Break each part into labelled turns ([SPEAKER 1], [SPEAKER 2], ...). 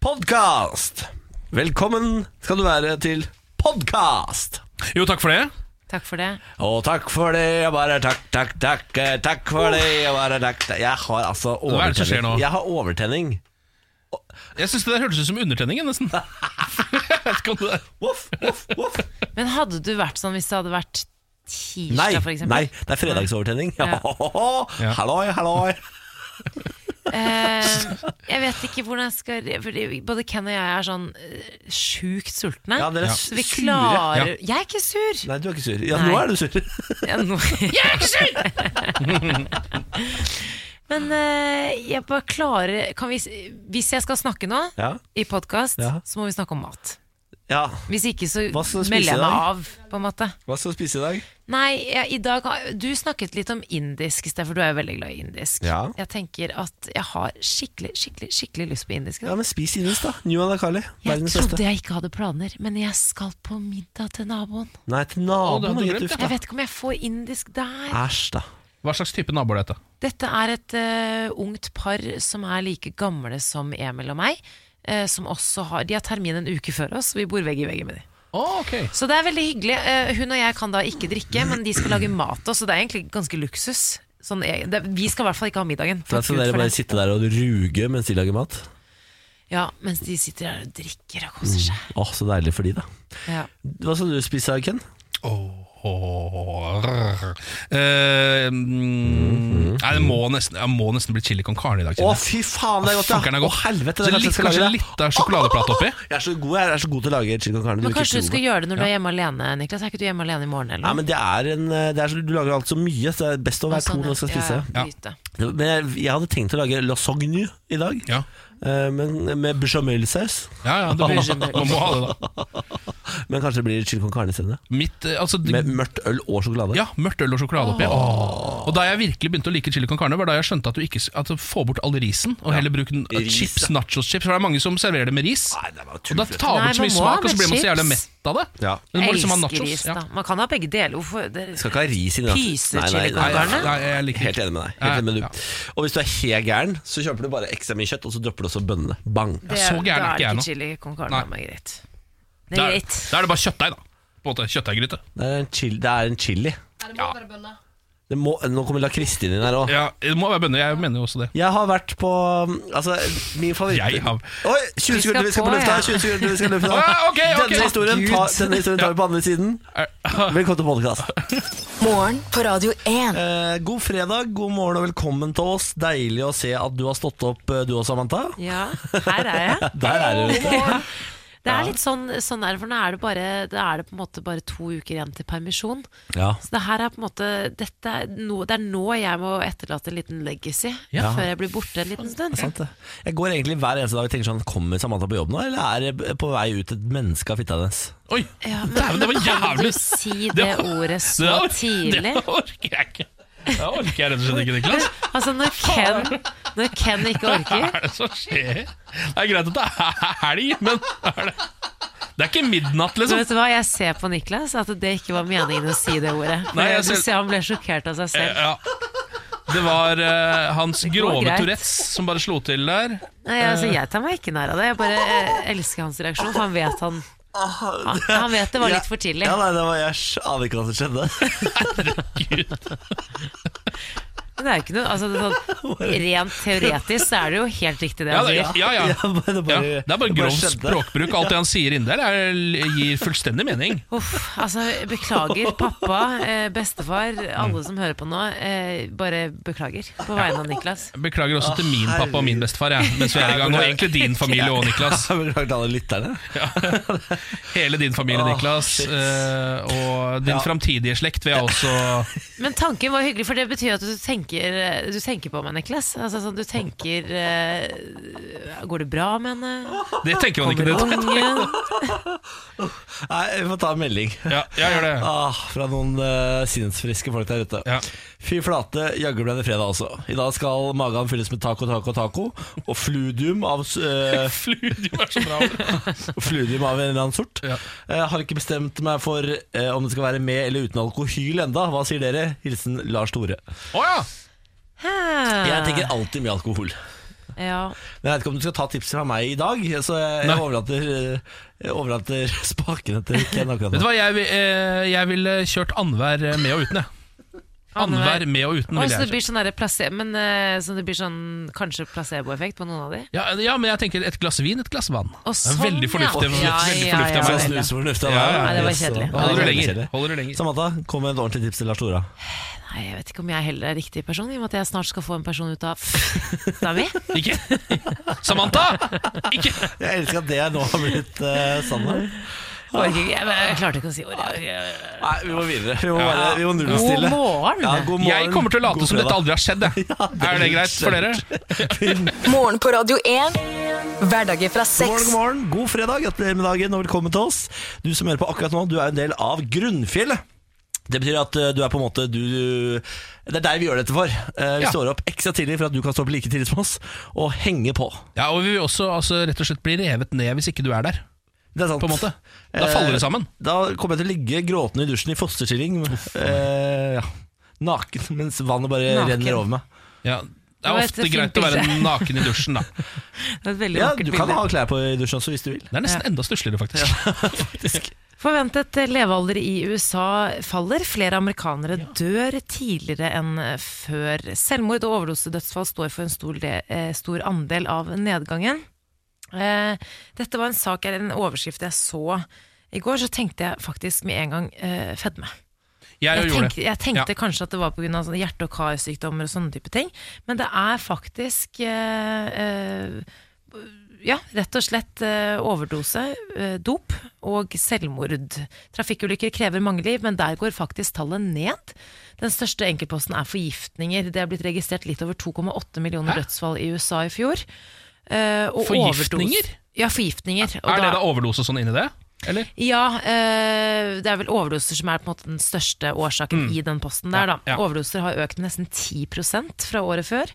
[SPEAKER 1] podkast. Velkommen skal du være til podkast.
[SPEAKER 2] Jo, takk for det.
[SPEAKER 3] Takk for det.
[SPEAKER 1] Og takk for det, og bare takk, takk, takk. eh, Takk for det, og bare takk. takk. Jeg har altså overtenning.
[SPEAKER 2] Hva er det som skjer nå?
[SPEAKER 1] Jeg har overtenning.
[SPEAKER 2] Jeg syns det der hørtes ut som undertenningen, nesten. Jeg vet ikke om det er-
[SPEAKER 1] Voff, voff, voff.
[SPEAKER 3] Men hadde du vært sånn hvis det hadde vært tirsdag,
[SPEAKER 1] Nei,
[SPEAKER 3] for eksempel?
[SPEAKER 1] nei, det er fredagsovertenning.
[SPEAKER 3] Ja.
[SPEAKER 2] Ja.
[SPEAKER 1] Halloi, halloi.
[SPEAKER 3] Eh, jeg vet ikke hvordan jeg skal fordi Både Ken og jeg er sånn eh, sjukt sultne.
[SPEAKER 1] Ja, dere er
[SPEAKER 3] Så vi
[SPEAKER 1] sure.
[SPEAKER 2] Ja.
[SPEAKER 3] klarer Jeg er ikke sur!
[SPEAKER 1] Nei, du er ikke sur. Ja,
[SPEAKER 3] Nei.
[SPEAKER 1] nå er du sur.
[SPEAKER 3] Ja, nå- jeg er ikke sur! Men eh, jeg bare klarer kan vi, s- Hvis jeg skal snakke nå
[SPEAKER 1] Ja,
[SPEAKER 3] i podkast,
[SPEAKER 1] Ja.
[SPEAKER 3] så må vi snakke om mat.
[SPEAKER 1] ja.
[SPEAKER 3] Hvis ikke så
[SPEAKER 1] Hva skal du spise i
[SPEAKER 3] melder jeg meg
[SPEAKER 1] dag?
[SPEAKER 3] av, på en måte.
[SPEAKER 1] Hva skal du spise i dag?
[SPEAKER 3] Nei, jeg, i dag har- Du snakket litt om indisk i sted, for du er jo veldig glad i indisk.
[SPEAKER 1] Ja.
[SPEAKER 3] Jeg tenker at jeg har skikkelig, skikkelig skikkelig lyst på indisk. i dag.
[SPEAKER 1] Ja, men Spis indisk, da. New Anakali.
[SPEAKER 3] Jeg
[SPEAKER 1] Verdens
[SPEAKER 3] trodde
[SPEAKER 1] beste.
[SPEAKER 3] jeg ikke hadde planer, men jeg skal på middag til naboen.
[SPEAKER 1] Nei, til
[SPEAKER 2] Å, det
[SPEAKER 1] naboen.
[SPEAKER 2] hadde du
[SPEAKER 1] gitt
[SPEAKER 2] glemt,
[SPEAKER 1] uff,
[SPEAKER 3] Jeg
[SPEAKER 1] da.
[SPEAKER 3] vet ikke om jeg får indisk der.
[SPEAKER 1] Æsj, da.
[SPEAKER 2] Hva slags type nabo er dette?
[SPEAKER 3] Dette er et eh, ungt par som er like gamle som Emil og meg. eh, som også har, De har termin en uke før oss, og vi bor vegg i vegg med dem.
[SPEAKER 2] Oh, ok
[SPEAKER 3] Så det er veldig hyggelig. Eh, hun og jeg kan da ikke drikke, men de skal lage mat til oss, så det er egentlig ganske luksus. Sånn, jeg- det, vi skal i hvert fall ikke ha middagen.
[SPEAKER 1] Da
[SPEAKER 3] Takk
[SPEAKER 1] skal
[SPEAKER 3] Gud
[SPEAKER 1] dere
[SPEAKER 3] for
[SPEAKER 1] bare
[SPEAKER 3] det.
[SPEAKER 1] sitte der og ruge mens de lager mat.
[SPEAKER 3] Ja, mens de sitter der og drikker og koser seg.
[SPEAKER 1] Åh, Så deilig for de, da.
[SPEAKER 3] Ja.
[SPEAKER 1] Hva skal Mm. du spise, i dag, Ken?
[SPEAKER 2] Åh, rrr. Eh, mm, Nei, det må nesten, jeg må nesten bli chili con carne i dag.
[SPEAKER 1] Å,
[SPEAKER 2] kjenner jeg.
[SPEAKER 1] fy faen, det er godt,
[SPEAKER 2] Å, fuckeren
[SPEAKER 1] ja!
[SPEAKER 2] er
[SPEAKER 1] Å,
[SPEAKER 2] godt.
[SPEAKER 1] helvete,
[SPEAKER 2] Så
[SPEAKER 1] det er kanskje jeg
[SPEAKER 2] litt,
[SPEAKER 1] skal lage
[SPEAKER 2] kanskje
[SPEAKER 1] det.
[SPEAKER 2] litt av sjokoladeplate oppi?
[SPEAKER 1] Jeg er så god, jeg er så god til å lage chili con carne.
[SPEAKER 3] Men
[SPEAKER 1] du ikke
[SPEAKER 3] kanskje du
[SPEAKER 1] tror
[SPEAKER 3] skal
[SPEAKER 1] meg.
[SPEAKER 3] gjøre det når du er hjemme alene, Niklas. Er ikke du hjemme alene i morgen?
[SPEAKER 1] Nei,
[SPEAKER 3] Eller?
[SPEAKER 1] men det er en eh, det er, så- Du lager alt så mye, så det er best å være to når du skal spise.
[SPEAKER 3] sånn, Ja,
[SPEAKER 2] Ja.
[SPEAKER 3] bryte.
[SPEAKER 1] Men jeg, jeg hadde tenkt å lage lasagne i dag,
[SPEAKER 2] Ja,
[SPEAKER 1] eh, men med bechamelsaus.
[SPEAKER 2] ja, ja det blir, man må ha det, da.
[SPEAKER 1] Men kanskje det blir chili con carne i stedet.
[SPEAKER 2] Mitt, eh, altså, d-
[SPEAKER 1] Med mørkt øl og sjokolade.
[SPEAKER 2] ja, mørkt øl og sjokolade oppi. Åh. Og da jeg virkelig begynte å like chili con carne, var da jeg skjønte at du ikke s- at du får bort all risen, og heller bruker den-
[SPEAKER 1] Ris,
[SPEAKER 2] chips,
[SPEAKER 1] ja.
[SPEAKER 2] nachos-chips. For det er mange som serverer det med ris.
[SPEAKER 1] Nei, det er bare
[SPEAKER 2] Og da
[SPEAKER 1] tullete.
[SPEAKER 2] tar
[SPEAKER 3] Nei,
[SPEAKER 2] man så
[SPEAKER 3] man
[SPEAKER 2] mye
[SPEAKER 3] må ha
[SPEAKER 2] smak, og så
[SPEAKER 3] med
[SPEAKER 2] blir man så jævla
[SPEAKER 3] chips.
[SPEAKER 2] mett av det.
[SPEAKER 1] Ja.
[SPEAKER 2] Men du må liksom ha
[SPEAKER 3] Elsker
[SPEAKER 2] nachos.
[SPEAKER 3] ris,
[SPEAKER 2] Ja.
[SPEAKER 3] da. Man kan ha begge deler. Hvorfor det-
[SPEAKER 1] Skal ikke ha ris inni
[SPEAKER 3] Pyser
[SPEAKER 1] Nei,
[SPEAKER 3] chili
[SPEAKER 1] nei, nei,
[SPEAKER 2] Nei,
[SPEAKER 3] con
[SPEAKER 1] nei,
[SPEAKER 3] carne?
[SPEAKER 2] nei, jeg liker
[SPEAKER 1] Helt
[SPEAKER 2] ikke
[SPEAKER 1] enig med deg. Helt enig med
[SPEAKER 2] Ja.
[SPEAKER 1] du. Og hvis du er helt gæren, så kjøper du bare ekstra mye kjøtt, og så dropper du også bønnene. Bang.
[SPEAKER 3] det-
[SPEAKER 2] så gæren
[SPEAKER 3] da
[SPEAKER 2] er ikke jeg nå.
[SPEAKER 3] chili con carne.
[SPEAKER 2] Nei.
[SPEAKER 3] men greit. Det
[SPEAKER 2] Da
[SPEAKER 3] er
[SPEAKER 2] er,
[SPEAKER 3] greit.
[SPEAKER 2] da er det bare kjøttdeig, da. På en måte, Kjøttdeiggryte.
[SPEAKER 1] Det er en chili. Det er en chili.
[SPEAKER 2] Ja.
[SPEAKER 1] Det må, nå kommer La Kristin inn her òg.
[SPEAKER 2] Ja, det må være bønner. Jeg mener jo også det.
[SPEAKER 1] Jeg har vært på Altså, min favoritt
[SPEAKER 2] Jeg har-
[SPEAKER 1] Oi, 20 sekunder vi skal på lufta!
[SPEAKER 3] ja.
[SPEAKER 1] 20 sekunder vi skal på lufta
[SPEAKER 2] Ah, ok, ok.
[SPEAKER 1] Denne historien,
[SPEAKER 2] Gud.
[SPEAKER 1] tar- denne historien tar vi på andre siden. Velkommen til podkast.
[SPEAKER 4] Morgen på Radio 1.
[SPEAKER 1] Eh, god fredag, god morgen og velkommen til oss. Deilig å se at du har stått opp, eh, du og Samantha.
[SPEAKER 3] Ja, her er jeg.
[SPEAKER 1] Der er du. vet du.
[SPEAKER 3] Det er litt sånn, sånn er det, for nå er det, bare, da er det på en måte bare to uker igjen til permisjon.
[SPEAKER 1] Ja.
[SPEAKER 3] Så det her er på en måte dette er nå- Det er nå jeg må etterlate en liten legacy,
[SPEAKER 2] Ja.
[SPEAKER 3] før jeg blir borte en liten stund.
[SPEAKER 1] Sant det. Jeg går egentlig hver eneste dag og tenker sånn Kommer Samantha på jobb nå, eller er det på vei ut et menneske av fitta hennes?
[SPEAKER 2] Oi!
[SPEAKER 3] Ja, men-
[SPEAKER 2] Dæven, det var
[SPEAKER 3] Kan du
[SPEAKER 2] jævlig
[SPEAKER 3] si det
[SPEAKER 2] Det var-
[SPEAKER 3] ordet
[SPEAKER 2] Det
[SPEAKER 3] så
[SPEAKER 2] or-
[SPEAKER 3] tidlig?
[SPEAKER 2] Det orker jeg ikke. Det orker jeg rett og slett ikke, Niklas.
[SPEAKER 3] Altså, når Ken, når Ken ikke
[SPEAKER 2] Hva
[SPEAKER 3] orker
[SPEAKER 2] er det som skjer? Det er greit at det er helg, men er det Det er ikke midnatt,
[SPEAKER 3] så
[SPEAKER 2] liksom.
[SPEAKER 3] vet du hva, Jeg ser på Niklas at det ikke var meningen å si det ordet. Men
[SPEAKER 2] Nei, jeg
[SPEAKER 3] jeg
[SPEAKER 2] ser-
[SPEAKER 3] ser Han ble sjokkert av seg selv.
[SPEAKER 2] Ja. Det var eh, hans
[SPEAKER 3] går
[SPEAKER 2] grove
[SPEAKER 3] greit.
[SPEAKER 2] Tourettes som bare slo til der.
[SPEAKER 3] Nei, altså, jeg tar meg ikke nær av det. Jeg bare eh, elsker hans reaksjon, for han vet han Han, han vet det var litt for tidlig.
[SPEAKER 1] Ja, nei, det var, jeg aner ikke hva som skjedde.
[SPEAKER 2] Gud.
[SPEAKER 3] Men det er jo ikke noe altså, det er sånn, Rent teoretisk så er det jo helt riktig, det
[SPEAKER 2] Ja,
[SPEAKER 3] han
[SPEAKER 2] det,
[SPEAKER 3] sier.
[SPEAKER 2] ja, ja.
[SPEAKER 1] Ja, men det
[SPEAKER 2] Ja,
[SPEAKER 1] bare-
[SPEAKER 2] det er bare
[SPEAKER 1] det bare
[SPEAKER 2] grov
[SPEAKER 1] skjedde.
[SPEAKER 2] språkbruk. Alt det han sier inni der, er, gir fullstendig mening.
[SPEAKER 3] Uff, altså beklager pappa, eh, bestefar, alle som hører på nå. Eh, bare beklager på vegne av Niklas.
[SPEAKER 2] Beklager
[SPEAKER 1] Ah,
[SPEAKER 2] også til min pappa og min bestefar, jeg, mens vi er i gang. Og egentlig din familie òg, Niklas.
[SPEAKER 1] Jeg Beklager til alle lytterne.
[SPEAKER 2] Hele din familie,
[SPEAKER 1] Åh,
[SPEAKER 2] Niklas.
[SPEAKER 1] Ah, shit.
[SPEAKER 2] eh, Og din
[SPEAKER 1] Ja.
[SPEAKER 2] framtidige slekt vil jeg også
[SPEAKER 3] Men tanken var hyggelig, for det betyr at du tenker, eh, du tenker på meg, Niklas. Altså, sånn, du tenker eh, Går det bra med henne?
[SPEAKER 2] Det tenker man ikke. Det.
[SPEAKER 3] Kommer ungen?
[SPEAKER 1] Nei, vi får ta en melding.
[SPEAKER 2] Ja, jeg gjør det.
[SPEAKER 1] Ah, fra noen eh, sinnsfriske folk der ute.
[SPEAKER 2] Ja.
[SPEAKER 1] Fy flate, jaggu ble det fredag også. I dag skal magen fylles med taco, taco, taco. Og fludium av, eh,
[SPEAKER 2] Fludium er så bra ord.
[SPEAKER 1] fludium av en eller annen sort.
[SPEAKER 2] Ja.
[SPEAKER 1] Eh, har ikke bestemt meg for eh, om det skal være med eller uten alkohyl enda Hva sier dere? Hilsen Lars Tore.
[SPEAKER 2] Å ja!
[SPEAKER 3] Hæ?
[SPEAKER 1] Jeg tenker alltid mye alkohol.
[SPEAKER 3] Ja.
[SPEAKER 1] Men jeg vet ikke om du skal ta tipset fra meg i dag, så jeg,
[SPEAKER 2] Nei.
[SPEAKER 1] jeg overlater, eh, jeg overlater spakene til Ken akkurat
[SPEAKER 2] Vet du
[SPEAKER 1] nå.
[SPEAKER 2] hva, jeg, vil- eh, jeg ville kjørt annenhver eh, med og uten, jeg. Annenhver med og uten.
[SPEAKER 3] Oi,
[SPEAKER 2] Ville
[SPEAKER 3] så det
[SPEAKER 2] jeg kjørt.
[SPEAKER 3] blir sånn derre place- Men eh, så det blir sånn kanskje placeboeffekt på noen av de?
[SPEAKER 2] Ja, ja, men jeg tenker et glass vin, et glass vann.
[SPEAKER 3] Å,
[SPEAKER 2] Det er
[SPEAKER 3] sånn,
[SPEAKER 2] veldig fornuftig,
[SPEAKER 3] ja.
[SPEAKER 2] veldig
[SPEAKER 3] Ja,
[SPEAKER 2] fornuftig
[SPEAKER 3] ja,
[SPEAKER 2] av
[SPEAKER 1] Så
[SPEAKER 2] meg.
[SPEAKER 3] ja, ja.
[SPEAKER 1] snus for fornufta
[SPEAKER 2] Ja, ja,
[SPEAKER 1] der.
[SPEAKER 2] ja. Nei,
[SPEAKER 3] det var
[SPEAKER 1] Yes,
[SPEAKER 3] kjedelig.
[SPEAKER 1] så-
[SPEAKER 2] Holder du
[SPEAKER 1] Ja, det var
[SPEAKER 2] lenger?
[SPEAKER 1] kjedelig.
[SPEAKER 2] Holder du lenger?
[SPEAKER 1] Samantha, kom med et ordentlig tips til Lars Tora.
[SPEAKER 3] Nei, jeg vet ikke om jeg heller er riktig person, i og med at jeg snart skal få en person ut av Da er vi?
[SPEAKER 2] Ikke? Samantha! Ikke!
[SPEAKER 1] Jeg elsker at det nå har blitt uh, sannhet.
[SPEAKER 3] Orker ikke. Jeg, jeg klarte ikke å si ordet.
[SPEAKER 1] Nei, vi må videre. Vi må, bare, vi må nullstille.
[SPEAKER 3] God morgen.
[SPEAKER 1] Ja, god morgen.
[SPEAKER 2] Jeg kommer til å late
[SPEAKER 1] God
[SPEAKER 2] som dette
[SPEAKER 1] fredag.
[SPEAKER 2] aldri har skjedd. Jeg. Er det greit for dere?
[SPEAKER 4] Morgen på Radio 1. Hverdager fra
[SPEAKER 1] God morgen,
[SPEAKER 4] seks.
[SPEAKER 1] god morgen. God fredag, gratulerer med dagen og velkommen til oss. Du som hører på akkurat nå, du er en del av Grunnfjellet. Det betyr at eh, du er på en måte du, Det er deg vi gjør dette for. Eh, Vi
[SPEAKER 2] Ja.
[SPEAKER 1] står opp ekstra tidlig for at du kan stå opp like tidlig som oss og henge på.
[SPEAKER 2] Ja, og vi vil også altså, rett og slett bli revet ned hvis ikke du er der.
[SPEAKER 1] Det er sant.
[SPEAKER 2] På en måte. Da faller det sammen.
[SPEAKER 1] Eh, Da kommer jeg til å ligge gråtende i dusjen i fosterstilling. Eh, ja. Naken, mens vannet bare
[SPEAKER 3] Naken.
[SPEAKER 1] renner over meg.
[SPEAKER 2] Ja, det
[SPEAKER 3] var
[SPEAKER 2] er
[SPEAKER 3] et
[SPEAKER 2] ofte
[SPEAKER 3] fint
[SPEAKER 2] greit å være naken i dusjen, da.
[SPEAKER 3] Det er et veldig
[SPEAKER 1] Ja,
[SPEAKER 3] vakkert
[SPEAKER 1] du kan
[SPEAKER 3] bilde.
[SPEAKER 1] ha klær på i dusjen også, hvis du vil.
[SPEAKER 2] Det er nesten enda stussligere, faktisk.
[SPEAKER 3] Forventet levealder i USA faller. Flere amerikanere dør tidligere enn før. Selvmord og overdosedødsfall står for en stor, de, eh, stor andel av nedgangen. Eh, dette var en sak, eller en overskrift jeg så i går, så tenkte jeg faktisk med en gang eh, fedme.
[SPEAKER 2] Jeg,
[SPEAKER 3] Jeg
[SPEAKER 2] gjorde
[SPEAKER 3] tenkte, jeg tenkte kanskje at det var pga. Sånn hjerte- og karsykdommer og sånne type ting, men det er faktisk eh, eh, ja, rett og slett eh, overdose, eh, dop og selvmord. Trafikkulykker krever mange liv, men der går faktisk tallet ned. Den største enkeltposten er forgiftninger. Det er blitt registrert litt over 2,8 millioner
[SPEAKER 2] Hæ?
[SPEAKER 3] dødsfall i USA i fjor. Eh, og
[SPEAKER 2] Forgiftninger?
[SPEAKER 3] overdose- Ja, forgiftninger.
[SPEAKER 2] Er det
[SPEAKER 3] da-
[SPEAKER 2] da overdose og sånn inni det? Eller?
[SPEAKER 3] ja, eh, det er vel overdoser som er på en måte den største årsaken i den posten der. Da.
[SPEAKER 2] Mm. Ja, ja.
[SPEAKER 3] Overdoser har økt med nesten 10 fra året før.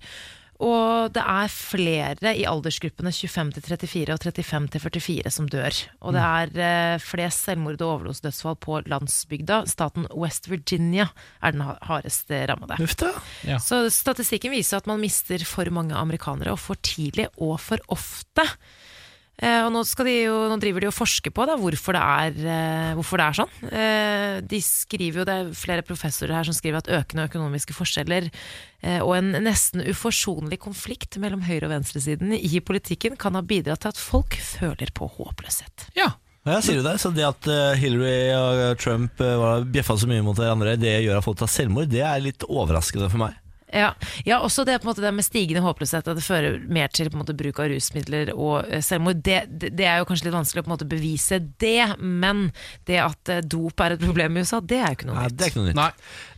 [SPEAKER 3] Og det er flere i aldersgruppene 25 til 34 og 35 til 44 som dør. Og det
[SPEAKER 2] Mm.
[SPEAKER 3] er eh, flest selvmord og overdosedødsfall på landsbygda. Staten West Virginia er den ha- hardest eh, rammede.
[SPEAKER 1] Uff da.
[SPEAKER 2] Ja.
[SPEAKER 3] Så statistikken viser at man mister for mange amerikanere, og for tidlig og for ofte. Eh, og nå, skal de jo, nå driver de og forsker på da, hvorfor, det er, eh, hvorfor det er sånn. Eh, de skriver jo, Det er flere professorer her som skriver at økende økonomiske forskjeller eh, og en nesten uforsonlig konflikt mellom høyre- og venstresiden i politikken kan ha bidratt til at folk føler på håpløshet.
[SPEAKER 2] ja.
[SPEAKER 1] Ja, sier du det? Så det at eh, Hillary og eh, Trump eh, var- bjeffa så mye mot hverandre, det gjør at folk tar selvmord, det er litt overraskende for meg.
[SPEAKER 3] Ja, ja også det, på en måte, det med stigende håpløshet, at det fører mer til på en måte, bruk av rusmidler og eh, selvmord. Det, det, det er jo kanskje litt vanskelig å på en måte, bevise det, men det at eh, dop er et problem i USA, det er jo ikke noe
[SPEAKER 1] Nei,
[SPEAKER 3] nytt.
[SPEAKER 1] det er ikke noe nytt.
[SPEAKER 2] Nei.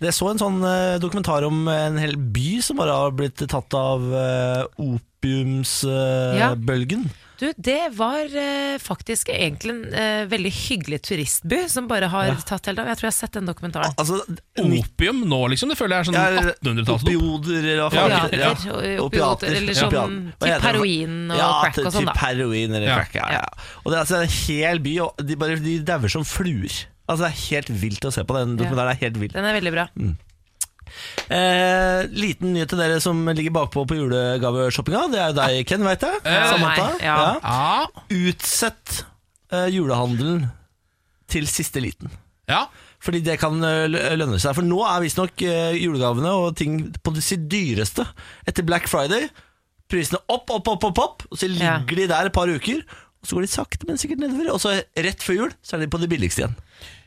[SPEAKER 1] Jeg så en sånn eh, dokumentar om en hel by som bare har blitt tatt av eh,
[SPEAKER 3] Ja.
[SPEAKER 1] opiumsbølgen.
[SPEAKER 3] Du, det var eh, faktisk egentlig en eh, veldig hyggelig turistby som bare har tatt helt av. Jeg tror jeg har sett den dokumentaren.
[SPEAKER 1] Altså,
[SPEAKER 2] Opium nå, liksom? Det føler jeg er sånn
[SPEAKER 1] ja,
[SPEAKER 2] 1800-tallsdop.
[SPEAKER 1] Opioder, eller hva
[SPEAKER 2] Ja,
[SPEAKER 1] faen.
[SPEAKER 3] opiater,
[SPEAKER 1] Ja,
[SPEAKER 3] opiater,
[SPEAKER 1] opiater,
[SPEAKER 3] eller
[SPEAKER 1] ja.
[SPEAKER 3] sånn
[SPEAKER 1] Opiater. Hva
[SPEAKER 3] typ
[SPEAKER 1] heter det?
[SPEAKER 3] heroin og crack og
[SPEAKER 1] typ
[SPEAKER 3] sånn, da.
[SPEAKER 1] heroin eller
[SPEAKER 2] Ja.
[SPEAKER 1] crack, ja,
[SPEAKER 3] Ja.
[SPEAKER 1] ja. Og det er altså en hel by, og de, bare, de dauer som fluer. Altså, det er helt vilt å se på. Den dokumentaren er helt vill.
[SPEAKER 3] Den er veldig bra.
[SPEAKER 1] Mm. Eh, liten nyhet til dere som ligger bakpå på julegaveshoppinga. Det er jo deg, Ken, veit jeg.
[SPEAKER 2] Eh,
[SPEAKER 1] Samantha.
[SPEAKER 3] meg, ja.
[SPEAKER 2] Ja.
[SPEAKER 1] Utsett eh, julehandelen til siste liten.
[SPEAKER 2] ja.
[SPEAKER 1] Fordi det kan eh, lø- lønne seg. For nå er visstnok eh, julegavene og ting på det sitt dyreste etter Black Friday. Prisene opp, opp, opp, opp, opp og så
[SPEAKER 3] Ja.
[SPEAKER 1] ligger de der et par uker. Og så går de sakte, men sikkert nedover. Og så rett før jul så er de på det billigste igjen.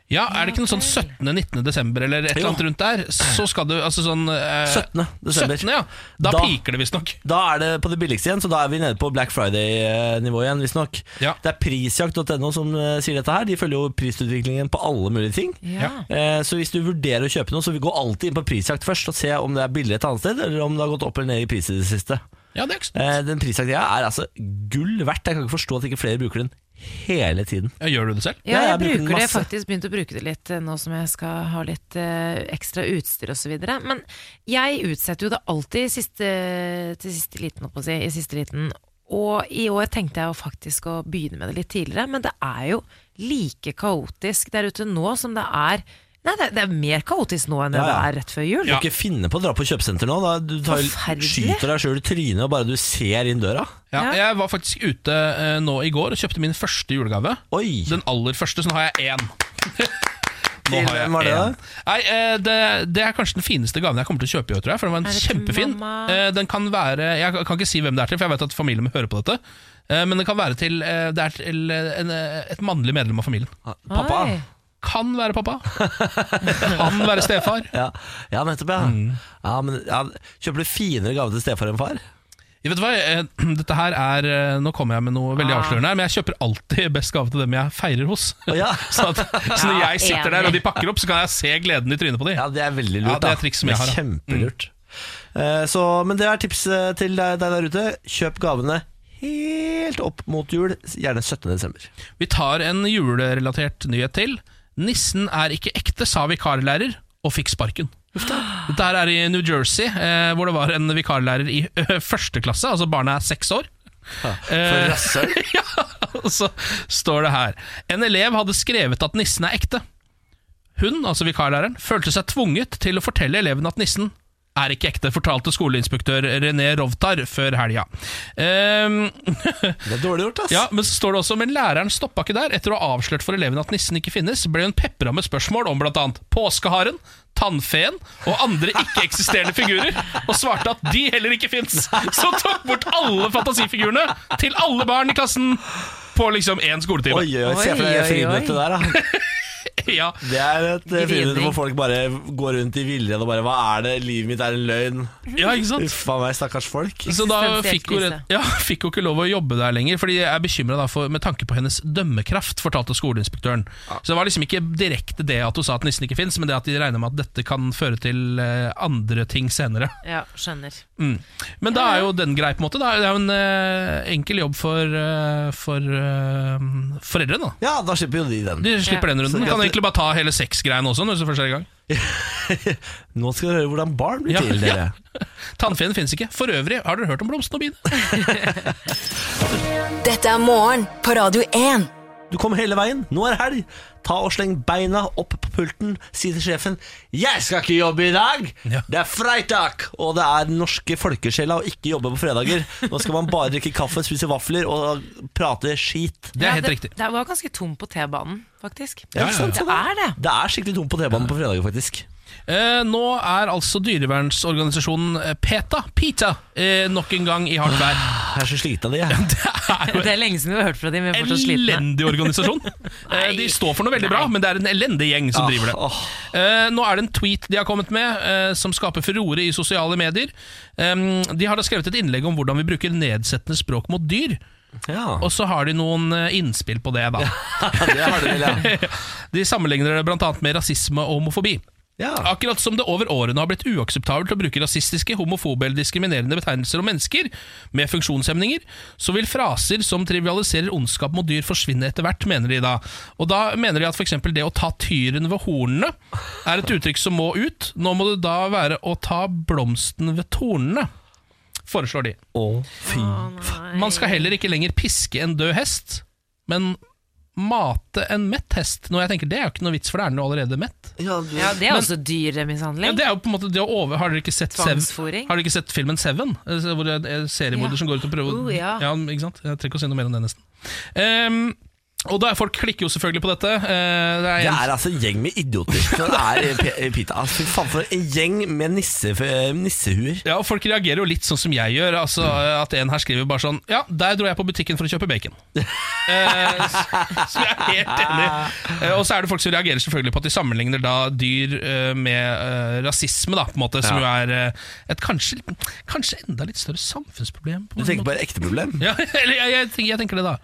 [SPEAKER 2] Ja, Er det ikke noe sånn 17.-19. desember eller et eller annet rundt der? Så skal du altså sånn eh,
[SPEAKER 1] 17. desember.
[SPEAKER 2] 17., ja. Da,
[SPEAKER 1] Da-
[SPEAKER 2] piker det visstnok.
[SPEAKER 1] Da er det på det billigste igjen, så da er vi nede på Black Friday-nivå igjen, visstnok.
[SPEAKER 2] Ja.
[SPEAKER 1] Det er prisjakt.no som eh, sier dette her. De følger jo prisutviklingen på alle mulige ting.
[SPEAKER 3] Ja.
[SPEAKER 1] Eh, Så hvis du vurderer å kjøpe noe, så vi går alltid inn på prisjakt først og se om det er billig et annet sted, eller om det har gått opp eller ned i pris i det siste.
[SPEAKER 2] Ja, det er ikke sånn.
[SPEAKER 1] Eh, Den prisjakten jeg har, er altså gull verdt. Jeg kan ikke forstå at ikke flere bruker den hele tiden.
[SPEAKER 2] Ja, gjør du det selv?
[SPEAKER 3] Ja,
[SPEAKER 1] Ja,
[SPEAKER 3] jeg
[SPEAKER 1] jeg bruker den
[SPEAKER 3] bruker det
[SPEAKER 1] masse.
[SPEAKER 3] faktisk begynt å bruke det litt eh, nå som jeg skal ha litt eh, ekstra utstyr osv. Men jeg utsetter jo det alltid siste, til siste liten, holdt på å si. I siste liten. Og i år tenkte jeg jo faktisk å begynne med det litt tidligere, men det er jo like kaotisk der ute nå som det er Nei, det, det er mer kaotisk nå enn det
[SPEAKER 1] Ja, ja.
[SPEAKER 3] er rett før jul.
[SPEAKER 1] Du kan ikke finne på å dra på kjøpesenter nå. Da. Du tar,
[SPEAKER 3] Forferdelig.
[SPEAKER 1] skyter deg sjøl i trynet og bare du ser inn døra.
[SPEAKER 2] Ja,
[SPEAKER 3] Ja.
[SPEAKER 2] jeg var faktisk ute eh, nå i går og kjøpte min første julegave.
[SPEAKER 1] Oi!
[SPEAKER 2] Den aller første, så nå har jeg én. Nå
[SPEAKER 1] Til
[SPEAKER 2] har jeg
[SPEAKER 1] hvem var det
[SPEAKER 2] én. Nei, eh, det, det er kanskje den fineste gaven jeg kommer til å kjøpe i år, tror jeg. For den var
[SPEAKER 3] Er
[SPEAKER 2] en
[SPEAKER 3] det til
[SPEAKER 2] kjempefin.
[SPEAKER 3] mamma?
[SPEAKER 2] Eh, Den kan være Jeg kan ikke si hvem det er til, for jeg vet at familien min hører på dette. Eh, Men det kan være til, eh, det er til eh, en, eh, et mannlig medlem av familien.
[SPEAKER 1] Ah, Pappa.
[SPEAKER 3] Oi.
[SPEAKER 2] Kan være pappa. Kan være stefar.
[SPEAKER 1] Ja, ja nettopp, ja. ja, men, ja. Kjøper du finere gave til stefar enn far?
[SPEAKER 2] Jeg vet hva, eh, dette her er eh, Nå kommer jeg med noe veldig
[SPEAKER 3] Ah.
[SPEAKER 2] avslørende her, men jeg kjøper alltid best gave til dem jeg feirer hos.
[SPEAKER 1] Å, ja.
[SPEAKER 2] Så, at, så når
[SPEAKER 3] Ja,
[SPEAKER 2] jeg sitter
[SPEAKER 3] enig.
[SPEAKER 2] der og de pakker opp, så kan jeg se gleden i trynet på dem.
[SPEAKER 1] ja, det er veldig
[SPEAKER 2] Ja,
[SPEAKER 1] lurt.
[SPEAKER 2] det er Mm.
[SPEAKER 1] da.
[SPEAKER 2] triks som jeg
[SPEAKER 1] Det er
[SPEAKER 2] har, ja.
[SPEAKER 1] Kjempelurt. Eh, Så, men det er tips eh, til deg deg der ute. Kjøp gavene helt opp mot jul, gjerne 17. desember.
[SPEAKER 2] Vi tar en julerelatert nyhet til. Nissen er ikke ekte, sa vikarlærer, og fikk sparken. Dette her er i New Jersey, eh, hvor det var en vikarlærer i eh, første klasse, altså barna er seks år.
[SPEAKER 1] For
[SPEAKER 2] Eh,
[SPEAKER 1] rasshøl.
[SPEAKER 2] ja, og så står det her En elev hadde skrevet at nissen er ekte Hun, altså vikarlæreren, følte seg tvunget til å fortelle eleven at nissen er ikke ekte, fortalte skoleinspektør René Rovtar før helga. Ehm,
[SPEAKER 1] Det er dårlig gjort, ass.
[SPEAKER 2] ja, men så står det også Men læreren stoppa ikke der. Etter å ha avslørt for eleven at nissen ikke finnes, ble hun pepra med spørsmål om bl.a. påskeharen, tannfeen og andre ikke-eksisterende figurer, og svarte at de heller ikke fins. Så tok bort alle fantasifigurene til alle barn i klassen på liksom én skoletime.
[SPEAKER 1] Oi, oi, oi. Se for
[SPEAKER 3] Oi, oi,
[SPEAKER 1] deg
[SPEAKER 3] oi.
[SPEAKER 1] friminuttet der, da.
[SPEAKER 2] Ja.
[SPEAKER 1] Det er et eh, friminutt
[SPEAKER 3] Grining.
[SPEAKER 1] hvor folk bare går rundt i villrede og bare Hva er det? Livet mitt er en løgn.
[SPEAKER 2] ja, ikke sant?
[SPEAKER 1] Uff a meg, stakkars folk.
[SPEAKER 2] Så da
[SPEAKER 3] Eksistensiell
[SPEAKER 2] fikk hun,
[SPEAKER 3] krise.
[SPEAKER 2] ja, fikk hun ikke lov å jobbe der lenger, Fordi jeg er bekymra med tanke på hennes dømmekraft, fortalte skoleinspektøren. Så det var liksom ikke direkte det at hun sa at nissen ikke fins, men det at de regner med at dette kan føre til eh, andre ting senere.
[SPEAKER 3] Ja, skjønner.
[SPEAKER 2] Mm. Men da er jo den grei, på en måte. Da er det er jo en eh, enkel jobb for, eh, for eh, foreldrene, da.
[SPEAKER 1] Ja, da slipper jo de den.
[SPEAKER 2] De slipper
[SPEAKER 3] Ja.
[SPEAKER 2] den runden.
[SPEAKER 1] Så
[SPEAKER 2] Kan
[SPEAKER 1] greit.
[SPEAKER 2] egentlig bare ta hele sexgreiene også, når du først er i gang.
[SPEAKER 1] Nå skal dere høre hvordan barn blir
[SPEAKER 2] Ja,
[SPEAKER 1] til, dere.
[SPEAKER 2] Tannfeen fins ikke. For øvrig, har dere hørt om blomstene og biene?
[SPEAKER 4] Dette er morgen på Radio 1.
[SPEAKER 1] Du kom hele veien, nå er helg. Ta og Sleng beina opp på pulten, si til sjefen 'Jeg skal ikke jobbe i dag!
[SPEAKER 2] Ja.
[SPEAKER 1] Det er freitag!' Og det er den norske folkesjela å ikke jobbe på fredager. Nå skal man bare drikke kaffe, spise vafler og prate skit.
[SPEAKER 2] Det er
[SPEAKER 3] Ja,
[SPEAKER 2] helt riktig.
[SPEAKER 3] Det var ganske tom på T-banen, faktisk.
[SPEAKER 1] Ja, ikke sant?
[SPEAKER 3] Det er det.
[SPEAKER 1] Det er skikkelig tomt på T-banen på fredager, faktisk.
[SPEAKER 2] Eh, nå er altså dyrevernsorganisasjonen eh, PETA, PETA eh, nok en gang i hardt vær.
[SPEAKER 3] Ah.
[SPEAKER 1] Jeg er så sliten av det, jeg.
[SPEAKER 3] Det er lenge siden vi har hørt fra dem. Vi er fortsatt slitne.
[SPEAKER 2] Elendig organisasjon. Eh, de står for noe veldig bra, men det er en elendig gjeng
[SPEAKER 3] Ah.
[SPEAKER 2] som driver det.
[SPEAKER 1] Ah, Åh,
[SPEAKER 2] Eh, nå er det en tweet de har kommet med, eh, som skaper furore i sosiale medier. Em, de har da skrevet et innlegg om hvordan vi bruker nedsettende språk mot dyr,
[SPEAKER 1] Ja.
[SPEAKER 2] og så har de noen eh, innspill på det, da.
[SPEAKER 1] det har du vel, ja.
[SPEAKER 2] De sammenligner det bl.a. med rasisme og homofobi.
[SPEAKER 1] ja.
[SPEAKER 2] Akkurat som det over årene har blitt uakseptabelt å bruke rasistiske, homofobe eller diskriminerende betegnelser om mennesker med funksjonshemninger, så vil fraser som trivialiserer ondskap mot dyr forsvinne etter hvert, mener de da. Og da mener de at f.eks. det å ta tyren ved hornene er et uttrykk som må ut. Nå må det da være å ta blomsten ved tornene, foreslår de.
[SPEAKER 1] Å, fy
[SPEAKER 2] Man skal heller ikke lenger piske en død hest, men mate en mett hest. Når jeg tenker, Det er jo ikke noe vits, for det er den jo allerede mett.
[SPEAKER 1] ja, du-
[SPEAKER 3] Ja, det er
[SPEAKER 2] Men-
[SPEAKER 3] også
[SPEAKER 2] Ja,
[SPEAKER 3] dyremishandling.
[SPEAKER 2] det er jo på en måte det å over... Har dere ikke sett Sev-
[SPEAKER 3] Tvangsfôring.
[SPEAKER 2] Har dere ikke sett filmen Seven? Eh, Hvor det er en seriemorder
[SPEAKER 3] Ja.
[SPEAKER 2] som går ut og prøver å-
[SPEAKER 3] Oh, ja.
[SPEAKER 2] ikke sant? Jeg trenger ikke å si noe mer om det, nesten. Ehm, og da er folk klikker jo selvfølgelig på dette. Eh, det er
[SPEAKER 1] Det
[SPEAKER 2] en,
[SPEAKER 1] er altså en gjeng med idioter. Det er eh, P- Pita. Altså, Fy faen, for en gjeng med nisse, nissehuer.
[SPEAKER 2] ja, og folk reagerer jo litt sånn som jeg gjør. Altså, eh, At en her skriver bare sånn Ja, der dro jeg på butikken for å kjøpe bacon. Eh, s- så jeg er helt enig. Eh, og så er det folk som reagerer selvfølgelig på at de sammenligner da dyr eh, med eh, rasisme, da, på en måte, som jo er eh, et kanskje, kanskje enda litt større samfunnsproblem. På
[SPEAKER 1] Du
[SPEAKER 2] en
[SPEAKER 1] tenker
[SPEAKER 2] måte.
[SPEAKER 1] på et ekte problem?
[SPEAKER 2] Ja, eller jeg, jeg, tenker, jeg tenker det, da.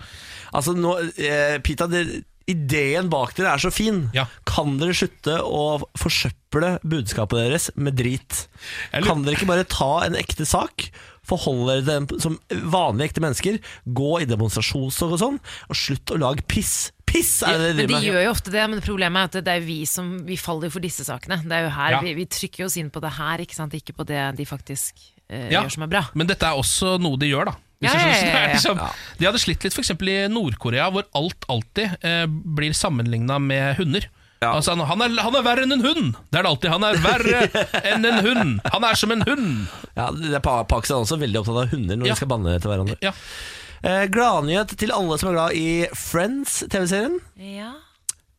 [SPEAKER 1] Altså, nå, eh, Pita, det, ideen bak dere er så fin.
[SPEAKER 2] Ja.
[SPEAKER 1] Kan dere slutte å forsøple budskapet deres med drit?
[SPEAKER 2] Jeg lurer-
[SPEAKER 1] Kan dere ikke bare ta en ekte sak? Forholde dere til den som vanlige ekte mennesker. Gå i demonstrasjonstog og sånn. Og slutt å lage piss. Piss er det dere
[SPEAKER 3] Men de
[SPEAKER 1] driver med.
[SPEAKER 3] gjør jo ofte det, men problemet er at det er vi som vi faller for disse sakene. Det er jo her,
[SPEAKER 2] Ja.
[SPEAKER 3] vi, vi trykker oss inn på det her, ikke sant? Ikke på det de faktisk eh,
[SPEAKER 2] Ja.
[SPEAKER 3] gjør som er bra.
[SPEAKER 2] Men dette er også noe de gjør, da. Hvis
[SPEAKER 3] Ja,
[SPEAKER 2] du
[SPEAKER 3] ja,
[SPEAKER 2] skjønner. Det er
[SPEAKER 3] ja, ja.
[SPEAKER 2] liksom- De hadde slitt litt f.eks. i Nord-Korea, hvor alt alltid eh, blir sammenligna med hunder.
[SPEAKER 1] Ja.
[SPEAKER 2] Altså, han, han, er, han er verre enn en hund! Det er det alltid. Han er verre enn en hund! Han er som en hund!
[SPEAKER 1] Ja, det er pa- Pakistan er også veldig opptatt av hunder når
[SPEAKER 2] Ja.
[SPEAKER 1] de skal banne til hverandre.
[SPEAKER 2] Ja.
[SPEAKER 1] Eh, Gladnyhet til alle som er glad i Friends, TV-serien.
[SPEAKER 3] Ja.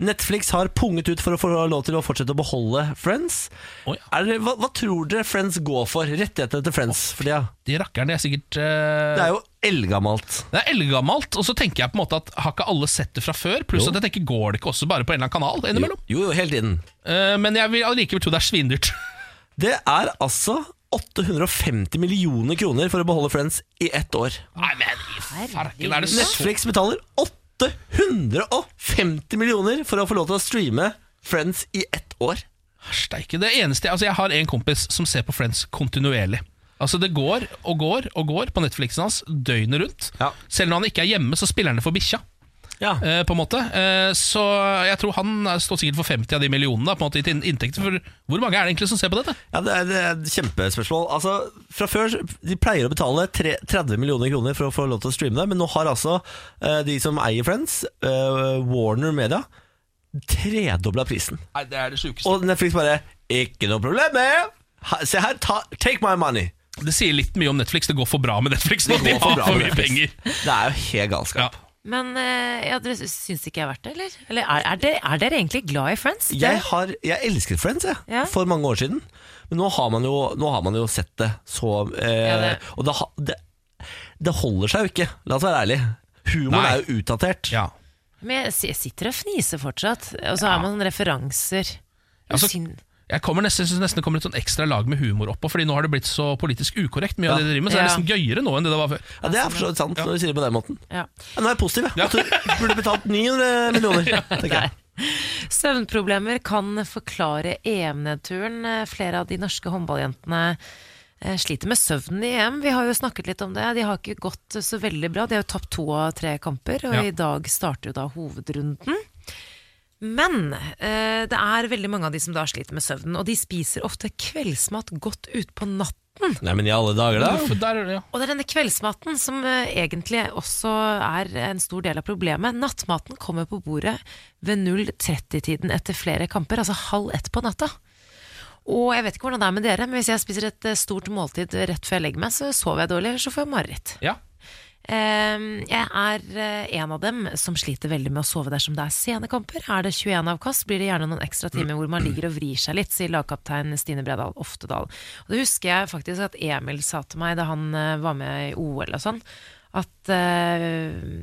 [SPEAKER 1] Netflix har punget ut for å få lov til å fortsette å beholde Friends.
[SPEAKER 2] Å ja.
[SPEAKER 1] Er det, hva, hva tror dere Friends går for? Rettighetene til Friends. For de, har-
[SPEAKER 2] De rakkerne er sikkert
[SPEAKER 1] det
[SPEAKER 2] eh,
[SPEAKER 1] er jo eldgammelt.
[SPEAKER 2] Det er eldgammelt, og så tenker jeg på en måte at har ikke alle sett det fra før? Pluss
[SPEAKER 1] Jo.
[SPEAKER 2] at jeg tenker går det ikke også bare på en eller annen kanal innimellom?
[SPEAKER 1] Jo, jo, hele tiden.
[SPEAKER 2] Eh, men jeg vil allikevel tro det er svindyrt.
[SPEAKER 1] Det er altså 850 millioner kroner for å beholde Friends i ett år.
[SPEAKER 2] Nei, men i farken er det så
[SPEAKER 1] Netflix betaler 850 millioner for å få lov til å streame Friends i ett år.
[SPEAKER 2] Steike. Det eneste altså Jeg har en kompis som ser på Friends kontinuerlig. Altså Det går og går og går på Netflixen hans døgnet rundt.
[SPEAKER 1] Ja.
[SPEAKER 2] Selv når han ikke er hjemme, så spiller han det for bikkja.
[SPEAKER 1] Ja.
[SPEAKER 2] eh, på en måte Eh, Så jeg tror han er- står sikkert for 50 av de millionene da, På en måte i inn- inntekter. For hvor mange er det egentlig som ser på dette?
[SPEAKER 1] Ja, det er, det er et kjempespørsmål. Altså, fra før, De pleier å betale tre- 30 millioner kroner for å få lov til å streame det, men nå har altså eh, de som eier Friends, eh, Warner Media, tredobla prisen.
[SPEAKER 2] Nei, Det er det sjukeste.
[SPEAKER 1] Og Netflix bare 'Ikke noe problem med! Ha- Se her, ta, take my money!'
[SPEAKER 2] Og det sier litt mye om Netflix. Det går for bra med Netflix. nå.
[SPEAKER 1] går
[SPEAKER 2] De har
[SPEAKER 1] for
[SPEAKER 2] for,
[SPEAKER 1] bra med
[SPEAKER 2] mye
[SPEAKER 1] Netflix.
[SPEAKER 2] penger.
[SPEAKER 1] Det er jo helt
[SPEAKER 2] Ja.
[SPEAKER 1] galskap.
[SPEAKER 3] Men eh, ja, dere syns det ikke jeg er verdt det, eller? eller er, er, dere, er dere egentlig glad i Friends?
[SPEAKER 1] Jeg,
[SPEAKER 3] Dere-
[SPEAKER 1] har, jeg elsket Friends jeg,
[SPEAKER 3] Ja.
[SPEAKER 1] for mange år siden, men nå har man jo, nå har man jo sett det så eh,
[SPEAKER 3] Ja, det-
[SPEAKER 1] Og det, ha- det, det holder seg jo ikke, la oss være ærlige. Humoren
[SPEAKER 2] Nei.
[SPEAKER 1] er jo utdatert.
[SPEAKER 2] Ja.
[SPEAKER 3] Men jeg, jeg sitter og fniser fortsatt, og så har man sånne referanser.
[SPEAKER 2] Altså,
[SPEAKER 3] Syn-
[SPEAKER 2] Jeg kommer nesten, synes nesten det kommer et sånn ekstra lag med humor oppå, Fordi nå har det blitt så politisk ukorrekt, mye av det de driver med. Så det er
[SPEAKER 3] Ja.
[SPEAKER 2] nesten gøyere nå enn det det var før.
[SPEAKER 1] Ja, Det er for så vidt sant, når du sier det på den måten.
[SPEAKER 3] ja.
[SPEAKER 1] Ja, Nå er jeg positiv. jeg. At du burde betalt 900 millioner. tenker jeg.
[SPEAKER 3] Søvnproblemer kan forklare EM-nedturen. Eh, Flere av de norske håndballjentene eh, sliter med søvnen i EM. Vi har jo snakket litt om det. De har ikke gått så veldig bra. De har jo tapt to av tre kamper, og
[SPEAKER 2] Ja.
[SPEAKER 3] i dag starter jo da hovedrunden. Men eh, det er veldig mange av de som da sliter med søvnen, og de spiser ofte kveldsmat godt utpå natten.
[SPEAKER 1] Nei, men i alle dager, da.
[SPEAKER 2] For Der, ja.
[SPEAKER 3] Og det er denne kveldsmaten som eh, egentlig også er en stor del av problemet. Nattmaten kommer på bordet ved 0.30-tiden etter flere kamper, altså halv ett på natta. Og jeg vet ikke hvordan det er med dere, men hvis jeg spiser et eh, stort måltid rett før jeg legger meg, så sover jeg dårlig, eller så får jeg mareritt.
[SPEAKER 2] ja.
[SPEAKER 3] Ehm, Jeg er eh, en av dem som sliter veldig med å sove dersom det er sene kamper. Er det 21 avkast, blir det gjerne noen ekstra timer hvor man ligger og vrir seg litt, sier lagkaptein Stine Bredal Oftedal. Og det husker jeg faktisk at Emil sa til meg da han eh, var med i OL og sånn, at eh,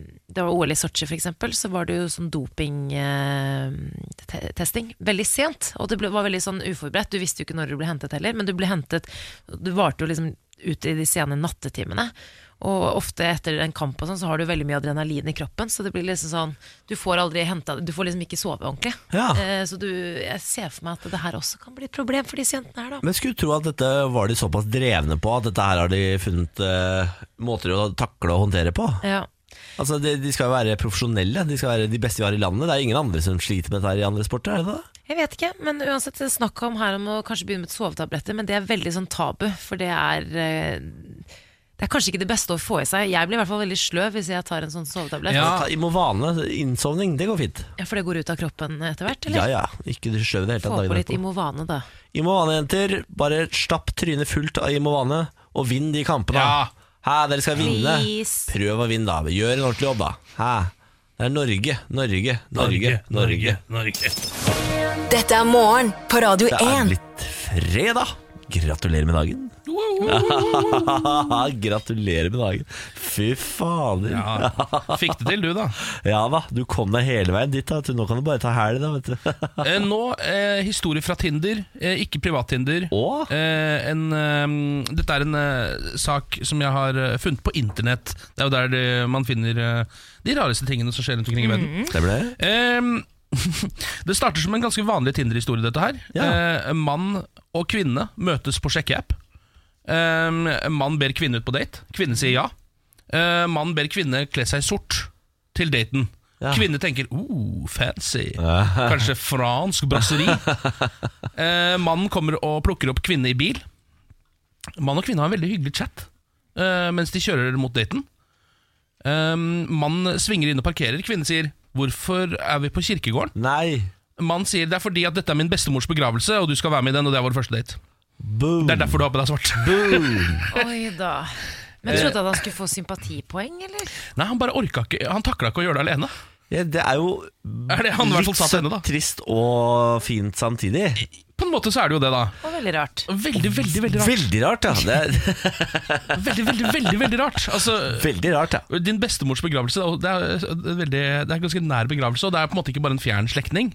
[SPEAKER 3] det var OL i Sotsji for eksempel, så var det jo sånn dopingtesting veldig sent. Og det ble, var veldig sånn uforberedt, du visste jo ikke når du ble hentet heller, men du ble hentet, du varte jo liksom ut i de sene nattetimene. Og ofte etter en kamp og sånn, så har du veldig mye adrenalin i kroppen, så det blir liksom sånn Du får aldri henta Du får liksom ikke sove ordentlig.
[SPEAKER 1] Ja.
[SPEAKER 3] Eh, så du Jeg ser for meg at det her også kan bli et problem for disse jentene her, da.
[SPEAKER 1] Men skulle tro at dette var de såpass drevne på at dette her har de funnet eh, måter å takle og håndtere på.
[SPEAKER 3] Ja.
[SPEAKER 1] Altså, de, de skal jo være profesjonelle, de skal være de beste vi har i landet. Det er ingen andre som sliter med dette her i andre sporter, er det det?
[SPEAKER 3] Jeg vet ikke, men uansett det er snakk om her om å kanskje begynne med et sovetabletter, men det er veldig sånn tabu, for det er eh, Det er kanskje ikke det beste å få i seg. Jeg blir i hvert fall veldig sløv hvis jeg tar en sånn sovetablett.
[SPEAKER 2] Ja.
[SPEAKER 3] Ja.
[SPEAKER 1] Ta Imovane, innsovning, det går fint.
[SPEAKER 3] For det går ut av kroppen etter hvert,
[SPEAKER 1] Ja
[SPEAKER 3] eller?
[SPEAKER 1] ja, ikke sløv det hele
[SPEAKER 3] Få
[SPEAKER 1] tatt.
[SPEAKER 3] på
[SPEAKER 1] dagen
[SPEAKER 3] litt
[SPEAKER 1] etterpå.
[SPEAKER 3] Imovane, da.
[SPEAKER 1] Imovane, jenter. Bare stapp trynet fullt av Imovane, og vinn de kampene.
[SPEAKER 2] Ja.
[SPEAKER 1] Hæ, dere skal vinne.
[SPEAKER 3] Please.
[SPEAKER 1] Prøv å vinne, da. Gjør en ordentlig jobb, da. Hæ. Det er Norge, Norge, Norge, Norge.
[SPEAKER 2] Norge.
[SPEAKER 4] Dette er morgen på Radio
[SPEAKER 1] Det er
[SPEAKER 4] 1.
[SPEAKER 1] blitt fredag. Gratulerer med dagen. Gratulerer med dagen. Fy fader. Ja.
[SPEAKER 2] Ja. Fikk det til, du, da.
[SPEAKER 1] da, du kom deg hele veien dit. da vet du. Nå kan du bare ta helg, da. vet du
[SPEAKER 2] Eh, nå, eh, historie fra Tinder, eh, ikke privat-Tinder.
[SPEAKER 1] Å?
[SPEAKER 2] Eh, en, eh, dette er en eh, sak som jeg har eh, funnet på internett. Det er jo der det, man finner eh, de rareste tingene som skjer rundt omkring i verden.
[SPEAKER 1] Stemmer det?
[SPEAKER 2] Ehm, det starter som en ganske vanlig Tinder-historie, dette her.
[SPEAKER 1] Ja.
[SPEAKER 2] Eh, mann og kvinne møtes på sjekkeapp. Ehm, mann ber kvinne ut på date. Kvinne sier ja. Eh, mann ber kvinne kle seg i sort til daten.
[SPEAKER 1] Ja.
[SPEAKER 2] Kvinne tenker oh, fancy. Kanskje fransk brasseri. Eh, mannen kommer og plukker opp kvinne i bil. Mann og kvinne har en veldig hyggelig chat eh, mens de kjører mot daten. Ehm, Um, Mannen svinger inn og parkerer. Kvinnen sier 'Hvorfor er vi på kirkegården?'
[SPEAKER 1] Nei.
[SPEAKER 2] Mannen sier det er fordi at dette er min bestemors begravelse, og du skal være med i den, og det er vår første date.
[SPEAKER 1] Boom.
[SPEAKER 2] Det er derfor du har på deg svart.
[SPEAKER 3] Oi da. Men trodde at han skulle få sympatipoeng, eller?
[SPEAKER 2] Nei, han bare orka ikke Han takla ikke å gjøre det alene.
[SPEAKER 1] Ja, det er jo
[SPEAKER 2] Er det han i hvert fall
[SPEAKER 1] litt
[SPEAKER 2] sa til henne, da?
[SPEAKER 1] søtt, trist og fint samtidig.
[SPEAKER 2] På en måte så er det jo det, da.
[SPEAKER 3] Det var veldig rart.
[SPEAKER 2] Veldig, veldig, veldig rart.
[SPEAKER 1] Veldig rart, ja. Det er,
[SPEAKER 2] Veldig, veldig, veldig, veldig rart. Altså,
[SPEAKER 1] veldig rart, ja.
[SPEAKER 2] din bestemors begravelse, og det er, det er veldig, det er en ganske nær begravelse, og det er på en måte ikke bare en fjern slektning.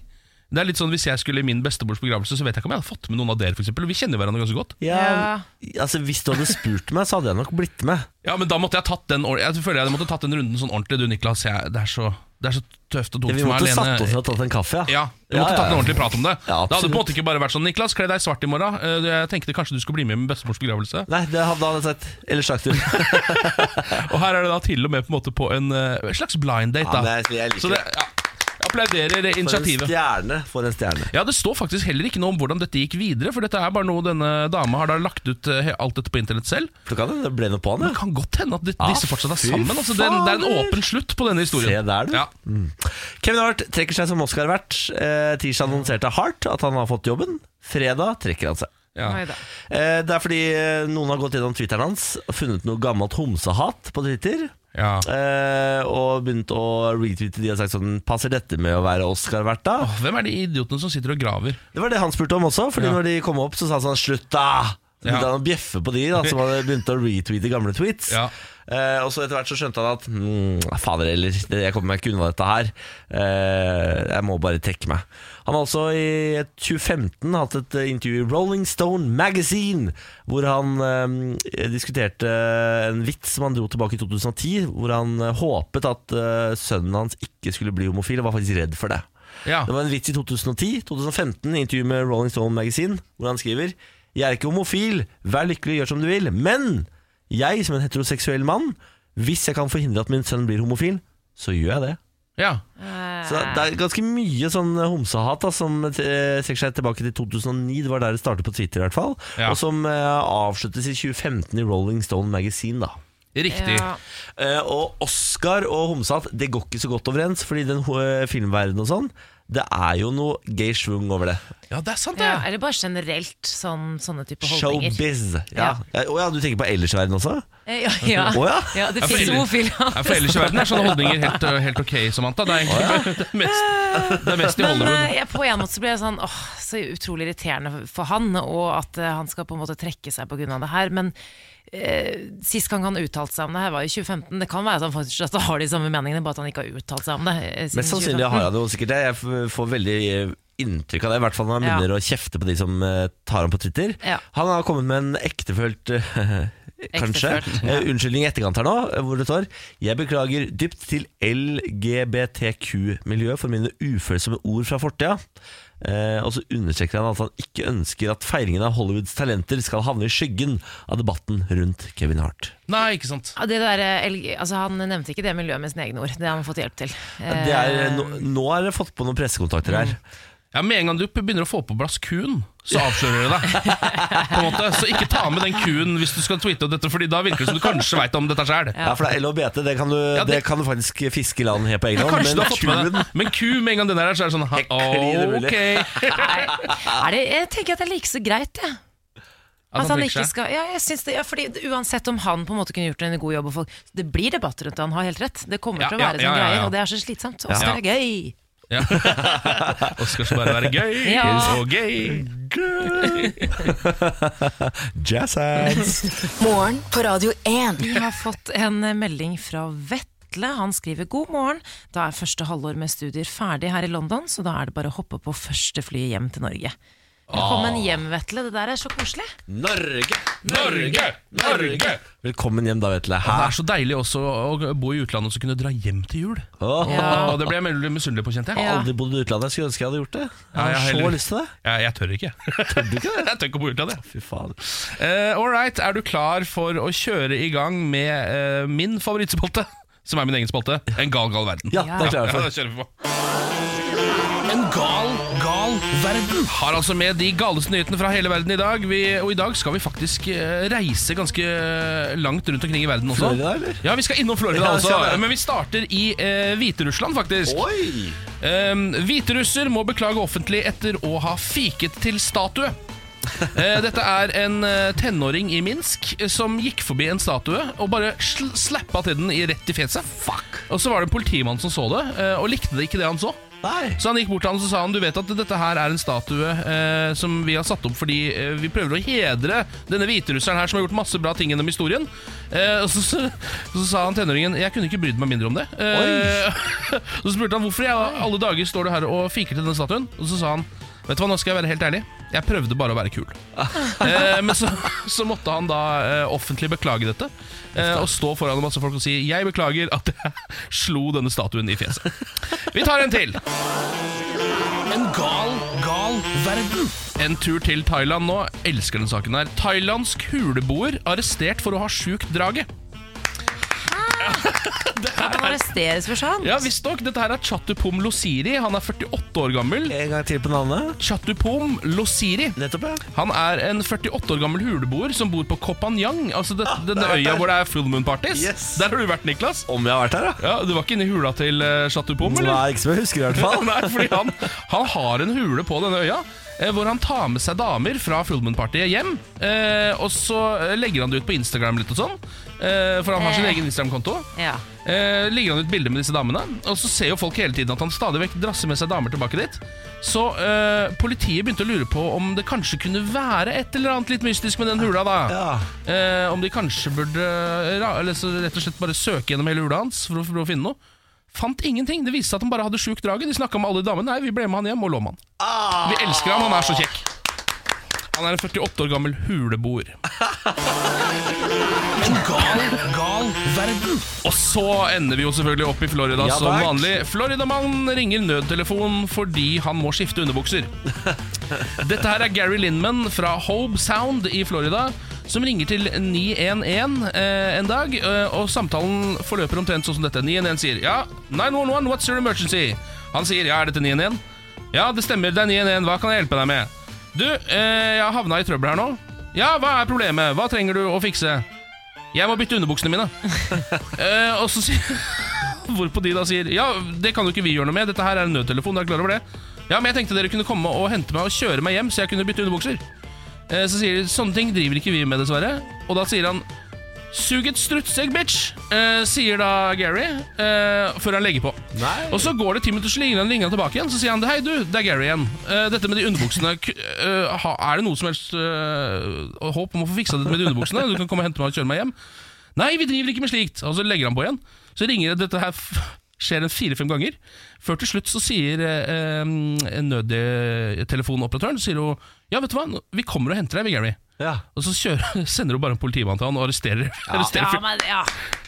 [SPEAKER 2] Det er litt sånn, Hvis jeg skulle i min bestemors begravelse, så vet jeg ikke om jeg hadde fått med noen av dere. For eksempel. Vi kjenner hverandre ganske godt.
[SPEAKER 1] Ja, altså Hvis du hadde spurt meg, så hadde jeg nok blitt med.
[SPEAKER 2] Ja, men da måtte jeg tatt den ord- Jeg føler jeg måtte tatt den runden sånn ordentlig. Du, Niklas, jeg, det, er så, det er så tøft
[SPEAKER 1] Ja,
[SPEAKER 2] og dumt
[SPEAKER 1] vi
[SPEAKER 2] for meg
[SPEAKER 1] måtte
[SPEAKER 2] alene.
[SPEAKER 1] satt oss ned og tatt en kaffe, ja.
[SPEAKER 2] Ja, vi måtte
[SPEAKER 1] Ja,
[SPEAKER 2] tatt en
[SPEAKER 1] ja.
[SPEAKER 2] ordentlig prat om det.
[SPEAKER 1] Ja,
[SPEAKER 2] det hadde på en
[SPEAKER 1] absolutt.
[SPEAKER 2] måte ikke bare vært sånn Niklas, kle deg svart i morgen. Eh, Jeg tenkte kanskje du skulle bli med med bestemors begravelse.
[SPEAKER 1] Nei, det hadde han sett. Eller slakt ut.
[SPEAKER 2] Og her er det da til og med på en, måte på en eh, slags blind date.
[SPEAKER 1] Ja,
[SPEAKER 2] Da.
[SPEAKER 1] men jeg- jeg liker
[SPEAKER 2] Så det, ja, jeg applauderer eh,
[SPEAKER 1] For en
[SPEAKER 2] initiativet.
[SPEAKER 1] stjerne. For en stjerne.
[SPEAKER 2] Ja, Det står faktisk heller ikke noe om hvordan dette gikk videre, for dette er bare noe denne dama har da lagt ut eh, he- alt dette på internett selv.
[SPEAKER 1] For det kan hende det ble noe på han,
[SPEAKER 2] Det
[SPEAKER 1] ja.
[SPEAKER 2] kan godt hende at de-
[SPEAKER 1] Ja,
[SPEAKER 2] disse fortsatt er
[SPEAKER 1] Ah, fy
[SPEAKER 2] sammen. Altså, det, er en, det er en
[SPEAKER 1] fader.
[SPEAKER 2] åpen slutt på denne historien.
[SPEAKER 1] Se der, du.
[SPEAKER 2] Ja.
[SPEAKER 1] Mm. Kevin Hart trekker seg som Oscar-vert. Eh, tirsdag annonserte Hart at han har fått jobben. Fredag trekker han seg.
[SPEAKER 2] Ja.
[SPEAKER 3] Oi da.
[SPEAKER 1] Eh, det er fordi eh, noen har gått gjennom Twitteren hans og funnet noe gammelt homsehat på Twitter.
[SPEAKER 2] Ja.
[SPEAKER 1] Eh, og begynt å retweete de og sagt sånn Passer dette med å være Oscar-vert, da?
[SPEAKER 3] Eh.
[SPEAKER 2] Åh, Hvem er de idiotene som sitter og graver?
[SPEAKER 1] Det var det han spurte om også, fordi
[SPEAKER 2] Ja.
[SPEAKER 1] når de kom opp, så sa han sånn Slutt, da! Så begynte
[SPEAKER 2] Ja.
[SPEAKER 1] han å bjeffe på de da, som hadde begynt å retweete gamle tweets.
[SPEAKER 2] Ja.
[SPEAKER 1] Eh, og så etter hvert så skjønte han at mm, fader heller, det- jeg kommer meg ikke unna dette her. Eh, jeg må bare trekke meg. Han har også i 2015 hatt et eh, intervju i Rolling Stone Magazine, hvor han eh, diskuterte en vits som han dro tilbake i 2010, hvor han eh, håpet at eh, sønnen hans ikke skulle bli homofil, og var faktisk redd for det.
[SPEAKER 2] Ja.
[SPEAKER 1] Det var en vits i 2010, 2015, i intervju med Rolling Stone Magazine, hvor han skriver Jeg er ikke homofil, vær lykkelig, gjør som du vil, men jeg som en heteroseksuell mann, hvis jeg kan forhindre at min sønn blir homofil, så gjør jeg det.
[SPEAKER 2] ja.
[SPEAKER 3] Eh,
[SPEAKER 1] Så det er ganske mye sånn homsehat da, som eh, strekker seg tilbake til 2009, det var der det startet på Twitter i hvert fall,
[SPEAKER 2] Ja.
[SPEAKER 1] og som eh, avsluttes i 2015 i Rolling Stone Magazine da.
[SPEAKER 2] Riktig.
[SPEAKER 3] Ja.
[SPEAKER 1] Eh, og Oscar og homsehatt, det går ikke så godt overens, fordi den eh, filmverdenen og sånn, det er jo noe gay schwung over det.
[SPEAKER 2] Ja, det er sant, det.
[SPEAKER 3] Ja, eller bare generelt sånn, sånne type holdninger.
[SPEAKER 1] Showbiz. Ja. Ja. Å ja, du tenker på ellers i verden også?
[SPEAKER 3] Eh, Ja, ja.
[SPEAKER 1] Å ja.
[SPEAKER 3] ja, det
[SPEAKER 2] Ja, for
[SPEAKER 3] finnes
[SPEAKER 2] ellers-
[SPEAKER 3] homofile.
[SPEAKER 2] Ja, for ellers i verden er sånne holdninger helt, øh, helt ok, Samantha. Det er egentlig bare det, er mest, det er mest i
[SPEAKER 3] Men
[SPEAKER 2] Hollywood.
[SPEAKER 3] eh, jeg, på en måte så blir jeg sånn åh, så utrolig irriterende for han, og at eh, han skal på en måte trekke seg pga. det her. Men eh, sist gang han uttalte seg om det her, var i 2015. Det kan være at han fortsatt har de samme meningene, bare at han ikke har uttalt seg om det. eh, siden
[SPEAKER 1] Mest sannsynlig
[SPEAKER 3] 2015.
[SPEAKER 1] har han jo sikkert det. Jeg f- får veldig eh, inntrykk av det, i hvert fall når han
[SPEAKER 3] Ja.
[SPEAKER 1] begynner å kjefte på de som eh, tar ham på Twitter.
[SPEAKER 3] Ja.
[SPEAKER 1] Han har kommet med en ektefølt eh, Kanskje.
[SPEAKER 3] Ektefølt, ja.
[SPEAKER 1] eh, Unnskyldning i etterkant her nå, eh, hvor det står Jeg beklager dypt til LGBTQ-miljøet for mine ufølsomme ord fra fortida. Eh, og så understreker han at han ikke ønsker at feiringen av Hollywoods talenter skal havne i skyggen av debatten rundt Kevin Hart.
[SPEAKER 2] Nei, ikke sant.
[SPEAKER 3] Ja, det der, eh, LG altså, han nevnte ikke det miljøet med sine egne ord. Det har han fått hjelp til.
[SPEAKER 1] Det er,
[SPEAKER 3] Eh,
[SPEAKER 1] nå, nå har jeg fått på noen pressekontakter her.
[SPEAKER 2] Ja, Med en gang du begynner å få på plass kuen, så avslører du deg. På en måte. Så ikke ta med den kuen hvis du skal tweete om dette, Fordi da virker det som du kanskje veit om dette sjøl.
[SPEAKER 1] Ja, for det er LHBT, det kan du, det,
[SPEAKER 2] det-
[SPEAKER 1] kan du faktisk fiske i land helt på egen hånd.
[SPEAKER 2] Kanskje du har
[SPEAKER 1] Men
[SPEAKER 2] fått med
[SPEAKER 1] kuen
[SPEAKER 2] det. Men ku, med en gang den er der, så er det sånn ha,
[SPEAKER 1] kliner mulig.
[SPEAKER 2] Ok.
[SPEAKER 3] Eh, er det, jeg tenker at det er like så greit, jeg.
[SPEAKER 2] At
[SPEAKER 3] At han
[SPEAKER 2] trekker
[SPEAKER 3] ikke
[SPEAKER 2] seg.
[SPEAKER 3] skal, ja, jeg syns det, ja, fordi det- Uansett om han på en måte kunne gjort en god jobb og folk, Det blir debatt rundt det, han har helt rett. Det kommer
[SPEAKER 2] Ja,
[SPEAKER 3] til å
[SPEAKER 2] ja,
[SPEAKER 3] være
[SPEAKER 2] ja,
[SPEAKER 3] sånn
[SPEAKER 2] ja,
[SPEAKER 3] greier,
[SPEAKER 2] ja.
[SPEAKER 3] og det er så slitsomt. Og så
[SPEAKER 2] Ja.
[SPEAKER 3] er det gøy.
[SPEAKER 2] Ja. Oscar skal bare være gøy
[SPEAKER 3] Ja.
[SPEAKER 2] og gøy.
[SPEAKER 1] Jazz hands.
[SPEAKER 4] Morgen på Radio 1.
[SPEAKER 3] Vi har fått en eh, melding fra Vetle. Han skriver god morgen. Da er første halvår med studier ferdig her i London, så da er det bare å hoppe på første flyet hjem til Norge. Velkommen hjem, Vetle. Det der er så koselig.
[SPEAKER 1] Norge!
[SPEAKER 2] Norge! Norge!
[SPEAKER 1] Velkommen hjem, da, Vetle.
[SPEAKER 2] Det
[SPEAKER 1] Hæ?
[SPEAKER 2] er så deilig også å bo i utlandet og så kunne dra hjem til jul.
[SPEAKER 1] Åh,
[SPEAKER 3] Ja.
[SPEAKER 2] Og det ble jeg veldig misunnelig på, kjente jeg.
[SPEAKER 3] Ja.
[SPEAKER 1] Aldri bodd i utlandet. Jeg skulle ønske jeg hadde gjort det. Jeg
[SPEAKER 2] Ja, jeg
[SPEAKER 1] har så
[SPEAKER 2] heller.
[SPEAKER 1] lyst til det.
[SPEAKER 2] Jeg, jeg tør ikke. Tør du ikke det? jeg tør ikke å bo i utlandet. jeg.
[SPEAKER 1] Fy faen.
[SPEAKER 2] Eh, All right, er du klar for å kjøre i gang med eh, min favorittspalte? Som er min egen spalte. En gal, gal verden.
[SPEAKER 1] Ja, det er jeg klar for.
[SPEAKER 2] da kjører vi på. En gal, gal all verden. Har altså med de galeste nyhetene fra hele verden i dag. Vi, og i dag skal vi faktisk eh, reise ganske langt rundt omkring i verden også.
[SPEAKER 1] Florida, eller?
[SPEAKER 2] Ja, vi skal innom Florida
[SPEAKER 1] Ja,
[SPEAKER 2] også.
[SPEAKER 1] skal vi.
[SPEAKER 2] Men vi starter i eh, Hviterussland, faktisk.
[SPEAKER 1] Oi!
[SPEAKER 2] Um, hviterusser må beklage offentlig etter å ha fiket til statue. Eh, dette er en eh, tenåring i Minsk eh, som gikk forbi en statue og bare sl slappa til den i rett i fjeset. Fuck. Og så var det en politimann som så det, eh, og likte det ikke det han så.
[SPEAKER 1] Nei.
[SPEAKER 2] Så han gikk bort til han og så sa han, du vet at dette her er en statue eh, som vi har satt opp fordi eh, vi prøver å hedre denne hviterusseren her som har gjort masse bra ting gjennom historien. Eh, og så, så, så sa han tenåringen jeg kunne ikke brydd meg mindre om det. Eh, så spurte han hvorfor i alle dager står du her og fiker til denne statuen. Og så sa han vet du hva, nå skal jeg være helt ærlig. Jeg prøvde bare å være kul. Eh, men så, så måtte han da eh, offentlig beklage dette. Eh, og stå foran masse folk og si 'Jeg beklager at jeg slo denne statuen i fjeset'. Vi tar en til. En gal, gal verden. En tur til Thailand nå. Elsker den saken her. Thailandsk huleboer arrestert for å ha sjukt draget.
[SPEAKER 3] Kan man arresteres for sånn?
[SPEAKER 2] Ja, visstnok. Dette her er Chattupom Losiri. Han er 48 år gammel.
[SPEAKER 1] En gang til på navnet.
[SPEAKER 2] Chattupom Losiri.
[SPEAKER 1] Nettopp, ja.
[SPEAKER 2] Han er en 48 år gammel huleboer som bor på Kopanyang, altså det, denne
[SPEAKER 1] der.
[SPEAKER 2] øya hvor det er full moon parties.
[SPEAKER 1] Ah, Yes.
[SPEAKER 2] Der har du vært, Niklas.
[SPEAKER 1] Om jeg har vært her, da.
[SPEAKER 2] Ja, Du var ikke inne i hula til uh, Chattupom, eller?
[SPEAKER 1] Nei, ikke som jeg husker, i hvert fall.
[SPEAKER 2] Nei, fordi han, han har en hule på denne øya eh, hvor han tar med seg damer fra Fullmoon-partiet hjem. Eh, og så eh, legger han det ut på Instagram litt og sånn, eh, for han har sin
[SPEAKER 3] Eh.
[SPEAKER 2] egen Instagram-konto.
[SPEAKER 3] Ja.
[SPEAKER 2] Eh, legger han ut bilder med disse damene, og så ser jo folk hele tiden at han stadig vekk drasser med seg damer tilbake dit. Så eh, politiet begynte å lure på om det kanskje kunne være et eller annet litt mystisk med den hula, da.
[SPEAKER 1] Ja.
[SPEAKER 2] Eh, om de kanskje burde eh, ra- eller så rett og slett bare søke gjennom hele hula hans for å, for å finne noe. Fant ingenting. Det viste seg at han bare hadde sjukt draget. De snakka med alle damene. Nei, vi ble med han hjem og lå med han.
[SPEAKER 1] Ah,
[SPEAKER 2] Vi elsker ham, han er så kjekk. Han er en 48 år gammel huleboer. En gal, gal verden. Og så ender vi jo selvfølgelig opp i Florida
[SPEAKER 1] Ja,
[SPEAKER 2] som
[SPEAKER 1] takk.
[SPEAKER 2] vanlig. Floridamannen ringer nødtelefonen fordi han må skifte underbukser. Dette her er Gary Lindman fra Hobe Sound i Florida som ringer til 911 eh, en dag, eh, og samtalen forløper omtrent sånn som dette. 911 sier ja, 911, what's your emergency? Han sier ja, er dette 911? Ja, det stemmer, det er 911, hva kan jeg hjelpe deg med? Du, eh, jeg har havna i trøbbel her nå. Ja, hva er problemet? Hva trenger du å fikse? Jeg må bytte underbuksene mine. eh, og så sier Hvorpå de da sier Ja, det kan jo ikke vi gjøre noe med Dette her er en nødtelefon, dere er klar over det Ja, men jeg tenkte dere kunne komme og hente meg og kjøre meg hjem Så jeg kunne bytte underbukser eh, Så sier de, sånne ting driver ikke vi med dessverre Og da sier han Sug et struttsteg, bitch eh, Sier da Gary eh, Før han legger på
[SPEAKER 1] Nei.
[SPEAKER 2] Og så går det ti minutter så ringer han, ringer han tilbake igjen Så sier han, hei du, det er Gary igjen eh, Dette med de underbuksene k- eh, ha- Er det noe som helst eh, håp om å få fiksa dette med de underbuksene? Du kan komme og hente meg og kjøre meg hjem Nei, vi driver ikke med slikt Og så legger han på igjen Så ringer det dette her f- Skjer en fire-fem ganger Før til slutt så sier eh, eh, nødtelefonoperatøren Sier hun Ja, vet du hva, vi kommer og henter deg, vi, Gary
[SPEAKER 1] ja.
[SPEAKER 2] Og så kjører, sender hun bare en politimann til han Og arresterer, arresterer
[SPEAKER 3] Ja,
[SPEAKER 2] fyren.
[SPEAKER 3] men ja.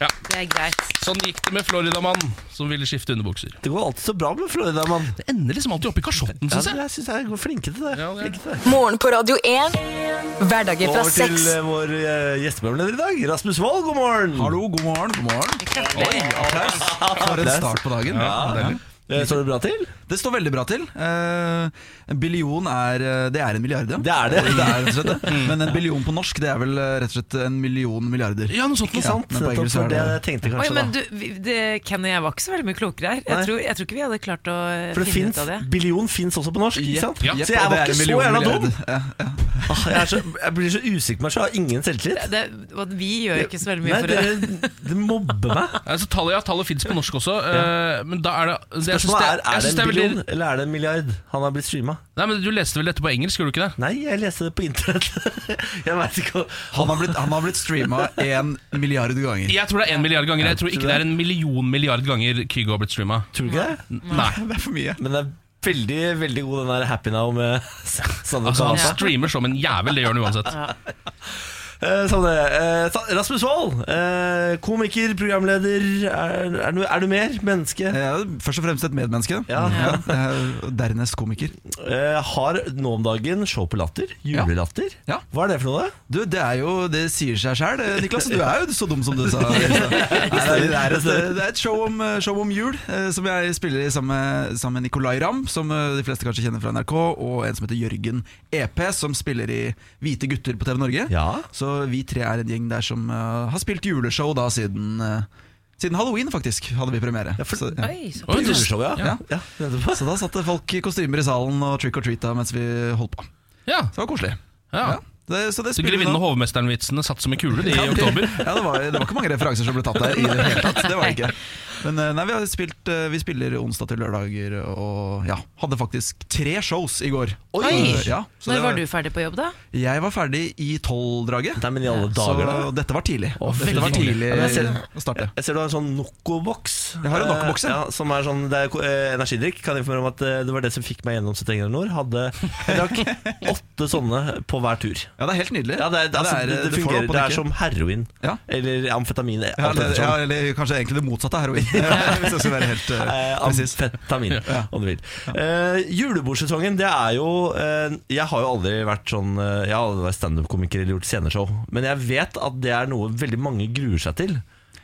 [SPEAKER 2] Ja.
[SPEAKER 3] Det er greit.
[SPEAKER 2] Sånn gikk det med Florida-mannen Som ville skifte underbukser
[SPEAKER 1] Det går alltid så bra med Florida, mann.
[SPEAKER 2] Det ender liksom alltid opp i kasjotten,
[SPEAKER 1] Ja,
[SPEAKER 2] synes jeg
[SPEAKER 1] jeg syns jeg er flinke til det.
[SPEAKER 2] Ja, det er-
[SPEAKER 1] Flinke til det.
[SPEAKER 4] Morgen på Radio 1. Hverdager fra
[SPEAKER 1] Over til
[SPEAKER 4] seks.
[SPEAKER 1] eh, vår eh, gjesteprogramleder i dag, Rasmus Wold. God morgen!
[SPEAKER 5] Hallo, god morgen. God morgen.
[SPEAKER 3] Gratulerer.
[SPEAKER 5] Applaus. For en start på dagen.
[SPEAKER 1] Ja.
[SPEAKER 5] Deilig.
[SPEAKER 1] Eh, Står det bra til?
[SPEAKER 5] Det står veldig bra til. Eh, En billion er eh, Det er en milliard, ja.
[SPEAKER 1] Det er det.
[SPEAKER 5] Det er rett og slett det. Men en billion på norsk, det er vel eh, rett og slett en million milliarder.
[SPEAKER 2] Ja, noe sånt
[SPEAKER 1] Ikke
[SPEAKER 2] noe
[SPEAKER 1] sant?
[SPEAKER 5] men på
[SPEAKER 1] Nettopp
[SPEAKER 5] engelsk er
[SPEAKER 1] for det jeg
[SPEAKER 5] det-
[SPEAKER 1] tenkte
[SPEAKER 3] Oi,
[SPEAKER 1] kanskje
[SPEAKER 3] men
[SPEAKER 1] da.
[SPEAKER 3] du, vi- det, Ken og jeg var ikke så veldig mye klokere her. Jeg
[SPEAKER 1] Nei.
[SPEAKER 3] tror, jeg tror ikke vi hadde klart å eh,
[SPEAKER 1] For det
[SPEAKER 3] finne
[SPEAKER 1] fins
[SPEAKER 3] ut av det.
[SPEAKER 1] Billion fins også på norsk, ikke sant?
[SPEAKER 2] Ja.
[SPEAKER 5] Jepp,
[SPEAKER 1] Så jeg
[SPEAKER 5] og det
[SPEAKER 1] var
[SPEAKER 5] er
[SPEAKER 1] ikke så
[SPEAKER 5] en million
[SPEAKER 1] jævla dum!
[SPEAKER 5] milliarder. Ja.
[SPEAKER 1] Ah, Jeg, er så, jeg blir så usikker på meg, så jeg har ingen selvtillit.
[SPEAKER 3] det. og Vi gjør ikke så veldig mye
[SPEAKER 1] Nei,
[SPEAKER 3] for det.
[SPEAKER 1] dere dere mobber meg.
[SPEAKER 2] Altså, tallet, ja, tallet finnes på norsk også eh, Men da er det, det jeg synes
[SPEAKER 1] Spørsmålet er
[SPEAKER 2] jeg
[SPEAKER 1] er det en
[SPEAKER 2] synes er veldig-
[SPEAKER 1] billion eller er det en milliard han har blitt streama.
[SPEAKER 2] Nei, men du leste vel dette på engelsk, gjorde du ikke det?
[SPEAKER 1] Nei, jeg leste det på internett. Jeg vet ikke hva
[SPEAKER 5] Han har blitt, han har blitt streama én milliard ganger.
[SPEAKER 2] Jeg tror det er en milliard ganger. Jeg tror
[SPEAKER 1] tror
[SPEAKER 2] ikke det er en million milliard ganger Kygo har blitt streama.
[SPEAKER 1] Tror du ikke det?
[SPEAKER 2] Nei.
[SPEAKER 5] Det er for mye.
[SPEAKER 1] Men det er veldig veldig god den der happy now med Sandra
[SPEAKER 2] Altså, han
[SPEAKER 1] Kahn.
[SPEAKER 2] streamer som en jævel, det gjør han uansett.
[SPEAKER 1] Eh, sånn det. Eh, sa- Rasmus Wold, eh, komiker, programleder. Er, er, du, er du mer? Menneske?
[SPEAKER 5] Jeg Eh, er først og fremst et medmenneske.
[SPEAKER 1] Ja.
[SPEAKER 5] jeg er Dernest komiker.
[SPEAKER 1] Eh, har nå om dagen show på Latter. Julelatter.
[SPEAKER 5] Ja.
[SPEAKER 1] Hva er det for noe? da?
[SPEAKER 5] Du, det er jo, det sier seg sjæl. Niklas, du er jo så dum som du sa. Nei, Det er et, eh, det er et show, om, show om jul, eh, som jeg spiller i sammen med- sammen med Nicolay Ramm, som eh, de fleste kanskje kjenner fra NRK, og en som heter Jørgen EP, som spiller i Hvite gutter på TV Norge.
[SPEAKER 1] Ja.
[SPEAKER 5] Så vi tre er en gjeng der som eh, har spilt juleshow da siden, eh, siden halloween, faktisk, hadde vi premiere.
[SPEAKER 1] Ja, for-
[SPEAKER 5] så, ja.
[SPEAKER 3] Oi, så.
[SPEAKER 2] Oi, du-
[SPEAKER 1] Juleshow, ja.
[SPEAKER 2] Ja.
[SPEAKER 1] ja. nettopp.
[SPEAKER 5] så da satt det folk i kostymer i salen og trick or treata mens vi holdt på.
[SPEAKER 2] Ja,
[SPEAKER 5] Så det var koselig.
[SPEAKER 2] ja.
[SPEAKER 5] Ja. Det, så det
[SPEAKER 2] Så
[SPEAKER 5] spiller vi
[SPEAKER 2] Grevinnen
[SPEAKER 5] da.
[SPEAKER 2] og hovmesteren-vitsene satt som en kule de, i
[SPEAKER 5] Ja, det-
[SPEAKER 2] oktober.
[SPEAKER 5] Ja, det var, det var ikke mange referanser som ble tatt der i det hele tatt. Det var det ikke. Men eh, nei, vi, har spilt, eh, vi spiller onsdag til lørdager og ja, hadde faktisk tre shows i går.
[SPEAKER 3] Oi.
[SPEAKER 5] Eh, Ja, så
[SPEAKER 3] Når
[SPEAKER 5] det
[SPEAKER 3] var du ferdig på jobb, da?
[SPEAKER 5] Jeg var ferdig i tolvdraget.
[SPEAKER 1] Nei, men i alle
[SPEAKER 5] Så
[SPEAKER 1] dager, da.
[SPEAKER 5] dette var tidlig.
[SPEAKER 1] Å,
[SPEAKER 5] dette var
[SPEAKER 1] veldig tidlig.
[SPEAKER 5] tidlig
[SPEAKER 1] Ja, men jeg ser-
[SPEAKER 5] å starte.
[SPEAKER 1] Jeg ser du har en sånn Noco-boks.
[SPEAKER 5] Jeg har en Noco-boks, ja.
[SPEAKER 1] ja. Som er sånn, det er ko- eh, energidrikk. Kan informere om at eh, det var det som fikk meg gjennom 71 grader nord. Hadde, jeg drakk åtte sånne på hver tur.
[SPEAKER 5] Ja, det er helt nydelig.
[SPEAKER 1] Ja, det, er, altså, det, det,
[SPEAKER 5] får
[SPEAKER 1] fungerer.
[SPEAKER 5] opp og
[SPEAKER 1] Det er
[SPEAKER 5] nikke.
[SPEAKER 1] som heroin.
[SPEAKER 5] Ja.
[SPEAKER 1] Eller amfetamin.
[SPEAKER 5] ja,
[SPEAKER 1] alt
[SPEAKER 5] eller,
[SPEAKER 1] ettersom.
[SPEAKER 5] ja, eller kanskje egentlig det motsatte av heroin. Hvis jeg skal være helt eh,
[SPEAKER 1] Eh,
[SPEAKER 5] presis.
[SPEAKER 1] amfetamin, om du vil. Eh, julebordsesongen, det er jo eh, Jeg har jo aldri vært sånn eh, Jeg har aldri vært standup-komiker eller gjort sceneshow, men jeg vet at det er noe veldig mange gruer seg til.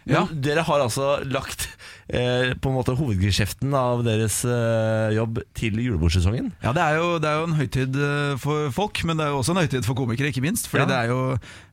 [SPEAKER 1] Men
[SPEAKER 5] Ja.
[SPEAKER 1] Dere har altså lagt eh, på en måte hovedgeskjeften av deres eh, jobb til julebordsesongen.
[SPEAKER 5] Ja, det er, jo, det er jo en høytid eh, for folk, men det er jo også en høytid for komikere, ikke minst. Fordi
[SPEAKER 1] Ja.
[SPEAKER 5] det er jo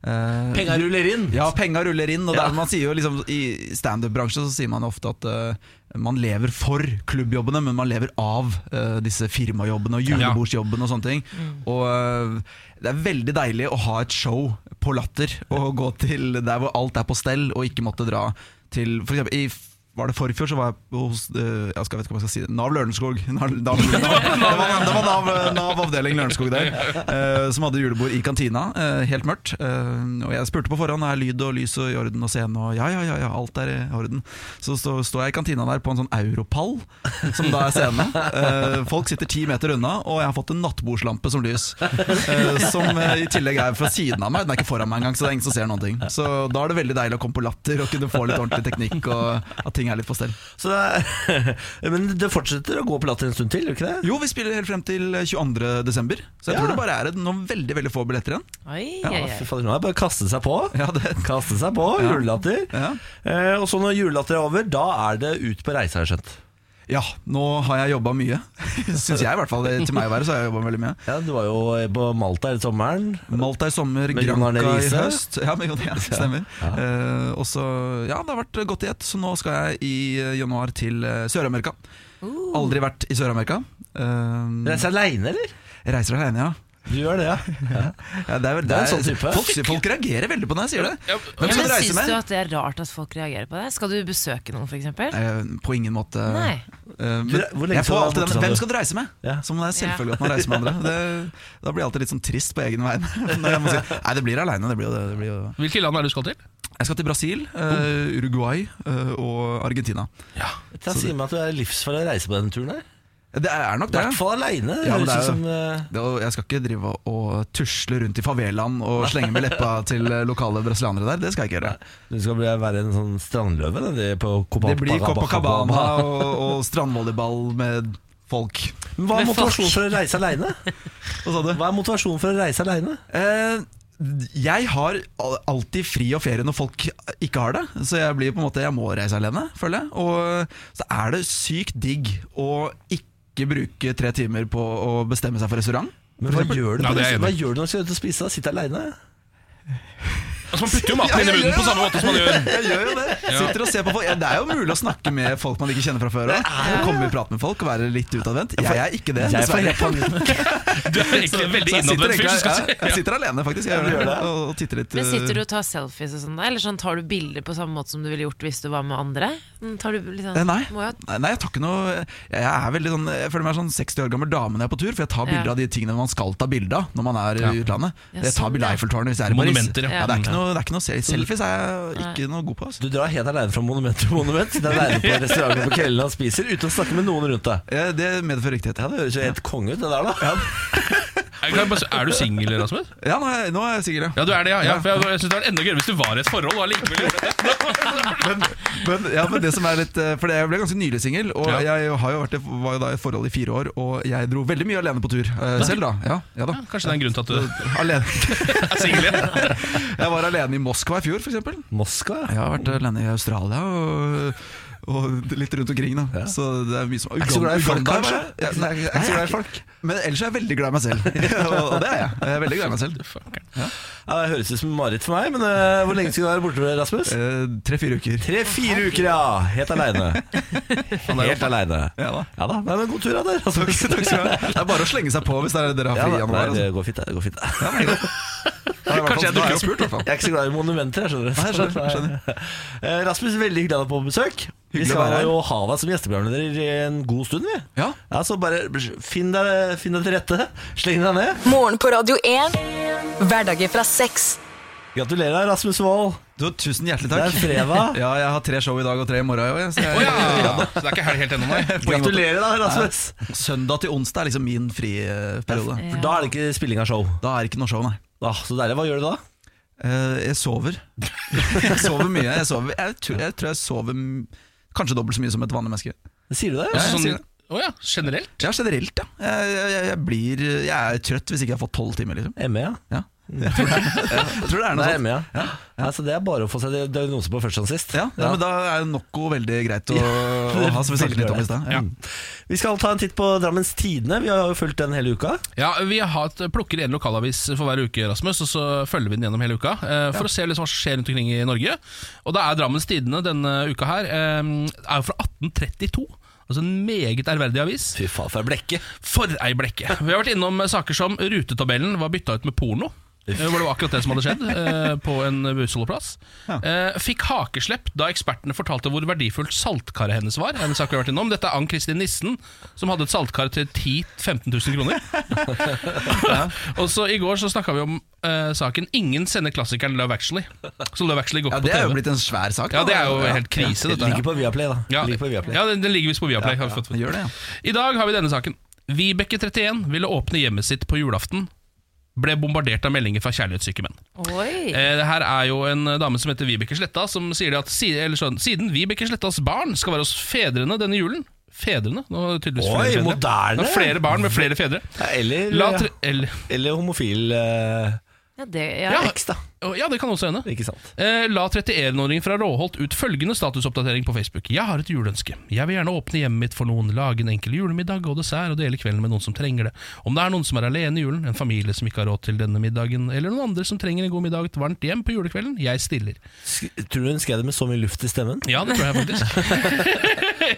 [SPEAKER 5] eh,
[SPEAKER 1] Penga ruller inn!
[SPEAKER 5] Ja, penga ruller inn. Og
[SPEAKER 1] Ja.
[SPEAKER 5] der man sier jo liksom I standup-bransjen så sier man ofte at eh, man lever for klubbjobbene, men man lever av eh, disse firmajobbene og julebordsjobbene og sånne ting.
[SPEAKER 1] Mm.
[SPEAKER 5] Og eh, det er veldig deilig å ha et show på Latter og gå til der hvor alt er på stell, og ikke måtte dra til For eksempel i var det forfjor, så var jeg hos eh, jeg skal, vet ikke om jeg skal si det, Nav Lørenskog. Nav, Nav, Nav, det var, det var Nav, NAV avdeling Lørenskog der, eh, som hadde julebord i kantina. eh, helt mørkt. Eh, og jeg spurte på forhånd er lyd og lys og i orden og scene, og ja, ja, ja, ja alt er i orden. Så står står jeg i kantina der på en sånn europall, som da er scene. Eh, folk sitter ti meter unna, og jeg har fått en nattbordslampe som lys. eh, som eh, i tillegg er fra siden av meg, den er ikke foran meg engang, så det er ingen som ser noen ting. Så da er det veldig deilig å komme på latter og kunne få litt ordentlig teknikk, og at ting er litt på stell.
[SPEAKER 1] Så det er, men det fortsetter å gå på latter en stund til, gjør ikke det?
[SPEAKER 5] Jo, vi spiller helt frem til 22. desember, så jeg
[SPEAKER 1] Ja.
[SPEAKER 5] tror det bare er noen veldig, veldig få billetter igjen.
[SPEAKER 3] Oi,
[SPEAKER 1] Ja,
[SPEAKER 3] oi,
[SPEAKER 1] fy
[SPEAKER 3] oi.
[SPEAKER 1] fader, nå er det bare å kaste seg på.
[SPEAKER 5] Ja, det,
[SPEAKER 1] Kaste seg på,
[SPEAKER 5] Ja.
[SPEAKER 1] julelatter.
[SPEAKER 5] Ja.
[SPEAKER 1] Eh, og så når julelatter er over, da er det ut på reise, har jeg skjønt.
[SPEAKER 5] ja nå har jeg jobba mye. Syns jeg, i hvert fall. Til meg å være, så har jeg jobba veldig mye.
[SPEAKER 1] Ja, Du var jo eh, på Malta i sommeren.
[SPEAKER 5] Malta i sommer,
[SPEAKER 1] Med Jon Arne
[SPEAKER 5] Granca i
[SPEAKER 1] Riise.
[SPEAKER 5] høst. Ja, med Jon ja, stemmer.
[SPEAKER 1] Ja.
[SPEAKER 5] Eh, og så, ja, det har vært godt i ett, så nå skal jeg i eh, januar til eh, Sør-Amerika. Aldri vært i Sør-Amerika. Eh,
[SPEAKER 1] Reise aleine, eller?
[SPEAKER 5] jeg reiser alene, ja.
[SPEAKER 1] Mm. Du gjør det, ja.
[SPEAKER 5] ja det er, vel-
[SPEAKER 1] Du er en sånn type.
[SPEAKER 5] Folk, folk reagerer veldig på når jeg sier det.
[SPEAKER 3] Ja,
[SPEAKER 5] Hvem skal
[SPEAKER 3] men
[SPEAKER 5] du reise
[SPEAKER 3] Syns
[SPEAKER 5] med?
[SPEAKER 3] du at det er rart at folk reagerer på det? Skal du besøke noen, f.eks.?
[SPEAKER 5] Eh, på ingen måte.
[SPEAKER 3] Nei.
[SPEAKER 5] Eh, men
[SPEAKER 1] Hvor- hvor lenge
[SPEAKER 5] jeg
[SPEAKER 1] skal
[SPEAKER 5] får
[SPEAKER 1] du være borte
[SPEAKER 5] alltid den
[SPEAKER 1] fra
[SPEAKER 5] Hvem
[SPEAKER 1] det?
[SPEAKER 5] skal du reise med?
[SPEAKER 1] Ja.
[SPEAKER 5] Som det er selvfølgelig at man reiser med andre. Det, da blir jeg alltid litt sånn trist på egen vegne. Når jeg må si, Nei, det blir aleine. Det blir jo det. det blir jo
[SPEAKER 2] Hvilke land er det du skal til?
[SPEAKER 5] Jeg skal til Brasil, eh, Uruguay eh, og Argentina.
[SPEAKER 1] Da sier meg at du er livsfarlig å reise på denne turen her.
[SPEAKER 5] Det er
[SPEAKER 1] I
[SPEAKER 5] nok det.
[SPEAKER 1] hvert fall aleine.
[SPEAKER 5] Ja, men
[SPEAKER 1] det høres
[SPEAKER 5] det er
[SPEAKER 1] ut
[SPEAKER 5] jo-
[SPEAKER 1] som eh,
[SPEAKER 5] det og jeg skal ikke drive og tusle rundt i favelaen og slenge med leppa til eh, lokale brasilianere der. Det skal jeg ikke gjøre.
[SPEAKER 1] du skal bli, være en sånn strandløve da, det, på
[SPEAKER 5] Det
[SPEAKER 1] Copacabana.
[SPEAKER 5] blir Copacabana og, og strandvolleyball med folk.
[SPEAKER 1] Men Hva er
[SPEAKER 3] Med
[SPEAKER 1] motivasjonen
[SPEAKER 3] folk.
[SPEAKER 1] for å reise aleine?
[SPEAKER 5] Hva sa du?
[SPEAKER 1] Hva er motivasjonen for å reise aleine?
[SPEAKER 5] Eh, jeg har al- alltid fri og ferie når folk ikke har det, så jeg blir på en måte Jeg må reise alene, føler jeg. Og så er det sykt digg å ikke bruke tre timer på å bestemme seg for restaurant.
[SPEAKER 1] Men hva gjør du
[SPEAKER 2] Nei,
[SPEAKER 1] på
[SPEAKER 2] det
[SPEAKER 1] reise-
[SPEAKER 2] er jeg enig
[SPEAKER 1] hva
[SPEAKER 2] i.
[SPEAKER 1] gjør du når du skal ut og spise? da? Sitte aleine?
[SPEAKER 2] Altså, man putter jo maten inn i munnen på samme måte som man gjør.
[SPEAKER 5] Jeg gjør jo det. Sitter og ser på folk. Ja, det er jo mulig å snakke med folk man ikke kjenner fra før. også. Og komme i prat med folk og være litt utadvendt. Jeg er ikke det,
[SPEAKER 1] Jeg får
[SPEAKER 5] dessverre.
[SPEAKER 1] helt panikk.
[SPEAKER 2] Du er egentlig en veldig
[SPEAKER 5] Så jeg sitter
[SPEAKER 2] innadvendt fyr.
[SPEAKER 5] egentlig-
[SPEAKER 2] som skal
[SPEAKER 5] ja, Jeg sitter alene, faktisk. Jeg gjør det. Og og titter litt.
[SPEAKER 3] Men Sitter du
[SPEAKER 5] eh,
[SPEAKER 3] og tar selfies og sånn, da? eller sånn, tar du bilder på samme måte som du ville gjort hvis du var med andre? Mm, Tar du litt
[SPEAKER 5] eh,
[SPEAKER 3] sånn,
[SPEAKER 5] Nei.
[SPEAKER 3] Må jo
[SPEAKER 5] Nei, nei, jeg tar ikke noe Jeg er veldig sånn Jeg føler meg sånn 60 år gammel dame når jeg er på tur, for jeg tar
[SPEAKER 3] Ja.
[SPEAKER 5] bilder av de tingene man skal ta bilde av når man er i utlandet.
[SPEAKER 3] Ja,
[SPEAKER 5] Jeg tar
[SPEAKER 3] sånn,
[SPEAKER 5] bilde av
[SPEAKER 3] ja.
[SPEAKER 5] Eiffeltårnet hvis jeg er i Paris.
[SPEAKER 2] Monumenter, ja.
[SPEAKER 5] ja. det, er ikke noe, det er ikke noe se- Selfies er jeg ikke noe god på. Altså.
[SPEAKER 1] Du drar helt aleine fra monument til monument. Sitter aleine på restauranten på kvelden og spiser uten å snakke med noen rundt deg.
[SPEAKER 5] Eh, Det medfører riktighet.
[SPEAKER 1] Ja, Det høres jo helt konge ut, det der, da.
[SPEAKER 2] Jeg kan bare, si- er du singel, Rasmus?
[SPEAKER 5] Ja, nå er jeg, nå er jeg sikker,
[SPEAKER 2] Ja, du er det, ja. ja for jeg, jeg synes det hadde vært enda gøyere hvis du var i et forhold. Og allikevel gjorde det.
[SPEAKER 5] men, men, ja, men det som er litt eh, For jeg ble ganske nylig singel, og
[SPEAKER 2] Ja.
[SPEAKER 5] jeg har jo vært, i- var jo da i forhold i fire år. Og jeg dro veldig mye alene på tur eh, selv, da. Ja, ja da.
[SPEAKER 2] Kanskje det er en grunn til at du
[SPEAKER 5] Alene.
[SPEAKER 2] er singel igjen.
[SPEAKER 5] Jeg var alene i Moskva i fjor, f.eks.
[SPEAKER 1] Moskva, ja.
[SPEAKER 5] Jeg har vært alene i Australia og, og litt rundt omkring. da Så det er mye som
[SPEAKER 1] ikke så glad i folk,
[SPEAKER 5] Uganda
[SPEAKER 1] kanskje?
[SPEAKER 5] bare. Ja, nei, jeg er ikke så glad i folk. Men ellers er jeg veldig glad i meg selv. og det er jeg. Jeg er veldig glad i meg selv
[SPEAKER 1] Det høres ut som mareritt for meg, men eh, hvor lenge skal du være borte, Rasmus?
[SPEAKER 5] Eh, Tre-fire uker.
[SPEAKER 1] Tre-fire uker, ja! Helt aleine. Helt aleine.
[SPEAKER 5] Ja da
[SPEAKER 1] Ja da, Nei, men god tur av dere.
[SPEAKER 5] Takk
[SPEAKER 1] Rasmus.
[SPEAKER 5] takk skal du ha. Det er bare å slenge seg på hvis det er dere har
[SPEAKER 1] Ja, da,
[SPEAKER 5] fri i
[SPEAKER 1] nei,
[SPEAKER 5] januar.
[SPEAKER 1] det
[SPEAKER 5] Altså.
[SPEAKER 1] går fint, det. det går fint Jeg
[SPEAKER 5] Da er i hvert fall-
[SPEAKER 2] Kanskje jeg
[SPEAKER 5] da er
[SPEAKER 2] dukker
[SPEAKER 5] jeg spurt, i hvert fall.
[SPEAKER 1] er ikke så glad i monumenter, jeg skjønner. du.
[SPEAKER 5] Nei, skjønner, skjønner.
[SPEAKER 1] Eh, Rasmus, veldig hyggelig å ha deg på besøk. Vi
[SPEAKER 5] Hyggelig å være
[SPEAKER 1] skal
[SPEAKER 5] her.
[SPEAKER 1] jo ha deg som gjesteprogramleder i en god stund, vi.
[SPEAKER 5] Ja.
[SPEAKER 1] Ja, Så bare finn deg, finn deg til rette. Sleng deg ned.
[SPEAKER 4] Morgen på Radio 1. Hverdager fra seks.
[SPEAKER 1] Gratulerer, Rasmus Wold.
[SPEAKER 5] Du, tusen hjertelig
[SPEAKER 1] Det
[SPEAKER 5] takk.
[SPEAKER 1] er fredag.
[SPEAKER 5] Ja, jeg har tre show i dag og tre i morgen. jo, jeg, Så
[SPEAKER 2] Å
[SPEAKER 5] jeg,
[SPEAKER 2] ja. Så det er ikke helg helt ennå, nei.
[SPEAKER 5] på ingen måte.
[SPEAKER 1] Gratulerer, da, Rasmus.
[SPEAKER 5] Søndag til onsdag er liksom min friperiode.
[SPEAKER 1] For da er det ikke spilling av show.
[SPEAKER 5] Da er det ikke noe show, nei.
[SPEAKER 1] Ah, så deilig. Hva gjør du da?
[SPEAKER 5] Eh, jeg sover. jeg sover mye. Jeg, sover. Jeg, tror, jeg tror jeg sover m- kanskje dobbelt så mye som et vanlig menneske.
[SPEAKER 1] Sier du det?
[SPEAKER 5] Ja,
[SPEAKER 2] Altså,
[SPEAKER 5] jeg sier
[SPEAKER 2] sånn,
[SPEAKER 5] det.
[SPEAKER 2] å ja, generelt.
[SPEAKER 5] Ja, generelt, ja. Jeg, jeg, jeg, blir, jeg er trøtt hvis ikke jeg har fått tolv timer, liksom.
[SPEAKER 1] ME, E, ja.
[SPEAKER 5] Ja. Jeg tror det, jeg tror det er
[SPEAKER 1] Det
[SPEAKER 5] noe
[SPEAKER 1] er
[SPEAKER 5] sånt.
[SPEAKER 1] ME, ja. ja. så det er bare å få seg diagnose på først som sist.
[SPEAKER 5] Ja, ja, men da er Nocco veldig greit å, å ha, som vi snakket litt om i stad. Ja.
[SPEAKER 1] Vi skal ta en titt på Drammens Tidende. Vi har jo fulgt den hele uka.
[SPEAKER 2] Ja, Vi har hatt, plukker en lokalavis for hver uke, Rasmus, og så følger vi den gjennom hele uka. eh, for å se liksom hva som skjer rundt omkring i Norge. Og da er Drammens Tidende denne uka her eh, er jo fra 1832. Altså En meget ærverdig avis.
[SPEAKER 1] Fy faen, for ei blekke.
[SPEAKER 2] For ei blekke! Vi har vært innom eh, saker som rutetabellen var bytta ut med porno. eh, Hvor det var akkurat det som hadde skjedd eh, på en bussholdeplass. Eh, fikk hakeslepp da ekspertene fortalte hvor verdifullt saltkaret hennes var. er En sak vi har vært innom Dette er Ann Kristin Nissen, som hadde et saltkar til 10 000-15 000 kroner. Og så I går så snakka vi om eh, saken 'Ingen sender klassikeren Love Actually'. Så Love Actually går
[SPEAKER 5] Ja,
[SPEAKER 2] ikke
[SPEAKER 5] det er jo
[SPEAKER 2] på TV.
[SPEAKER 5] blitt en svær sak.
[SPEAKER 2] Ja,
[SPEAKER 5] da.
[SPEAKER 2] det er jo helt krise,
[SPEAKER 1] Det
[SPEAKER 2] dette. her.
[SPEAKER 1] ligger på Viaplay, da.
[SPEAKER 2] Ja,
[SPEAKER 1] ligger på Viaplay.
[SPEAKER 2] ja den, den ligger visst på Viaplay. har vi fått-
[SPEAKER 5] Ja, Gjør det, ja.
[SPEAKER 2] I dag har vi denne saken. Vibeke 31 ville åpne hjemmet sitt på julaften. Ble bombardert av meldinger fra kjærlighetssyke menn.
[SPEAKER 3] Oi.
[SPEAKER 2] Eh, det her er jo en eh, dame som heter Vibeke Sletta, som sier det at si- eller sånn, siden Vibeke Slettas barn skal være hos fedrene denne julen Fedrene? Nå er det tydeligvis
[SPEAKER 1] Oi,
[SPEAKER 2] flere fedre.
[SPEAKER 1] moderne.
[SPEAKER 2] Nå er det flere barn med flere fedre.
[SPEAKER 1] Ja, Eller,
[SPEAKER 2] La tre, eller,
[SPEAKER 1] eller homofil eh,
[SPEAKER 3] Ja, det,
[SPEAKER 2] Ja.
[SPEAKER 3] ja.
[SPEAKER 1] eks, da.
[SPEAKER 2] Å, ja, det kan også hende.
[SPEAKER 1] Ikke sant.
[SPEAKER 2] Eh, La 31-åringen fra Råholt ut følgende statusoppdatering på Facebook. Jeg har et juleønske. Jeg vil gjerne åpne hjemmet mitt for noen, lage en enkel julemiddag og dessert og dele kvelden med noen som trenger det. Om det er noen som er alene i julen, en familie som ikke har råd til denne middagen, eller noen andre som trenger en god middag og et varmt hjem på julekvelden, jeg stiller.
[SPEAKER 1] Sk tror du hun skrev det med så mye luft i stemmen?
[SPEAKER 2] Ja, det tror jeg faktisk.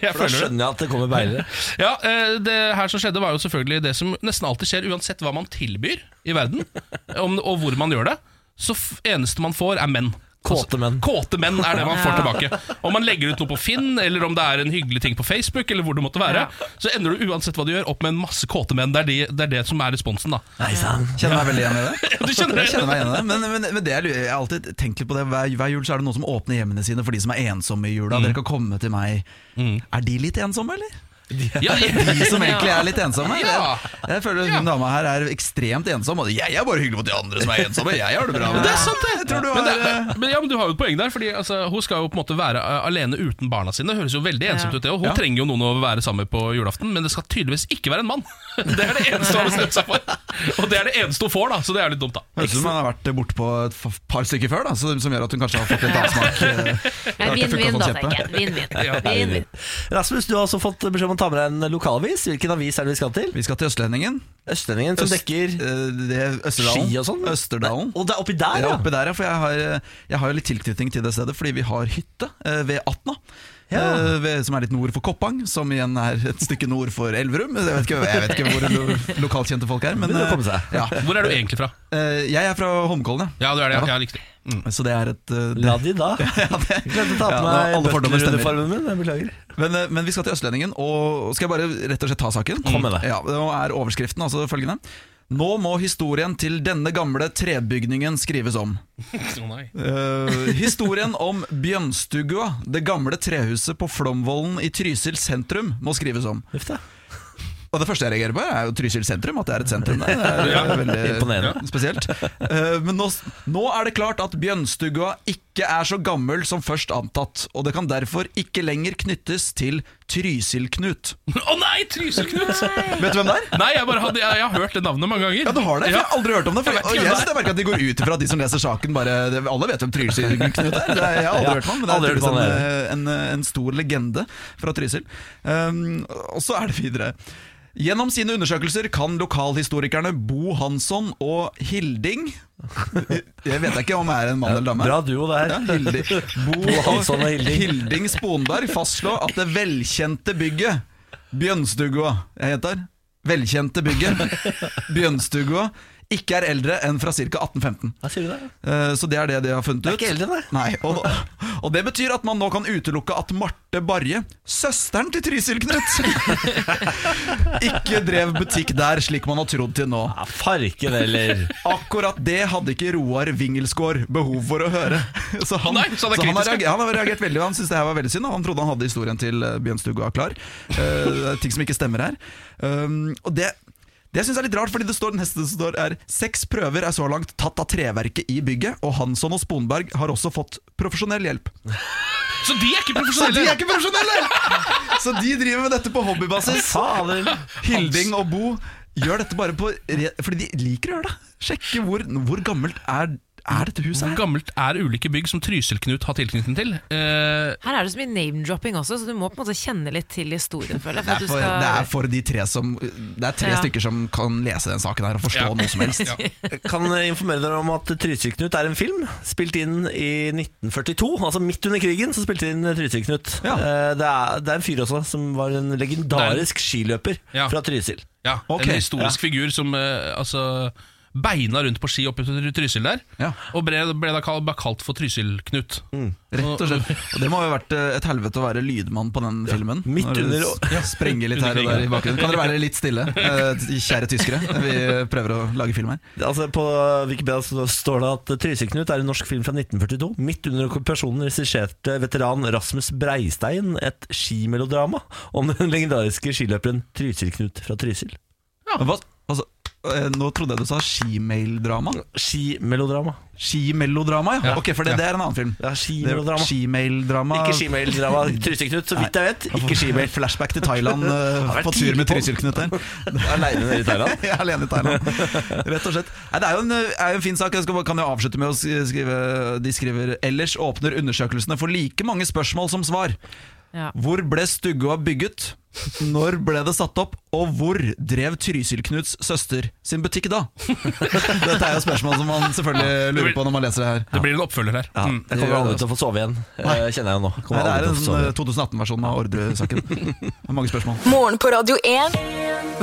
[SPEAKER 1] For
[SPEAKER 2] jeg
[SPEAKER 1] da
[SPEAKER 2] føler det.
[SPEAKER 1] skjønner jeg at det kommer beilere.
[SPEAKER 2] Ja, eh, Det her som skjedde, var jo selvfølgelig det som nesten alltid skjer, uansett hva man tilbyr i verden, om, og hvor man gjør det. Så f eneste man får, er menn. Altså,
[SPEAKER 1] Kåte menn.
[SPEAKER 2] Kåte menn er det man får tilbake. Om man legger ut noe på Finn, eller om det er en hyggelig ting på Facebook, eller hvor det måtte være, så ender du uansett hva du gjør, opp med en masse kåte menn. Det er, de, det, er det som er responsen, da.
[SPEAKER 1] Nei sann.
[SPEAKER 5] Kjenner meg veldig igjen i det.
[SPEAKER 2] Du kjenner det?
[SPEAKER 5] Jeg kjenner meg igjen i det. Men, men, men det jeg, lurer- jeg har alltid tenkt litt på det. Hver, hver jul så er det noen som åpner hjemmene sine for de som er ensomme i
[SPEAKER 2] Mm.
[SPEAKER 5] jula. Dere kan komme til meg. Er de litt ensomme, eller?
[SPEAKER 2] Ja,
[SPEAKER 5] De som egentlig er litt ensomme.
[SPEAKER 2] Ja.
[SPEAKER 5] Jeg, jeg føler hun dama her er ekstremt ensom. Og jeg er bare hyggelig mot de andre som er ensomme. Jeg har det bra.
[SPEAKER 2] Det er sant, det!
[SPEAKER 5] Jeg tror eh, du
[SPEAKER 2] men,
[SPEAKER 5] har,
[SPEAKER 2] det, men, ja, men du har jo et poeng der, Fordi altså, hun skal jo på en måte være eh, alene uten barna sine. Det høres jo veldig ensomt
[SPEAKER 3] Ja.
[SPEAKER 2] ut, det. Og hun trenger jo noen å være sammen med på julaften, men det skal tydeligvis ikke være en mann. Det er det eneste hun har bestemt seg for. Og det er det eneste hun får, da, så det er jo litt dumt, da.
[SPEAKER 5] Høres ut som han har vært bortpå et f- par stykker før, da, så, som gjør at hun kanskje har fått litt avsmak. eh,
[SPEAKER 3] Nei,
[SPEAKER 5] har ikke funket
[SPEAKER 3] Vinn-vinn,
[SPEAKER 5] å
[SPEAKER 3] da,
[SPEAKER 5] kjempe.
[SPEAKER 3] tenker jeg. Vinn-vinn.
[SPEAKER 2] Ja.
[SPEAKER 3] Vinn-vinn.
[SPEAKER 1] Rasmus, du har også fått beskjed om å ta med deg en lokalavis. Hvilken avis er det vi skal til?
[SPEAKER 5] Vi skal til Østlendingen.
[SPEAKER 1] Østlendingen, som
[SPEAKER 5] Øst-
[SPEAKER 1] dekker
[SPEAKER 5] eh, det er Østerdalen.
[SPEAKER 1] ski og sånn?
[SPEAKER 5] Østerdalen.
[SPEAKER 1] Og det er oppi der,
[SPEAKER 5] Ja,
[SPEAKER 1] ja?
[SPEAKER 5] oppe der, ja. For jeg har, jeg har jo litt tilknytning til det stedet, fordi vi har hytte eh, ved Atna.
[SPEAKER 1] Ja.
[SPEAKER 5] eh, ved, som er litt nord for Koppang, som igjen er et stykke nord for Elverum. Jeg vet ikke, jeg vet ikke hvor lo, lokalt kjente folk er. Men,
[SPEAKER 1] Det kommer
[SPEAKER 5] eh,
[SPEAKER 1] seg.
[SPEAKER 5] ja.
[SPEAKER 2] Hvor er du egentlig fra?
[SPEAKER 5] Eh, jeg er fra Holmkollen, ja.
[SPEAKER 2] Ja, du er det. Ja, riktig. Mm.
[SPEAKER 5] Så det er et eh, det,
[SPEAKER 1] La de da.
[SPEAKER 5] ja, det-
[SPEAKER 1] Glemte å ta på
[SPEAKER 5] Ja, alle
[SPEAKER 1] meg
[SPEAKER 5] fordommer stemmer.
[SPEAKER 1] butleruniformen min. Jeg beklager.
[SPEAKER 5] Men, eh, men vi skal til Østlendingen, og og skal jeg bare rett og slett ta saken?
[SPEAKER 1] Kom med det.
[SPEAKER 5] Ja, og er overskriften altså følgende? Nå må historien til denne gamle trebygningen skrives om.
[SPEAKER 2] Å, nei.
[SPEAKER 5] Eh, historien om Bjønstugua, det gamle trehuset på Flomvollen i Trysil sentrum, må skrives om.
[SPEAKER 1] Uff da.
[SPEAKER 5] Og det første jeg reagerer på, er jo Trysil sentrum. At det er et sentrum der. Det er eh,
[SPEAKER 1] imponerende.
[SPEAKER 5] veldig spesielt. Eh, Men nå, s- nå er det klart at Bjønstugga ikke er så gammel som først antatt. Og det kan derfor ikke lenger knyttes til Trysil-Knut.
[SPEAKER 2] Å nei, Trysil-Knut!
[SPEAKER 5] Vet du hvem det er?
[SPEAKER 2] Nei, jeg, bare hadde, jeg, jeg har hørt det navnet mange ganger.
[SPEAKER 5] Ja, du har det, for Jeg har aldri hørt om det. For
[SPEAKER 2] Jeg
[SPEAKER 5] jeg,
[SPEAKER 2] vet ikke
[SPEAKER 5] og
[SPEAKER 2] hvem
[SPEAKER 5] jeg,
[SPEAKER 2] det er.
[SPEAKER 5] jeg merker at de går ut ifra at de som leser saken, bare det- Alle vet hvem Trysil-Knut er. Det er- Jeg har aldri
[SPEAKER 1] Ja,
[SPEAKER 5] hørt om ham, men det
[SPEAKER 1] aldri
[SPEAKER 5] er
[SPEAKER 1] hørt om han
[SPEAKER 5] tydeligvis en, en, en stor legende fra Trysil. Um, og så er det videre. Gjennom sine undersøkelser kan lokalhistorikerne Bo Hansson og Hilding Jeg vet ikke om jeg er en mann eller dame.
[SPEAKER 1] Bra duo det
[SPEAKER 5] Ja,
[SPEAKER 1] her.
[SPEAKER 5] Hilding. Bo
[SPEAKER 1] Hansson og Hilding.
[SPEAKER 5] Hilding Sponberg fastslår at det velkjente bygget Bjønstugua Jeg gjentar. Velkjente bygget Bjønstugua ikke er eldre enn fra ca. 1815.
[SPEAKER 1] Hva sier du der?
[SPEAKER 5] Eh, Så det er det de har funnet
[SPEAKER 1] Det er
[SPEAKER 5] ut.
[SPEAKER 1] ikke eldre enn det.
[SPEAKER 5] Nei, og, og det betyr at man nå kan utelukke at Marte Barje, søsteren til Trysil Knut, ikke drev butikk der slik man har trodd til nå.
[SPEAKER 1] Ja, farken eller
[SPEAKER 5] Akkurat det hadde ikke Roar Wingelsgaard behov for å høre. Så han,
[SPEAKER 2] Nei, så han er
[SPEAKER 5] han, har
[SPEAKER 2] kritisk,
[SPEAKER 5] reagert, han har reagert veldig, og han syntes det her var veldig synd. Og han trodde han hadde historien til eh, Bjørnstugua klar. Eh, det er ting som ikke stemmer her. Um, og det, det jeg synes er litt rart, fordi det står, neste som står er seks prøver er så langt tatt av treverket i bygget, og Hansson og Sponberg har også fått profesjonell hjelp.
[SPEAKER 2] Så de er ikke
[SPEAKER 5] Så de
[SPEAKER 2] profesjonelle!
[SPEAKER 5] er ikke profesjonelle! Så de driver med dette på hobbybasis.
[SPEAKER 1] Fader!
[SPEAKER 5] Hilding og Bo gjør dette bare på re Fordi de liker å gjøre det. Sjekke hvor, hvor gammelt er, er dette huset
[SPEAKER 2] Hvor
[SPEAKER 5] her.
[SPEAKER 2] gammelt er ulike bygg som Trysil-Knut har tilknytning til? Eh,
[SPEAKER 3] Her er det så mye name-dropping også, så du må på en måte kjenne litt til historien, føler jeg. For at
[SPEAKER 5] Det er
[SPEAKER 3] du
[SPEAKER 5] for,
[SPEAKER 3] skal-
[SPEAKER 5] det er for de tre som Det er tre
[SPEAKER 3] Ja.
[SPEAKER 5] stykker som kan lese den saken her og forstå
[SPEAKER 2] Ja.
[SPEAKER 5] noe som helst.
[SPEAKER 2] Ja.
[SPEAKER 1] Kan eh, informere dere om at Trysil-Knut er en film spilt inn i 1942. Altså midt under krigen så spilte de inn Trysil-Knut.
[SPEAKER 5] Ja.
[SPEAKER 1] Eh, Det, er- det er en fyr også som var en legendarisk skiløper
[SPEAKER 2] Ja.
[SPEAKER 1] fra Trysil.
[SPEAKER 2] ja,
[SPEAKER 5] Ok,
[SPEAKER 2] En historisk figur som eh, altså, beina rundt på ski oppe til Trysil der,
[SPEAKER 5] Ja.
[SPEAKER 2] og ble, ble da kalt, ble kalt for Trysil-Knut.
[SPEAKER 5] Rett og slett. Og det må ha vært eh, et helvete å være lydmann på den filmen.
[SPEAKER 1] Midt
[SPEAKER 5] Når du
[SPEAKER 1] under-
[SPEAKER 5] s- sprenger litt her og der i bakgrunnen. Kan dere være litt stille, eh, kjære tyskere? Vi prøver å lage film her.
[SPEAKER 1] Altså På Wikipedia så står det at Trysil-Knut er en norsk film fra 1942. Midt under okkupasjonen regisserte veteran Rasmus Breistein et skimelodrama om den legendariske skiløperen Trysil-Knut fra Trysil.
[SPEAKER 5] Hva, altså, eh, nå trodde jeg du sa skimail-drama.
[SPEAKER 1] Skimelodrama.
[SPEAKER 5] Skimelodrama, ja.
[SPEAKER 2] Ja.
[SPEAKER 5] Ok, for det,
[SPEAKER 2] Ja.
[SPEAKER 5] det er en annen film.
[SPEAKER 1] Ja,
[SPEAKER 5] Det er
[SPEAKER 1] skimelodrama.
[SPEAKER 5] Skimail-drama.
[SPEAKER 1] Ikke skimaildrama. Trysil-Knut, så vidt jeg vet. Ikke skimail.
[SPEAKER 5] Flashback til Thailand eh,
[SPEAKER 1] vært
[SPEAKER 5] på tur med
[SPEAKER 1] tidlig på.
[SPEAKER 5] Trysil-Knut der.
[SPEAKER 1] Aleine nede i Thailand?
[SPEAKER 5] Jeg er alene i Thailand, rett og slett. Nei, det er jo en, eh, er jo en fin sak. Jeg skal, bare- kan jeg avslutte med å sk- skrive De skriver ellers åpner undersøkelsene for like mange spørsmål som svar.
[SPEAKER 3] ja.
[SPEAKER 5] Hvor ble Stuggoa bygget? Når ble det satt opp? Og hvor drev Trysil-Knuts søster sin butikk da? Dette er jo spørsmål som man selvfølgelig lurer på når man leser det her.
[SPEAKER 2] Det blir en oppfølger her.
[SPEAKER 1] Ja,
[SPEAKER 2] Mm.
[SPEAKER 1] jeg kommer aldri til å få sove igjen, eh, kjenner jeg nå. Kommer
[SPEAKER 5] Nei, det er
[SPEAKER 1] aldri til å
[SPEAKER 5] en
[SPEAKER 1] få sove
[SPEAKER 5] sånn, eh, 2018-versjon av Ordre-saken. Det er Mange spørsmål.
[SPEAKER 4] Morgen på Radio 1.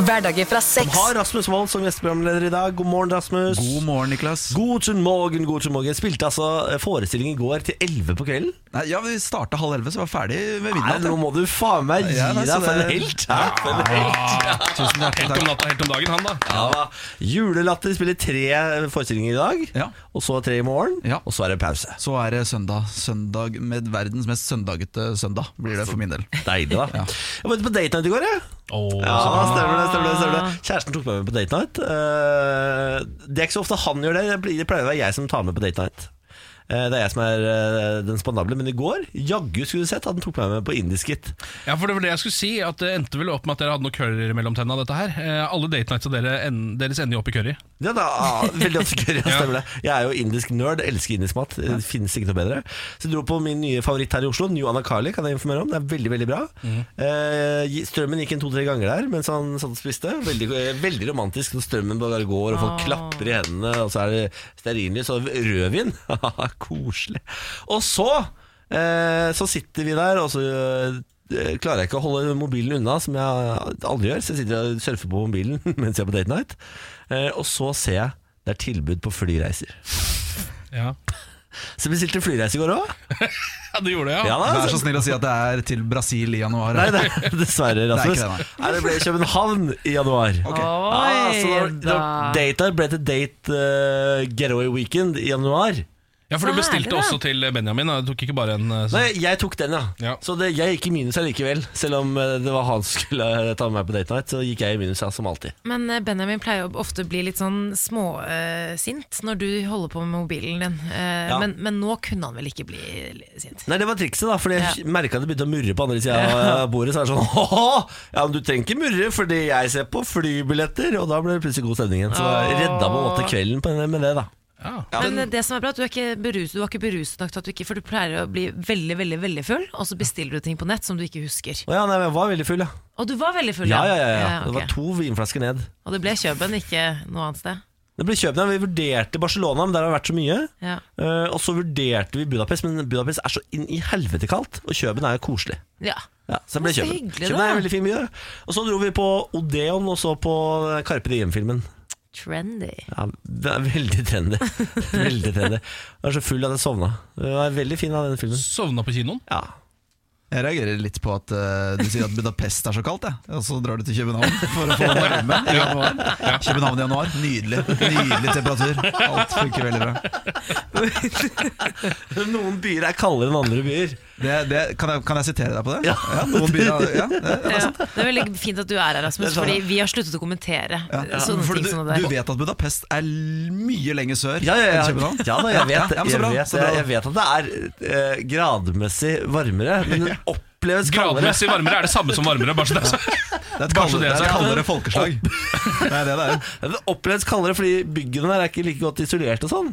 [SPEAKER 4] Hverdager fra
[SPEAKER 1] igjen.
[SPEAKER 4] seks.
[SPEAKER 1] Har Rasmus Wold som gjesteprogramleder i dag. God morgen, Rasmus.
[SPEAKER 5] God morgen, Niklas.
[SPEAKER 1] Guten morgen, guten morgen. Spilte altså forestillingen i går til 11 på kvelden.
[SPEAKER 5] Nei, ja, Vi starta halv elleve, så var vi ferdig ved
[SPEAKER 1] Nei,
[SPEAKER 5] midnatt.
[SPEAKER 1] nå
[SPEAKER 5] ja.
[SPEAKER 1] må du faen meg gi
[SPEAKER 5] Ja, nei,
[SPEAKER 1] deg
[SPEAKER 5] så
[SPEAKER 1] for en
[SPEAKER 5] det-
[SPEAKER 1] helt. Ja, for en helt.
[SPEAKER 2] Ah,
[SPEAKER 5] Tusen hjertelig
[SPEAKER 2] helt om
[SPEAKER 5] takk.
[SPEAKER 2] natta, helt om dagen, han da.
[SPEAKER 1] Ja, da. Julelatter spiller tre eh, forestillinger i dag,
[SPEAKER 5] Ja.
[SPEAKER 1] og så tre i morgen,
[SPEAKER 5] Ja.
[SPEAKER 1] og så er det pause.
[SPEAKER 5] Så er det søndag. Søndag med verdens mest søndagete søndag, blir det for min del.
[SPEAKER 1] Deilig, da.
[SPEAKER 5] Ja.
[SPEAKER 1] Jeg var ute på date night i går, jeg.
[SPEAKER 2] Åh,
[SPEAKER 1] Ja,
[SPEAKER 2] så-
[SPEAKER 1] stemmer det, stemmer det, stemmer det. Kjæresten tok meg med på date night. Eh, Det er ikke så ofte han gjør det. Det blir- det pleier å være jeg som tar med på date night. Eh, Det er jeg som er eh, den spandable, men i går, jaggu skulle du sett, at han tok meg med på indisk hit.
[SPEAKER 2] Ja, for det var det jeg skulle si, at det endte vel opp med at dere hadde noe curry mellom tennene dette her. Eh, alle date nights av dere, en, deres ender jo opp i curry.
[SPEAKER 1] Ja, da, ah, veldig ofte gøy, ja, stemmer det. Jeg er jo indisk nerd, elsker indisk mat. Det finnes ikke noe bedre. Så jeg dro på min nye favoritt her i Oslo, New Anakali, kan jeg informere om. Det er veldig, veldig bra. Eh, gi- strømmen gikk en to-tre ganger der mens han satt og spiste. Veldig, eh, veldig romantisk når strømmen bare går, og folk klapper i hendene, og så er det stearinlys og rødvin. Koselig. Og så, eh, så sitter vi der, og så eh, klarer jeg ikke å holde mobilen unna, som jeg aldri gjør. Så jeg sitter og surfer på mobilen mens jeg er på date night. Eh, og så ser jeg det er tilbud på flyreiser.
[SPEAKER 2] Ja,
[SPEAKER 1] Så jeg bestilte flyreise i går òg.
[SPEAKER 2] du gjorde det, ja.
[SPEAKER 1] Ja, da,
[SPEAKER 5] Vær
[SPEAKER 1] altså.
[SPEAKER 5] så snill å si at det er til Brasil i januar.
[SPEAKER 1] Nei, det er, dessverre,
[SPEAKER 5] er
[SPEAKER 1] Rasmus.
[SPEAKER 5] ikke
[SPEAKER 1] Nei,
[SPEAKER 5] det,
[SPEAKER 1] det ble København i januar.
[SPEAKER 5] Ok.
[SPEAKER 1] Ah,
[SPEAKER 3] Oi
[SPEAKER 1] så da, da,
[SPEAKER 3] da.
[SPEAKER 1] data ble til date eh, getaway weekend i januar.
[SPEAKER 2] Ja, for
[SPEAKER 3] Så
[SPEAKER 2] du bestilte
[SPEAKER 3] herlig, da.
[SPEAKER 2] også til Benjamin. da. Du tok ikke bare en eh, sånn.
[SPEAKER 1] Nei, jeg tok den, ja.
[SPEAKER 2] Ja.
[SPEAKER 1] Så det, jeg gikk i minus allikevel. Selv om eh, det var han som skulle eh, ta med meg på date night, så gikk jeg i minus, ja, som alltid.
[SPEAKER 3] Men eh, Benjamin pleier jo ofte å bli litt sånn småsint når du holder på med mobilen din. Eh,
[SPEAKER 1] Ja.
[SPEAKER 3] men, men nå kunne han vel ikke bli li- sint?
[SPEAKER 1] Nei, det var trikset, da, Fordi jeg
[SPEAKER 3] Ja.
[SPEAKER 1] merka det begynte å murre på andre sida av bordet. Så er det sånn «Haha, Ja, men du trenger ikke murre, fordi jeg ser på flybilletter. Og da ble det plutselig god stemning igjen. Så jeg redda på en måte kvelden på- med det, da.
[SPEAKER 2] Ja.
[SPEAKER 3] Men eh, det som er bra, er at du er ikke beruset, du er ikke beruset nok til at du ikke For du pleier å bli veldig, veldig veldig full, og så bestiller du ting på nett som du ikke husker.
[SPEAKER 1] Å ja, nei, men jeg var veldig full, ja.
[SPEAKER 3] Og du var veldig full,
[SPEAKER 1] Ja, ja, ja, ja.
[SPEAKER 3] ok.
[SPEAKER 1] Det var to vinflasker ned.
[SPEAKER 3] Og det ble Kjøben, ikke noe annet sted.
[SPEAKER 1] Det ble København. Vi vurderte Barcelona, men der har det vært så mye.
[SPEAKER 3] Ja.
[SPEAKER 1] Eh, og så vurderte vi Budapest, men Budapest er så inn i helvete kaldt. Og København er jo koselig.
[SPEAKER 3] ja.
[SPEAKER 1] Ja, så det ble
[SPEAKER 3] Men så
[SPEAKER 1] København.
[SPEAKER 3] hyggelig,
[SPEAKER 1] København er en
[SPEAKER 3] da.
[SPEAKER 1] veldig fin by. da. Og så dro vi på Odeon og så på Carpe Diem-filmen.
[SPEAKER 3] Trendy.
[SPEAKER 1] Ja, det er veldig trendy. veldig trendy. Jeg var så full at jeg sovna. Det var veldig fin av den filmen.
[SPEAKER 2] Sovna på kinoen.
[SPEAKER 1] Ja.
[SPEAKER 5] Jeg reagerer litt på at eh, du sier at Budapest er så kaldt, jeg. og så drar du til København for å få varme i januar. København i januar, nydelig. Nydelig temperatur. Alt funker veldig bra.
[SPEAKER 1] Noen byer er kaldere enn andre byer.
[SPEAKER 5] Det, det, kan, jeg, kan jeg sitere deg på det?
[SPEAKER 1] Ja.
[SPEAKER 5] noen byer, har- ja, det,
[SPEAKER 3] Ja. Det er veldig fint at du er her, Rasmus, fordi vi har sluttet å kommentere eh,
[SPEAKER 5] ja.
[SPEAKER 3] sånne
[SPEAKER 5] For
[SPEAKER 3] ting
[SPEAKER 5] du,
[SPEAKER 3] som det
[SPEAKER 5] du
[SPEAKER 3] der.
[SPEAKER 5] vet at Budapest er l- mye lenger sør
[SPEAKER 1] Ja, ja, ja.
[SPEAKER 5] enn København?
[SPEAKER 1] ja da, jeg vet, det.
[SPEAKER 5] Ja, men så
[SPEAKER 1] jeg,
[SPEAKER 5] bra,
[SPEAKER 1] vet,
[SPEAKER 5] så bra.
[SPEAKER 1] jeg vet at det er eh, gradmessig varmere, men det oppleves kaldere.
[SPEAKER 2] Gradmessig varmere er det samme som varmere. Bare så det er sagt.
[SPEAKER 5] Det er et
[SPEAKER 2] Bare så det er
[SPEAKER 5] kaldere, det er et
[SPEAKER 2] sagt.
[SPEAKER 5] kaldere folkeslag. Det er det det er.
[SPEAKER 1] Ja, Det oppleves kaldere fordi byggene der er ikke like godt isolert og sånn.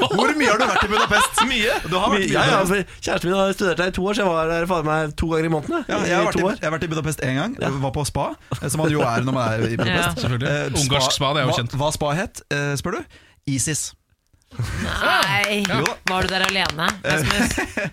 [SPEAKER 5] Hvor mye har du vært i Budapest?
[SPEAKER 2] Mye. altså,
[SPEAKER 5] Du har vært mye. i
[SPEAKER 1] Ja, ja,
[SPEAKER 5] Budapest.
[SPEAKER 1] for Kjæresten min har studert der i to år, så jeg var der faen meg to ganger i måneden.
[SPEAKER 5] Ja,
[SPEAKER 1] jeg,
[SPEAKER 5] jeg, har
[SPEAKER 1] i
[SPEAKER 5] vært i,
[SPEAKER 1] to år.
[SPEAKER 5] jeg har vært i Budapest én gang. Jeg var på spa, eh, som man jo er når man er i Budapest.
[SPEAKER 2] Ja, selvfølgelig.
[SPEAKER 5] Eh,
[SPEAKER 2] Ungarsk spa, det er jo
[SPEAKER 5] hva-
[SPEAKER 2] kjent.
[SPEAKER 5] Hva spa het, eh, spør du? ISIS.
[SPEAKER 3] Nei,
[SPEAKER 5] Jo da.
[SPEAKER 3] var du der alene? Rasmus?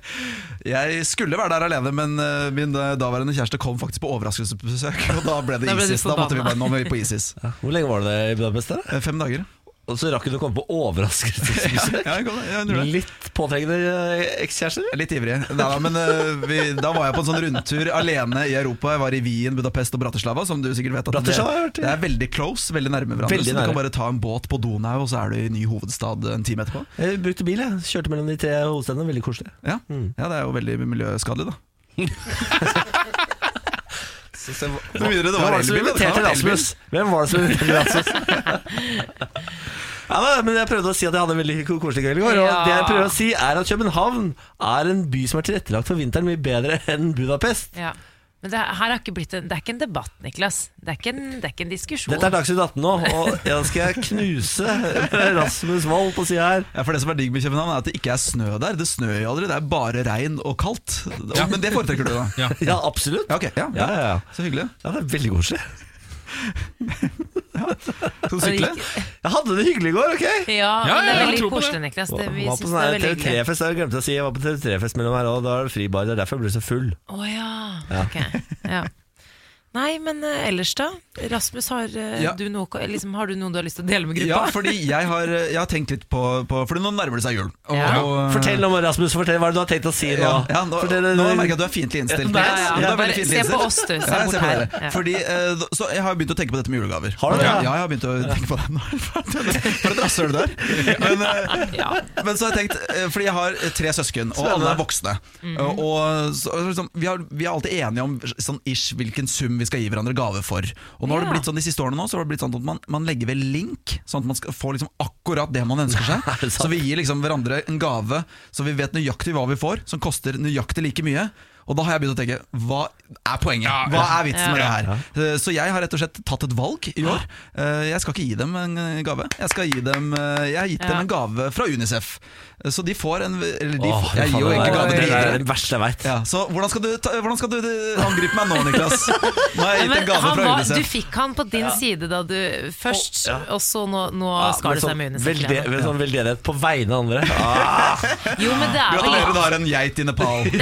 [SPEAKER 5] Jeg skulle være der alene, men eh, min eh, daværende kjæreste kom faktisk på overraskelsesbesøk. Og da ble det
[SPEAKER 3] Da ble du
[SPEAKER 5] ISIS. Da måtte vi
[SPEAKER 3] forbanna.
[SPEAKER 5] bare, nå må vi på ISIS.
[SPEAKER 1] Hvor lenge var du der i Budapest? Der? da?
[SPEAKER 5] Eh, Fem dager.
[SPEAKER 1] Og så rakk hun å komme på overraskelsesbesøk.
[SPEAKER 5] Ja, jeg kom, jeg gjorde det.
[SPEAKER 1] Litt påtrengende eh, ekskjærester?
[SPEAKER 5] Jeg er Litt ivrig. Nei, da, men eh, vi, da var jeg på en sånn rundtur alene i Europa. Jeg var i Wien, Budapest og Bratislava. Som du sikkert vet at det,
[SPEAKER 1] Bratislava har jeg hørt, ja.
[SPEAKER 5] det er veldig close, veldig nærme hverandre.
[SPEAKER 1] Veldig
[SPEAKER 5] Så
[SPEAKER 1] nære.
[SPEAKER 5] du kan bare ta en båt på Donau, og så er du i ny hovedstad en time etterpå.
[SPEAKER 1] Jeg brukte bil, jeg. Kjørte mellom de tre hovedstedene. Veldig koselig.
[SPEAKER 5] Ja, ja det er jo veldig miljøskadelig, da. Med mindre det
[SPEAKER 1] Hvem
[SPEAKER 5] var
[SPEAKER 1] var det som
[SPEAKER 5] elbil, da. Det
[SPEAKER 1] inviterte
[SPEAKER 5] var elbil.
[SPEAKER 1] Rasmus? Hvem var det som inviterte Rasmus? ja, da, men jeg prøvde å si at jeg hadde en veldig ko- koselig kveld i går. Og
[SPEAKER 3] Ja.
[SPEAKER 1] det jeg prøver å si er at København er en by som er tilrettelagt for vinteren mye bedre enn Budapest.
[SPEAKER 3] Ja. Men det, her har ikke blitt en, det er ikke en debatt, Niklas. Det er ikke en, det er ikke en diskusjon.
[SPEAKER 1] Dette er Dagsnytt 18 nå, og jeg skal knuse Rasmus Wold på sida her.
[SPEAKER 5] Ja, for Det som er digg med København, er at det ikke er snø der. Det snør jo aldri, det er bare regn og kaldt.
[SPEAKER 2] Ja.
[SPEAKER 5] Men det foretrekker du, da?
[SPEAKER 2] Ja.
[SPEAKER 1] Ja, absolutt.
[SPEAKER 5] Ja, ok. Ja,
[SPEAKER 1] Ja, ja, ja.
[SPEAKER 5] Så hyggelig.
[SPEAKER 1] ja det er veldig koselig.
[SPEAKER 5] Skal du sykle?
[SPEAKER 1] Jeg hadde det hyggelig i går, ok?
[SPEAKER 2] Ja,
[SPEAKER 3] Ja, men
[SPEAKER 2] ja,
[SPEAKER 3] det
[SPEAKER 2] jeg
[SPEAKER 3] er veldig
[SPEAKER 2] tror på det.
[SPEAKER 3] koselig, Niklas. Det, vi
[SPEAKER 1] Jeg var på sånn
[SPEAKER 3] synes det er
[SPEAKER 1] her
[SPEAKER 3] veldig hyggelig.
[SPEAKER 1] TV3-fest, jeg glemte å si. Jeg var på TV3-fest mellom her, og da er det fribar. Det er derfor jeg ble så full.
[SPEAKER 3] Å ja. ok. Ja. Nei, men eh, ellers da? Rasmus, har, eh,
[SPEAKER 5] Ja.
[SPEAKER 3] du noe, liksom, har du noe du har lyst til å dele med
[SPEAKER 5] Ja,
[SPEAKER 3] gruppa?
[SPEAKER 5] fordi jeg har, jeg har tenkt litt på, på Fordi nå nærmer det seg jul. Og-
[SPEAKER 3] Ja.
[SPEAKER 5] og-
[SPEAKER 1] Fortell om Rasmus, fortell hva er det du har tenkt å si nå.
[SPEAKER 5] Mm. Ja, ja, nå,
[SPEAKER 1] Fortell- eh,
[SPEAKER 5] nå merker jeg at du er fiendtlig innstilt.
[SPEAKER 1] Nei,
[SPEAKER 5] Niklas.
[SPEAKER 1] ja, ja.
[SPEAKER 5] Du er veldig
[SPEAKER 3] Bare se på
[SPEAKER 5] fiendtlig innstilt.
[SPEAKER 3] oss, du. Se
[SPEAKER 5] Ja, jeg
[SPEAKER 3] bort
[SPEAKER 5] ser på
[SPEAKER 3] her.
[SPEAKER 5] dere.
[SPEAKER 3] Ja.
[SPEAKER 5] Fordi, eh, d- så jeg har begynt å tenke på dette med julegaver.
[SPEAKER 1] Har du det?
[SPEAKER 5] Ja, jeg har begynt å tenke på det. Nå er det bare- For et rasshøl du er. Men, eh, men så har jeg tenkt eh, Fordi jeg har tre søsken, og alle er voksne.
[SPEAKER 3] Mhm.
[SPEAKER 5] Og så, og liksom, vi, har, vi er alltid enige om sånn ish hvilken sum vi skal gi hverandre gave for. Og nå har det
[SPEAKER 3] Ja.
[SPEAKER 5] blitt sånn de siste årene nå Så har det blitt sånn at man, man legger ved link, sånn at man skal få liksom akkurat det man ønsker seg.
[SPEAKER 1] det sant?
[SPEAKER 5] Så vi gir liksom hverandre en gave så vi vet nøyaktig hva vi får, som koster nøyaktig like mye. Og da har jeg begynt å tenke hva er poenget?
[SPEAKER 2] Ja,
[SPEAKER 5] Hva
[SPEAKER 2] ja.
[SPEAKER 5] er vitsen med det her? Eh, Så jeg har rett og slett tatt et valg i år. Eh, Jeg skal ikke gi dem en eh, gave. Jeg, skal gi dem, eh, jeg har gitt
[SPEAKER 3] Ja.
[SPEAKER 5] dem en gave fra Unicef. Eh, Så de får en Eller de,
[SPEAKER 1] Åh,
[SPEAKER 5] får- jeg gir jo
[SPEAKER 1] faen,
[SPEAKER 5] egentlig
[SPEAKER 1] det,
[SPEAKER 5] gave
[SPEAKER 1] er-
[SPEAKER 5] til
[SPEAKER 1] det er
[SPEAKER 5] dere.
[SPEAKER 1] det verste jeg veit.
[SPEAKER 5] Ja, så hvordan skal, du ta, hvordan skal du eh, angripe meg nå, Niklas? Nå har jeg gitt
[SPEAKER 3] Men
[SPEAKER 5] en gave
[SPEAKER 3] han
[SPEAKER 5] fra
[SPEAKER 3] var, du
[SPEAKER 5] Unicef.
[SPEAKER 3] fikk han på din side da du først,
[SPEAKER 1] Å, ja.
[SPEAKER 3] og så nå, nå skar det seg med
[SPEAKER 1] velde,
[SPEAKER 3] unisett.
[SPEAKER 1] med sånn veldedighet på vegne av andre.
[SPEAKER 3] Jo, men det er vel
[SPEAKER 5] Gratulerer, du har en geit i Nepal.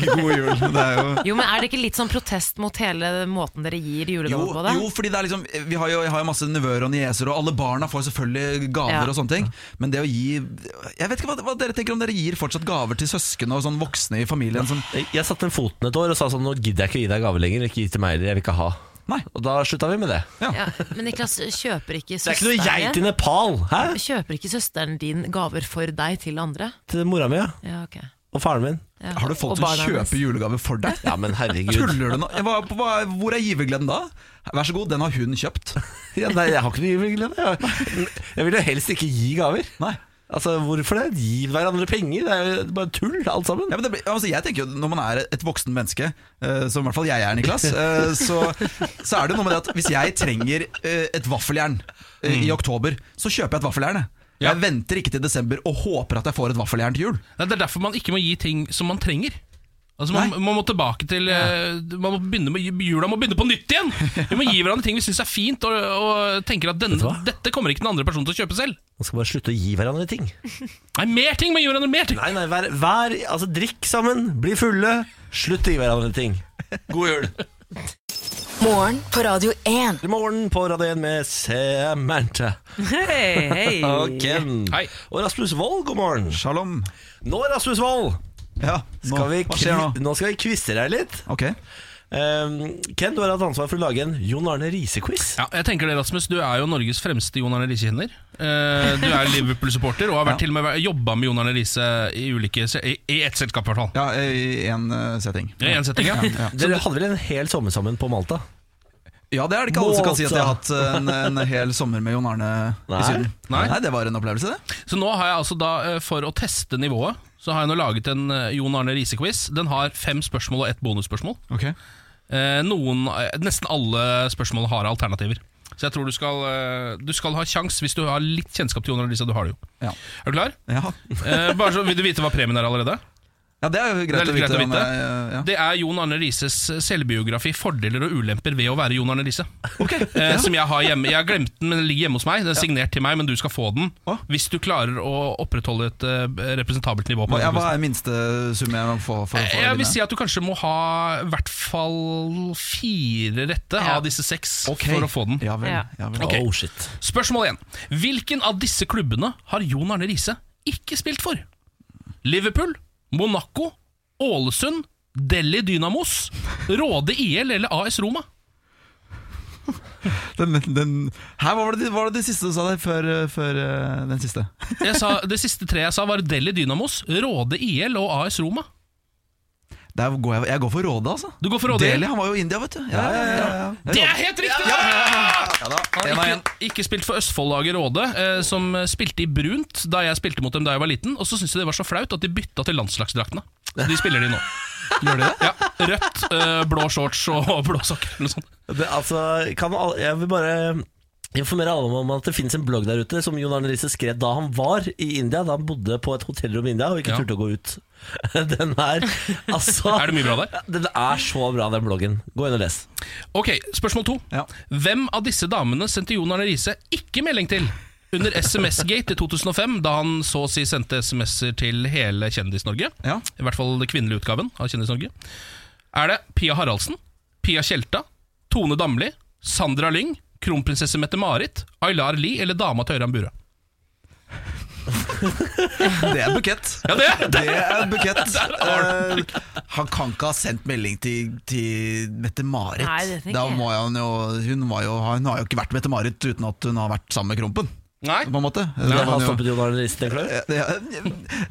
[SPEAKER 5] God jul. Det er jo
[SPEAKER 3] Jo, men Er det ikke litt sånn protest mot hele måten dere gir
[SPEAKER 5] Jo,
[SPEAKER 3] julegaver på? det?
[SPEAKER 5] jo, fordi det er liksom vi har jo, Jeg har jo masse nevøer og nieser, og alle barna får selvfølgelig gaver.
[SPEAKER 3] Ja.
[SPEAKER 5] og sånne ting Men det å gi Jeg vet ikke hva, hva dere tenker om dere gir fortsatt gaver til søsken og sånn voksne i familien. Som,
[SPEAKER 1] Jeg satte ned foten et år og sa sånn Nå gidder jeg ikke å gi deg gave lenger. Ikke gi til meg heller, jeg vil ikke ha.
[SPEAKER 5] Nei.
[SPEAKER 1] Og da slutta vi med det.
[SPEAKER 3] Ja, men Niklas, kjøper ikke
[SPEAKER 1] Det er ikke noe geit i
[SPEAKER 3] søsteren din
[SPEAKER 1] Nepal! Hæ?
[SPEAKER 3] Kjøper ikke søsteren din gaver for deg til andre?
[SPEAKER 1] Til mora mi ja.
[SPEAKER 3] Ja, ok
[SPEAKER 1] og faren min.
[SPEAKER 3] ja.
[SPEAKER 5] Har du
[SPEAKER 3] og
[SPEAKER 5] folk som
[SPEAKER 3] barna hennes.
[SPEAKER 5] kjøper julegave for deg?
[SPEAKER 1] Ja, men herregud.
[SPEAKER 5] Tuller du nå? Jeg var på- hva- Hvor er givergleden da? Vær så god, den har hun kjøpt.
[SPEAKER 1] Ja, nei, jeg har ikke noe juleglede. Jeg, jeg vil jo helst ikke gi gaver.
[SPEAKER 5] Nei.
[SPEAKER 1] Altså, Hvorfor det? Gi hverandre penger. Det er jo bare tull, alt sammen.
[SPEAKER 5] Ja, men det, blir- altså, jeg tenker jo Når man er et voksen menneske, eh, som i hvert fall jeg er, Niklas, eh, så, så er det noe med det at hvis jeg trenger eh, et vaffeljern eh, i oktober, så kjøper jeg et vaffeljern. jeg.
[SPEAKER 2] Mm. Ja.
[SPEAKER 5] Jeg venter ikke til desember og håper at jeg får et vaffeljern til jul.
[SPEAKER 2] Nei, Det er derfor man ikke må gi ting som man trenger. Altså man, man må tilbake til eh, Man må begynne med Jula må begynne på nytt igjen! Vi må gi hverandre ting vi syns er fint, og, og tenker at denne,
[SPEAKER 1] Vet du hva?
[SPEAKER 2] dette kommer ikke den andre personen til å kjøpe selv.
[SPEAKER 1] Man skal bare slutte å gi hverandre ting.
[SPEAKER 2] Nei, mer ting! må gi hverandre mer ting
[SPEAKER 1] Nei, nei, vær, vær Altså, drikk sammen, bli fulle, slutt å gi hverandre ting. God jul!
[SPEAKER 4] Morgen på Radio 1.
[SPEAKER 1] God morgen på Radio 1 med Samantha
[SPEAKER 3] Hei, hei
[SPEAKER 1] og Ken.
[SPEAKER 2] Hei.
[SPEAKER 1] Og Rasmus Wold, god morgen.
[SPEAKER 5] Shalom.
[SPEAKER 1] Nå, Rasmus Wold,
[SPEAKER 5] Ja, nå,
[SPEAKER 1] skal vi,
[SPEAKER 5] hva skjer
[SPEAKER 1] kvi-
[SPEAKER 5] nå?
[SPEAKER 1] nå skal vi kvisse deg litt.
[SPEAKER 5] Ok.
[SPEAKER 1] Um, Ken, du har hatt ansvar for å lage en Jon Arne Riise-quiz.
[SPEAKER 2] Ja, jeg tenker det, Rasmus. Du er jo Norges fremste Jon Arne Riise-kjenner. Eh, Du er Liverpool-supporter og har vært til og med jobba med Jon Arne Riise i, ulike se- i i ett selskap, i hvert fall.
[SPEAKER 5] Ja, i én setting.
[SPEAKER 2] I en setting, ja.
[SPEAKER 5] Ja.
[SPEAKER 1] Dere hadde vel en hel sommer sammen på Malta?
[SPEAKER 5] Ja, det er det ikke alle som kan si at jeg har hatt eh,
[SPEAKER 1] Måte.
[SPEAKER 5] en, en hel sommer med Jon Arne
[SPEAKER 1] Nei.
[SPEAKER 5] i Syden.
[SPEAKER 2] Nei.
[SPEAKER 5] det var en opplevelse, det.
[SPEAKER 2] Så nå har jeg altså da, eh, for å teste nivået, så har jeg nå laget en eh, Jon Arne Riise-quiz. Den har fem spørsmål og ett bonusspørsmål. Eh, Noen, eh, nesten alle spørsmål har alternativer. Så jeg tror du skal, eh, du skal ha sjans hvis du har litt kjennskap til Jon Arne Riise. Du har det jo.
[SPEAKER 5] Ja.
[SPEAKER 2] Er du klar?
[SPEAKER 5] Ja.
[SPEAKER 2] Eh, bare så, Vil du vite hva premien er allerede?
[SPEAKER 5] ja, det er jo
[SPEAKER 2] Det er
[SPEAKER 5] greit,
[SPEAKER 2] litt greit å
[SPEAKER 5] om
[SPEAKER 2] vite.
[SPEAKER 5] jeg, eh, ja.
[SPEAKER 2] Det er Jon Arne Rises selvbiografi 'Fordeler og ulemper ved å være Jon Arne Riise'. Eh, som jeg har hjemme. Jeg har glemt den, men den ligger hjemme hos meg. Den er signert til meg, men du skal få den
[SPEAKER 5] Å.
[SPEAKER 2] hvis du klarer å opprettholde et eh, representabelt nivå. på
[SPEAKER 5] Hva, ja,
[SPEAKER 2] den Eh,
[SPEAKER 5] hva er minste sum jeg må få? for, for
[SPEAKER 2] Jeg vil si at du kanskje må ha i hvert fall fire rette
[SPEAKER 3] Ja.
[SPEAKER 2] av disse seks for å få den.
[SPEAKER 5] Ja vel.
[SPEAKER 3] Ja.
[SPEAKER 5] Ja, vel.
[SPEAKER 2] Ok.
[SPEAKER 1] Oh, shit.
[SPEAKER 2] Spørsmål 1. Hvilken av disse klubbene har Jon Arne Riise ikke spilt for? Liverpool, Monaco, Ålesund, Delhi Dynamos, Råde IL eller AS Roma?
[SPEAKER 5] Den, den, her var det, var det det siste du sa der, før, eh, før eh, den siste.
[SPEAKER 2] Jeg sa, det siste tre jeg sa, var Delhi Dynamos, Råde IL og AS Roma.
[SPEAKER 5] Der går jeg, jeg går for Råde, altså.
[SPEAKER 2] Du går for Råde
[SPEAKER 5] Deli,
[SPEAKER 2] IL?
[SPEAKER 5] han var jo i India, vet du. Ja, ja, ja, ja.
[SPEAKER 2] Det er helt riktig!
[SPEAKER 5] En av en.
[SPEAKER 2] Ikke, ikke spilt for Østfoldlaget Råde, eh, som spilte i brunt da jeg spilte mot dem da jeg var liten. Og så syntes de det var så flaut at de bytta til landslagsdraktene. Så de spiller de nå. Gjør de det? Ja, Rødt, eh, blå shorts og blå sokker. eller Noe sånt.
[SPEAKER 1] Det, altså, kan alle, jeg vil bare informere alle om at det finnes en blogg der ute som Jon Arne Riise skrev da han var i India, da han bodde på et hotellrom i India og ikke
[SPEAKER 2] Ja.
[SPEAKER 1] turte å gå ut. Den er altså
[SPEAKER 2] Er det mye bra der?
[SPEAKER 1] Den er så bra, den bloggen. Gå inn og les.
[SPEAKER 2] Ok, Spørsmål to.
[SPEAKER 5] Ja.
[SPEAKER 2] Hvem av disse damene sendte Jon Arne Riise ikke melding til under SMS-gate i 2005, da han så å si sendte SMS-er til hele Kjendis-Norge?
[SPEAKER 5] Ja.
[SPEAKER 2] I hvert fall den kvinnelige utgaven av Kjendis-Norge. Er det Pia Haraldsen, Pia Tjelta, Tone Damli, Sandra Lyng, kronprinsesse Mette-Marit, Aylar Lie eller dama til Ørjan Burøe?
[SPEAKER 5] Det er bukett.
[SPEAKER 2] Ja, det, det.
[SPEAKER 5] Det er bukett. Eh, han kan ikke ha sendt melding til, til Mette-Marit.
[SPEAKER 3] Nei, det tenker
[SPEAKER 5] Da
[SPEAKER 3] jeg.
[SPEAKER 5] må han jo, hun, var jo, hun har jo ikke vært Mette-Marit uten at hun har vært sammen med Krompen.
[SPEAKER 2] Nei.
[SPEAKER 5] På en måte.
[SPEAKER 1] Det
[SPEAKER 5] Da var
[SPEAKER 1] har
[SPEAKER 5] han jo-
[SPEAKER 1] stoppet Jon Arne Riise, tenker du?
[SPEAKER 5] Ja,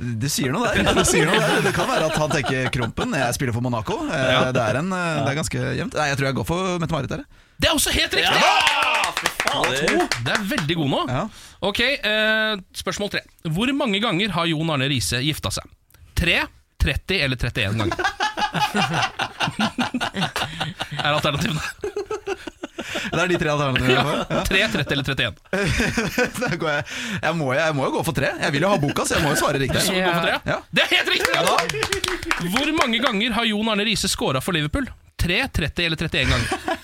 [SPEAKER 5] det- Du sier noe der. Du sier noe der. Det kan være at han tenker Krompen, jeg spiller for Monaco. Eh, Det, er en, eh, det er ganske jevnt. Nei, jeg tror jeg går for Mette-Marit der. jeg.
[SPEAKER 2] Det er også helt riktig! Oh, Det er veldig god nå.
[SPEAKER 5] Ja.
[SPEAKER 2] Ok, eh, Spørsmål tre. Hvor mange ganger har Jon Arne Riise gifta seg? 3, 30 eller 31 ganger? er alternativene
[SPEAKER 5] Det er de tre alternativene. jeg får.
[SPEAKER 2] 3, 30 eller 31?
[SPEAKER 5] Da går Jeg, jeg, må, jeg må jo gå for tre. Jeg vil jo ha boka, så jeg må jo svare
[SPEAKER 2] Så
[SPEAKER 5] riktig.
[SPEAKER 2] vi går for tre, ja.
[SPEAKER 5] Ja.
[SPEAKER 2] Det er helt riktig! Hvor mange ganger har Jon Arne Riise scora for Liverpool? 3, 30 eller 31 ganger?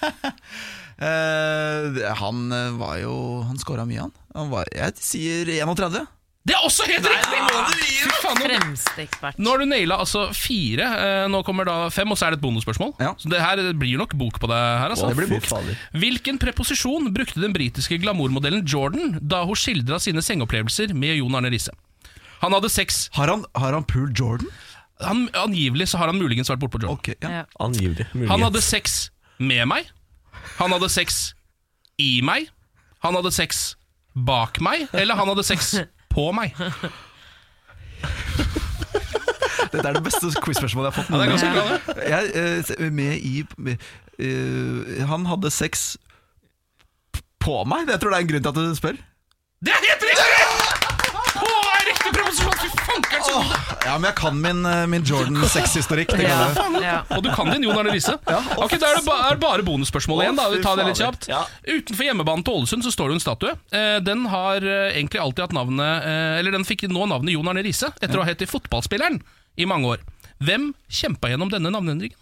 [SPEAKER 5] Eh, han eh, var jo Han scora mye, han. han var, jeg sier 31.
[SPEAKER 2] Det er også helt riktig! Fy faen, nå-
[SPEAKER 3] Fremste ekspert
[SPEAKER 2] Nå har du naila altså fire. eh, Nå kommer da fem, og så er det et bonusspørsmål.
[SPEAKER 5] Ja.
[SPEAKER 2] Så det her blir nok bok på det her. Altså.
[SPEAKER 1] Å, Det blir fy bok. fader.
[SPEAKER 2] Hvilken preposisjon brukte den britiske glamourmodellen Jordan da hun skildra sine sengeopplevelser med Jon Arne Riise? Han hadde sex.
[SPEAKER 5] Har han, har han Pool Jordan?
[SPEAKER 2] Han, angivelig så har han muligens vært bortpå Jordan.
[SPEAKER 5] Ok, ja.
[SPEAKER 3] ja.
[SPEAKER 1] Angivelig.
[SPEAKER 2] Han hadde sex med meg. Han hadde sex i meg. Han hadde sex bak meg. Eller han hadde sex på meg.
[SPEAKER 5] Dette er det beste quiz-spørsmålet jeg har fått.
[SPEAKER 2] Ja, det er ganske
[SPEAKER 5] noen gang.
[SPEAKER 2] bra, det.
[SPEAKER 5] Jeg eh, s- med i med, eh, Han hadde sex p- på meg. Jeg tror det er en grunn til at du spør.
[SPEAKER 2] Det er helt riktig! På er riktig proposisjon! Fy fanker så god!
[SPEAKER 5] Ja, men jeg kan min, eh, min Jordan-sexhistorikk. det kan jeg.
[SPEAKER 3] ja.
[SPEAKER 2] Og du kan din, Jon Arne Riise. Ok, Da er det ba er bare bonusspørsmål igjen. da, vi tar det litt kjapt
[SPEAKER 1] Ja.
[SPEAKER 2] Utenfor hjemmebanen til Ålesund så står det jo en statue. Eh, Den har eh, egentlig alltid hatt navnet eh, Eller den fikk nå navnet Jon Arne Riise, etter å ha hett fotballspilleren i mange år. Hvem kjempa gjennom denne navneendringen?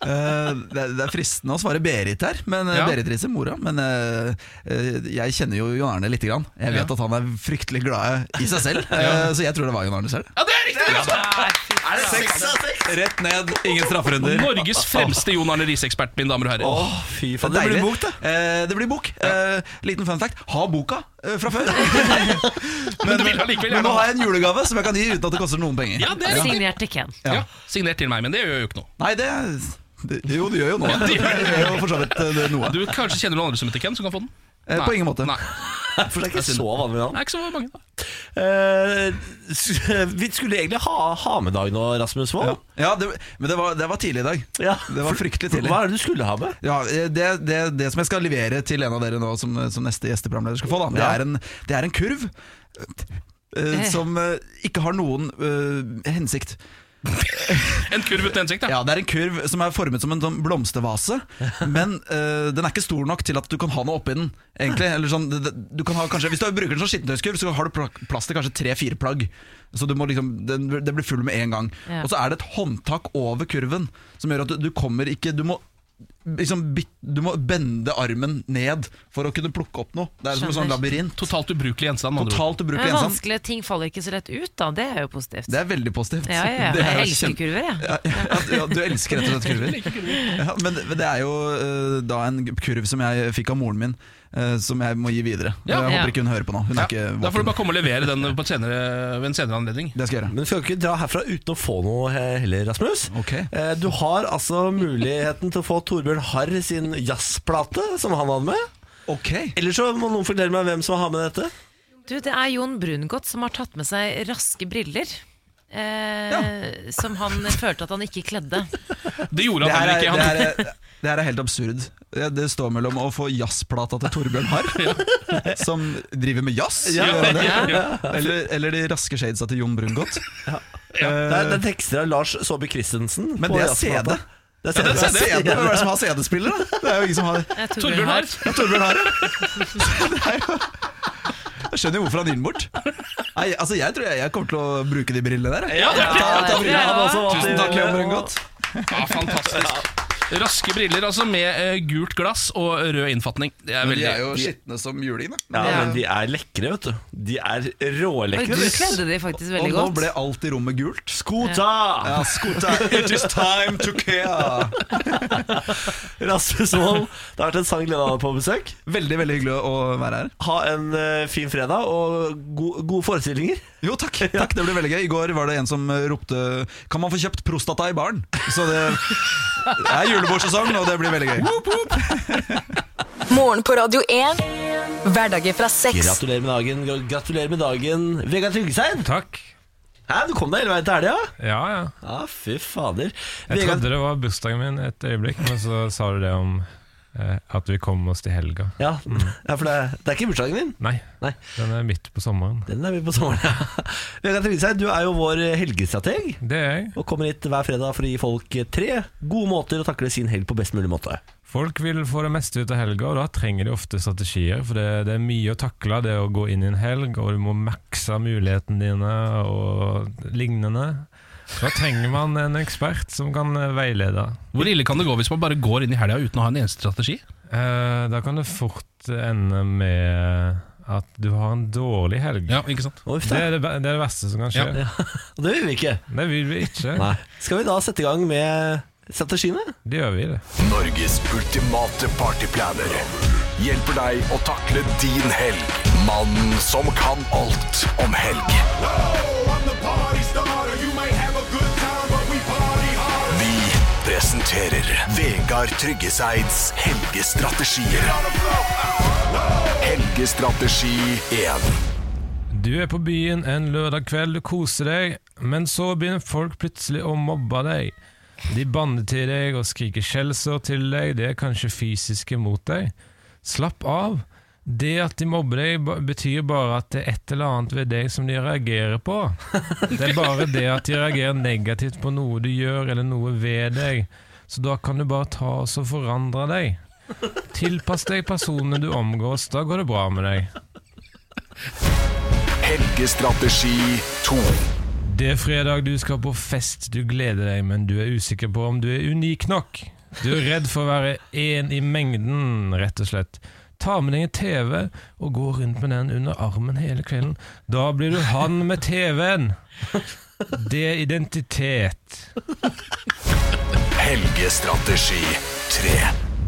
[SPEAKER 5] Eh, det, er- det er fristende å svare Berit her, men eh,
[SPEAKER 2] Ja.
[SPEAKER 5] Berit Riise, mora. Men eh, eh, jeg kjenner jo Jon Arne lite grann. Jeg vet
[SPEAKER 2] Ja.
[SPEAKER 5] at han er fryktelig glad i seg selv, eh, så jeg tror det var Jon Arne selv.
[SPEAKER 2] Ja, det er riktig!
[SPEAKER 5] Rett ned, ingen strafferunder.
[SPEAKER 2] Norges fremste Jon Arne Riise-ekspert, mine damer og herrer.
[SPEAKER 1] Åh, fy faen, det
[SPEAKER 5] Deilig.
[SPEAKER 1] blir bok, det.
[SPEAKER 5] Eh, det blir bok. Eh, liten fun fact. Ha boka eh, fra før.
[SPEAKER 2] Men du vil allikevel
[SPEAKER 5] men
[SPEAKER 2] gjerne
[SPEAKER 5] nå
[SPEAKER 2] ha
[SPEAKER 5] har jeg en julegave som jeg kan gi uten at det koster noen penger.
[SPEAKER 2] Ja, det er riktig.
[SPEAKER 3] Signert til Ken.
[SPEAKER 2] Ja, signert til meg, men det gjør jo ikke noe.
[SPEAKER 5] Nei, det, det Jo, det gjør jo noe. Det gjør jo for så vidt eh, det noe.
[SPEAKER 2] Du kanskje kjenner noen andre som heter Ken, som kan få den?
[SPEAKER 5] Eh, på ingen måte.
[SPEAKER 2] Nei,
[SPEAKER 1] For det er ikke så vanlig navn.
[SPEAKER 2] det er ikke så mange. da
[SPEAKER 1] Eh, s- vi skulle egentlig ha, ha med deg nå, Rasmus
[SPEAKER 5] Ja,
[SPEAKER 1] Wold.
[SPEAKER 5] ja det, Men det var, det var tidlig i dag.
[SPEAKER 1] Ja.
[SPEAKER 5] Det var fryktelig tidlig.
[SPEAKER 1] Hva er det du skulle ha med?
[SPEAKER 5] Ja, eh, det, det, det som jeg skal levere til en av dere nå, som, som neste gjesteprogramleder skal få, da, det,
[SPEAKER 1] Ja.
[SPEAKER 5] er en, det er en kurv eh, som eh, ikke har noen eh, hensikt.
[SPEAKER 2] En kurv uten hensikt, ja.
[SPEAKER 5] Ja, Det er en kurv som er formet som en sånn blomstervase, men eh, den er ikke stor nok til at du kan ha noe oppi den. egentlig Eller sånn, det- det- du kan ha kanskje, Hvis du bruker den som skittentøyskurv, så har du pla- plass til kanskje tre-fire plagg. Så du må liksom, den, det blir full med en gang.
[SPEAKER 3] Ja.
[SPEAKER 5] Og så er det et håndtak over kurven som gjør at du, du kommer ikke Du må liksom bit- Du må bende armen ned for å kunne plukke opp noe. Det er som en sånn
[SPEAKER 3] Skjønner.
[SPEAKER 5] labyrint.
[SPEAKER 2] Totalt ubrukelig gjenstand. med andre ord.
[SPEAKER 5] Totalt ubrukelig
[SPEAKER 3] Men
[SPEAKER 5] ensom.
[SPEAKER 3] vanskelige ting faller ikke så lett ut, da. Det er jo positivt.
[SPEAKER 5] Det er veldig positivt.
[SPEAKER 3] Ja, ja, ja.
[SPEAKER 5] Det er
[SPEAKER 3] Jeg elsker
[SPEAKER 5] kjempe-
[SPEAKER 3] kurver, jeg.
[SPEAKER 5] ja, ja, ja, du elsker rett og slett kurver. Ja, men, men det er jo eh, da en kurv som jeg fikk av moren min, eh, som jeg må gi videre.
[SPEAKER 2] Ja.
[SPEAKER 3] Ja.
[SPEAKER 5] Jeg håper ikke hun hører på nå. Hun
[SPEAKER 2] Ja,
[SPEAKER 5] er
[SPEAKER 2] da får
[SPEAKER 5] ikke
[SPEAKER 2] du
[SPEAKER 5] våken.
[SPEAKER 2] bare komme og levere den på et senere, ved en senere anledning.
[SPEAKER 5] Det skal jeg gjøre.
[SPEAKER 1] Men du skal jo ikke dra herfra uten å få noe he- heller, Rasmus.
[SPEAKER 5] Ok.
[SPEAKER 1] Eh, Du har altså muligheten til å få Torbjørn Harr sin jazzplate, som han hadde med.
[SPEAKER 5] Ok
[SPEAKER 1] Eller så må noen fortelle meg hvem som har med dette.
[SPEAKER 3] Du, det er Jon Brungot som har tatt med seg raske briller. Eh, Som han følte at han ikke kledde.
[SPEAKER 2] Det gjorde
[SPEAKER 5] det
[SPEAKER 2] han
[SPEAKER 5] her,
[SPEAKER 2] heller
[SPEAKER 5] er,
[SPEAKER 2] ikke.
[SPEAKER 5] det,
[SPEAKER 2] Han,
[SPEAKER 5] her er, det her er helt absurd. Det det står mellom å få jazzplata til Torbjørn Harr, som driver med jazz, gjør han det? Eller, eller de raske shadesa til Jon Brungot.
[SPEAKER 1] Det er, det er tekster av Lars Saabye Christensen.
[SPEAKER 5] Men
[SPEAKER 1] på
[SPEAKER 5] det er CD.
[SPEAKER 1] jazzplata. Det
[SPEAKER 2] Ja,
[SPEAKER 1] er
[SPEAKER 2] det er
[SPEAKER 1] CD.
[SPEAKER 2] CD.
[SPEAKER 5] Hvem er det som har CD-spiller, da? Det er jo ingen som har
[SPEAKER 3] Eh,
[SPEAKER 2] Torbjørn Harr.
[SPEAKER 5] Ja, Torbjørn Harre. Jeg skjønner jo hvorfor han gir den bort. Nei, altså Jeg tror jeg, jeg kommer til å bruke de brillene der. jeg.
[SPEAKER 2] Ja, det er-
[SPEAKER 3] Ja, det tror jeg
[SPEAKER 1] Han
[SPEAKER 3] også.
[SPEAKER 1] også var
[SPEAKER 5] Tusen
[SPEAKER 1] til-
[SPEAKER 5] takk, Leon Brungot.
[SPEAKER 2] ja, fantastisk. Raske briller, altså, med eh, gult glass og rød innfatning. Det er
[SPEAKER 5] De
[SPEAKER 2] veldig
[SPEAKER 5] er jo skitne som juling, da.
[SPEAKER 1] Ja,
[SPEAKER 3] Ja.
[SPEAKER 1] men de er lekre, vet du. De er
[SPEAKER 3] Oi,
[SPEAKER 1] rålekre.
[SPEAKER 3] du kledde de faktisk
[SPEAKER 5] Og
[SPEAKER 3] veldig
[SPEAKER 5] nå
[SPEAKER 3] godt.
[SPEAKER 5] ble alt i rommet gult.
[SPEAKER 1] Skota!
[SPEAKER 5] Ja, skota. It is time to care.
[SPEAKER 1] Rasmus Wold, det har vært en sann glede å ha deg på besøk.
[SPEAKER 5] Veldig veldig hyggelig å være her.
[SPEAKER 1] Ha en eh, fin fredag og go gode forestillinger.
[SPEAKER 5] Jo, takk. takk, Det ble veldig gøy. I går var det en som ropte 'Kan man få kjøpt prostata i baren?' Så det det er julebordsesong, og det blir veldig gøy.
[SPEAKER 4] Morgen på Radio 1. Hverdager fra seks.
[SPEAKER 1] Gratulerer med dagen, gra- gratulerer med dagen Vegard Tryggeseid.
[SPEAKER 6] Takk.
[SPEAKER 1] Hæ, du kom deg hele veien til helga?
[SPEAKER 6] Ja, ja.
[SPEAKER 1] Ja, fy fader.
[SPEAKER 6] Jeg
[SPEAKER 1] Vegard-
[SPEAKER 6] trodde det var bursdagen min et øyeblikk, men så sa du det om eh, at vi kom oss til helga.
[SPEAKER 1] ja, ja, for det, det er ikke bursdagen din.
[SPEAKER 6] Nei,
[SPEAKER 1] Nei.
[SPEAKER 6] den er midt på sommeren.
[SPEAKER 1] Den er vi på sommeren, ja. Vegard Tryggeseid, du er jo vår helgestrateg.
[SPEAKER 6] Det er jeg.
[SPEAKER 1] Og kommer hit hver fredag for å gi folk tre gode måter å takle sin helg på best mulig måte.
[SPEAKER 6] Folk vil få det meste ut av helga, og da trenger de ofte strategier. For det, det er mye å takle, det å gå inn i en helg, og du må makse mulighetene dine og lignende. Da trenger man en ekspert som kan eh, veilede.
[SPEAKER 2] Hvor ille kan det gå hvis man bare går inn i helga uten å ha en eneste strategi?
[SPEAKER 6] Eh, da kan det fort ende med at du har en dårlig helg.
[SPEAKER 2] Ja, ikke sant?
[SPEAKER 1] Og uff
[SPEAKER 6] Det,
[SPEAKER 1] da,
[SPEAKER 6] er det, ve- det er det verste som kan skje.
[SPEAKER 1] og det vil vi ikke.
[SPEAKER 6] Det vil vi ikke.
[SPEAKER 1] Nei. Skal vi da sette i gang med strategiene?
[SPEAKER 6] Det gjør vi det.
[SPEAKER 7] Norges ultimate partyplaner hjelper deg å takle din helg. Mannen som kan alt om helg. Vi, det presenterer Vegard Tryggeseids helgestrategier. Helgestrategi 1.
[SPEAKER 6] Du er på byen en lørdag kveld, du koser deg, men så begynner folk plutselig å mobbe deg. De banner til deg og skriker skjellsord til deg, de er kanskje fysiske mot deg. Slapp av. Det at de mobber deg, ba- betyr bare at det er et eller annet ved deg som de reagerer på. Det er bare det at de reagerer negativt på noe du gjør, eller noe ved deg. Så da kan du bare ta og så forandre deg. Tilpass deg personene du omgås, da går det bra med deg.
[SPEAKER 7] Helgestrategi 2.
[SPEAKER 6] Det er fredag, du skal på fest, du gleder deg, men du er usikker på om du er unik nok. Du er redd for å være én i mengden, rett og slett. Ta med deg en TV og gå rundt med den under armen hele kvelden. Da blir du han med TV-en. Det er identitet.
[SPEAKER 7] Helgestrategi 3.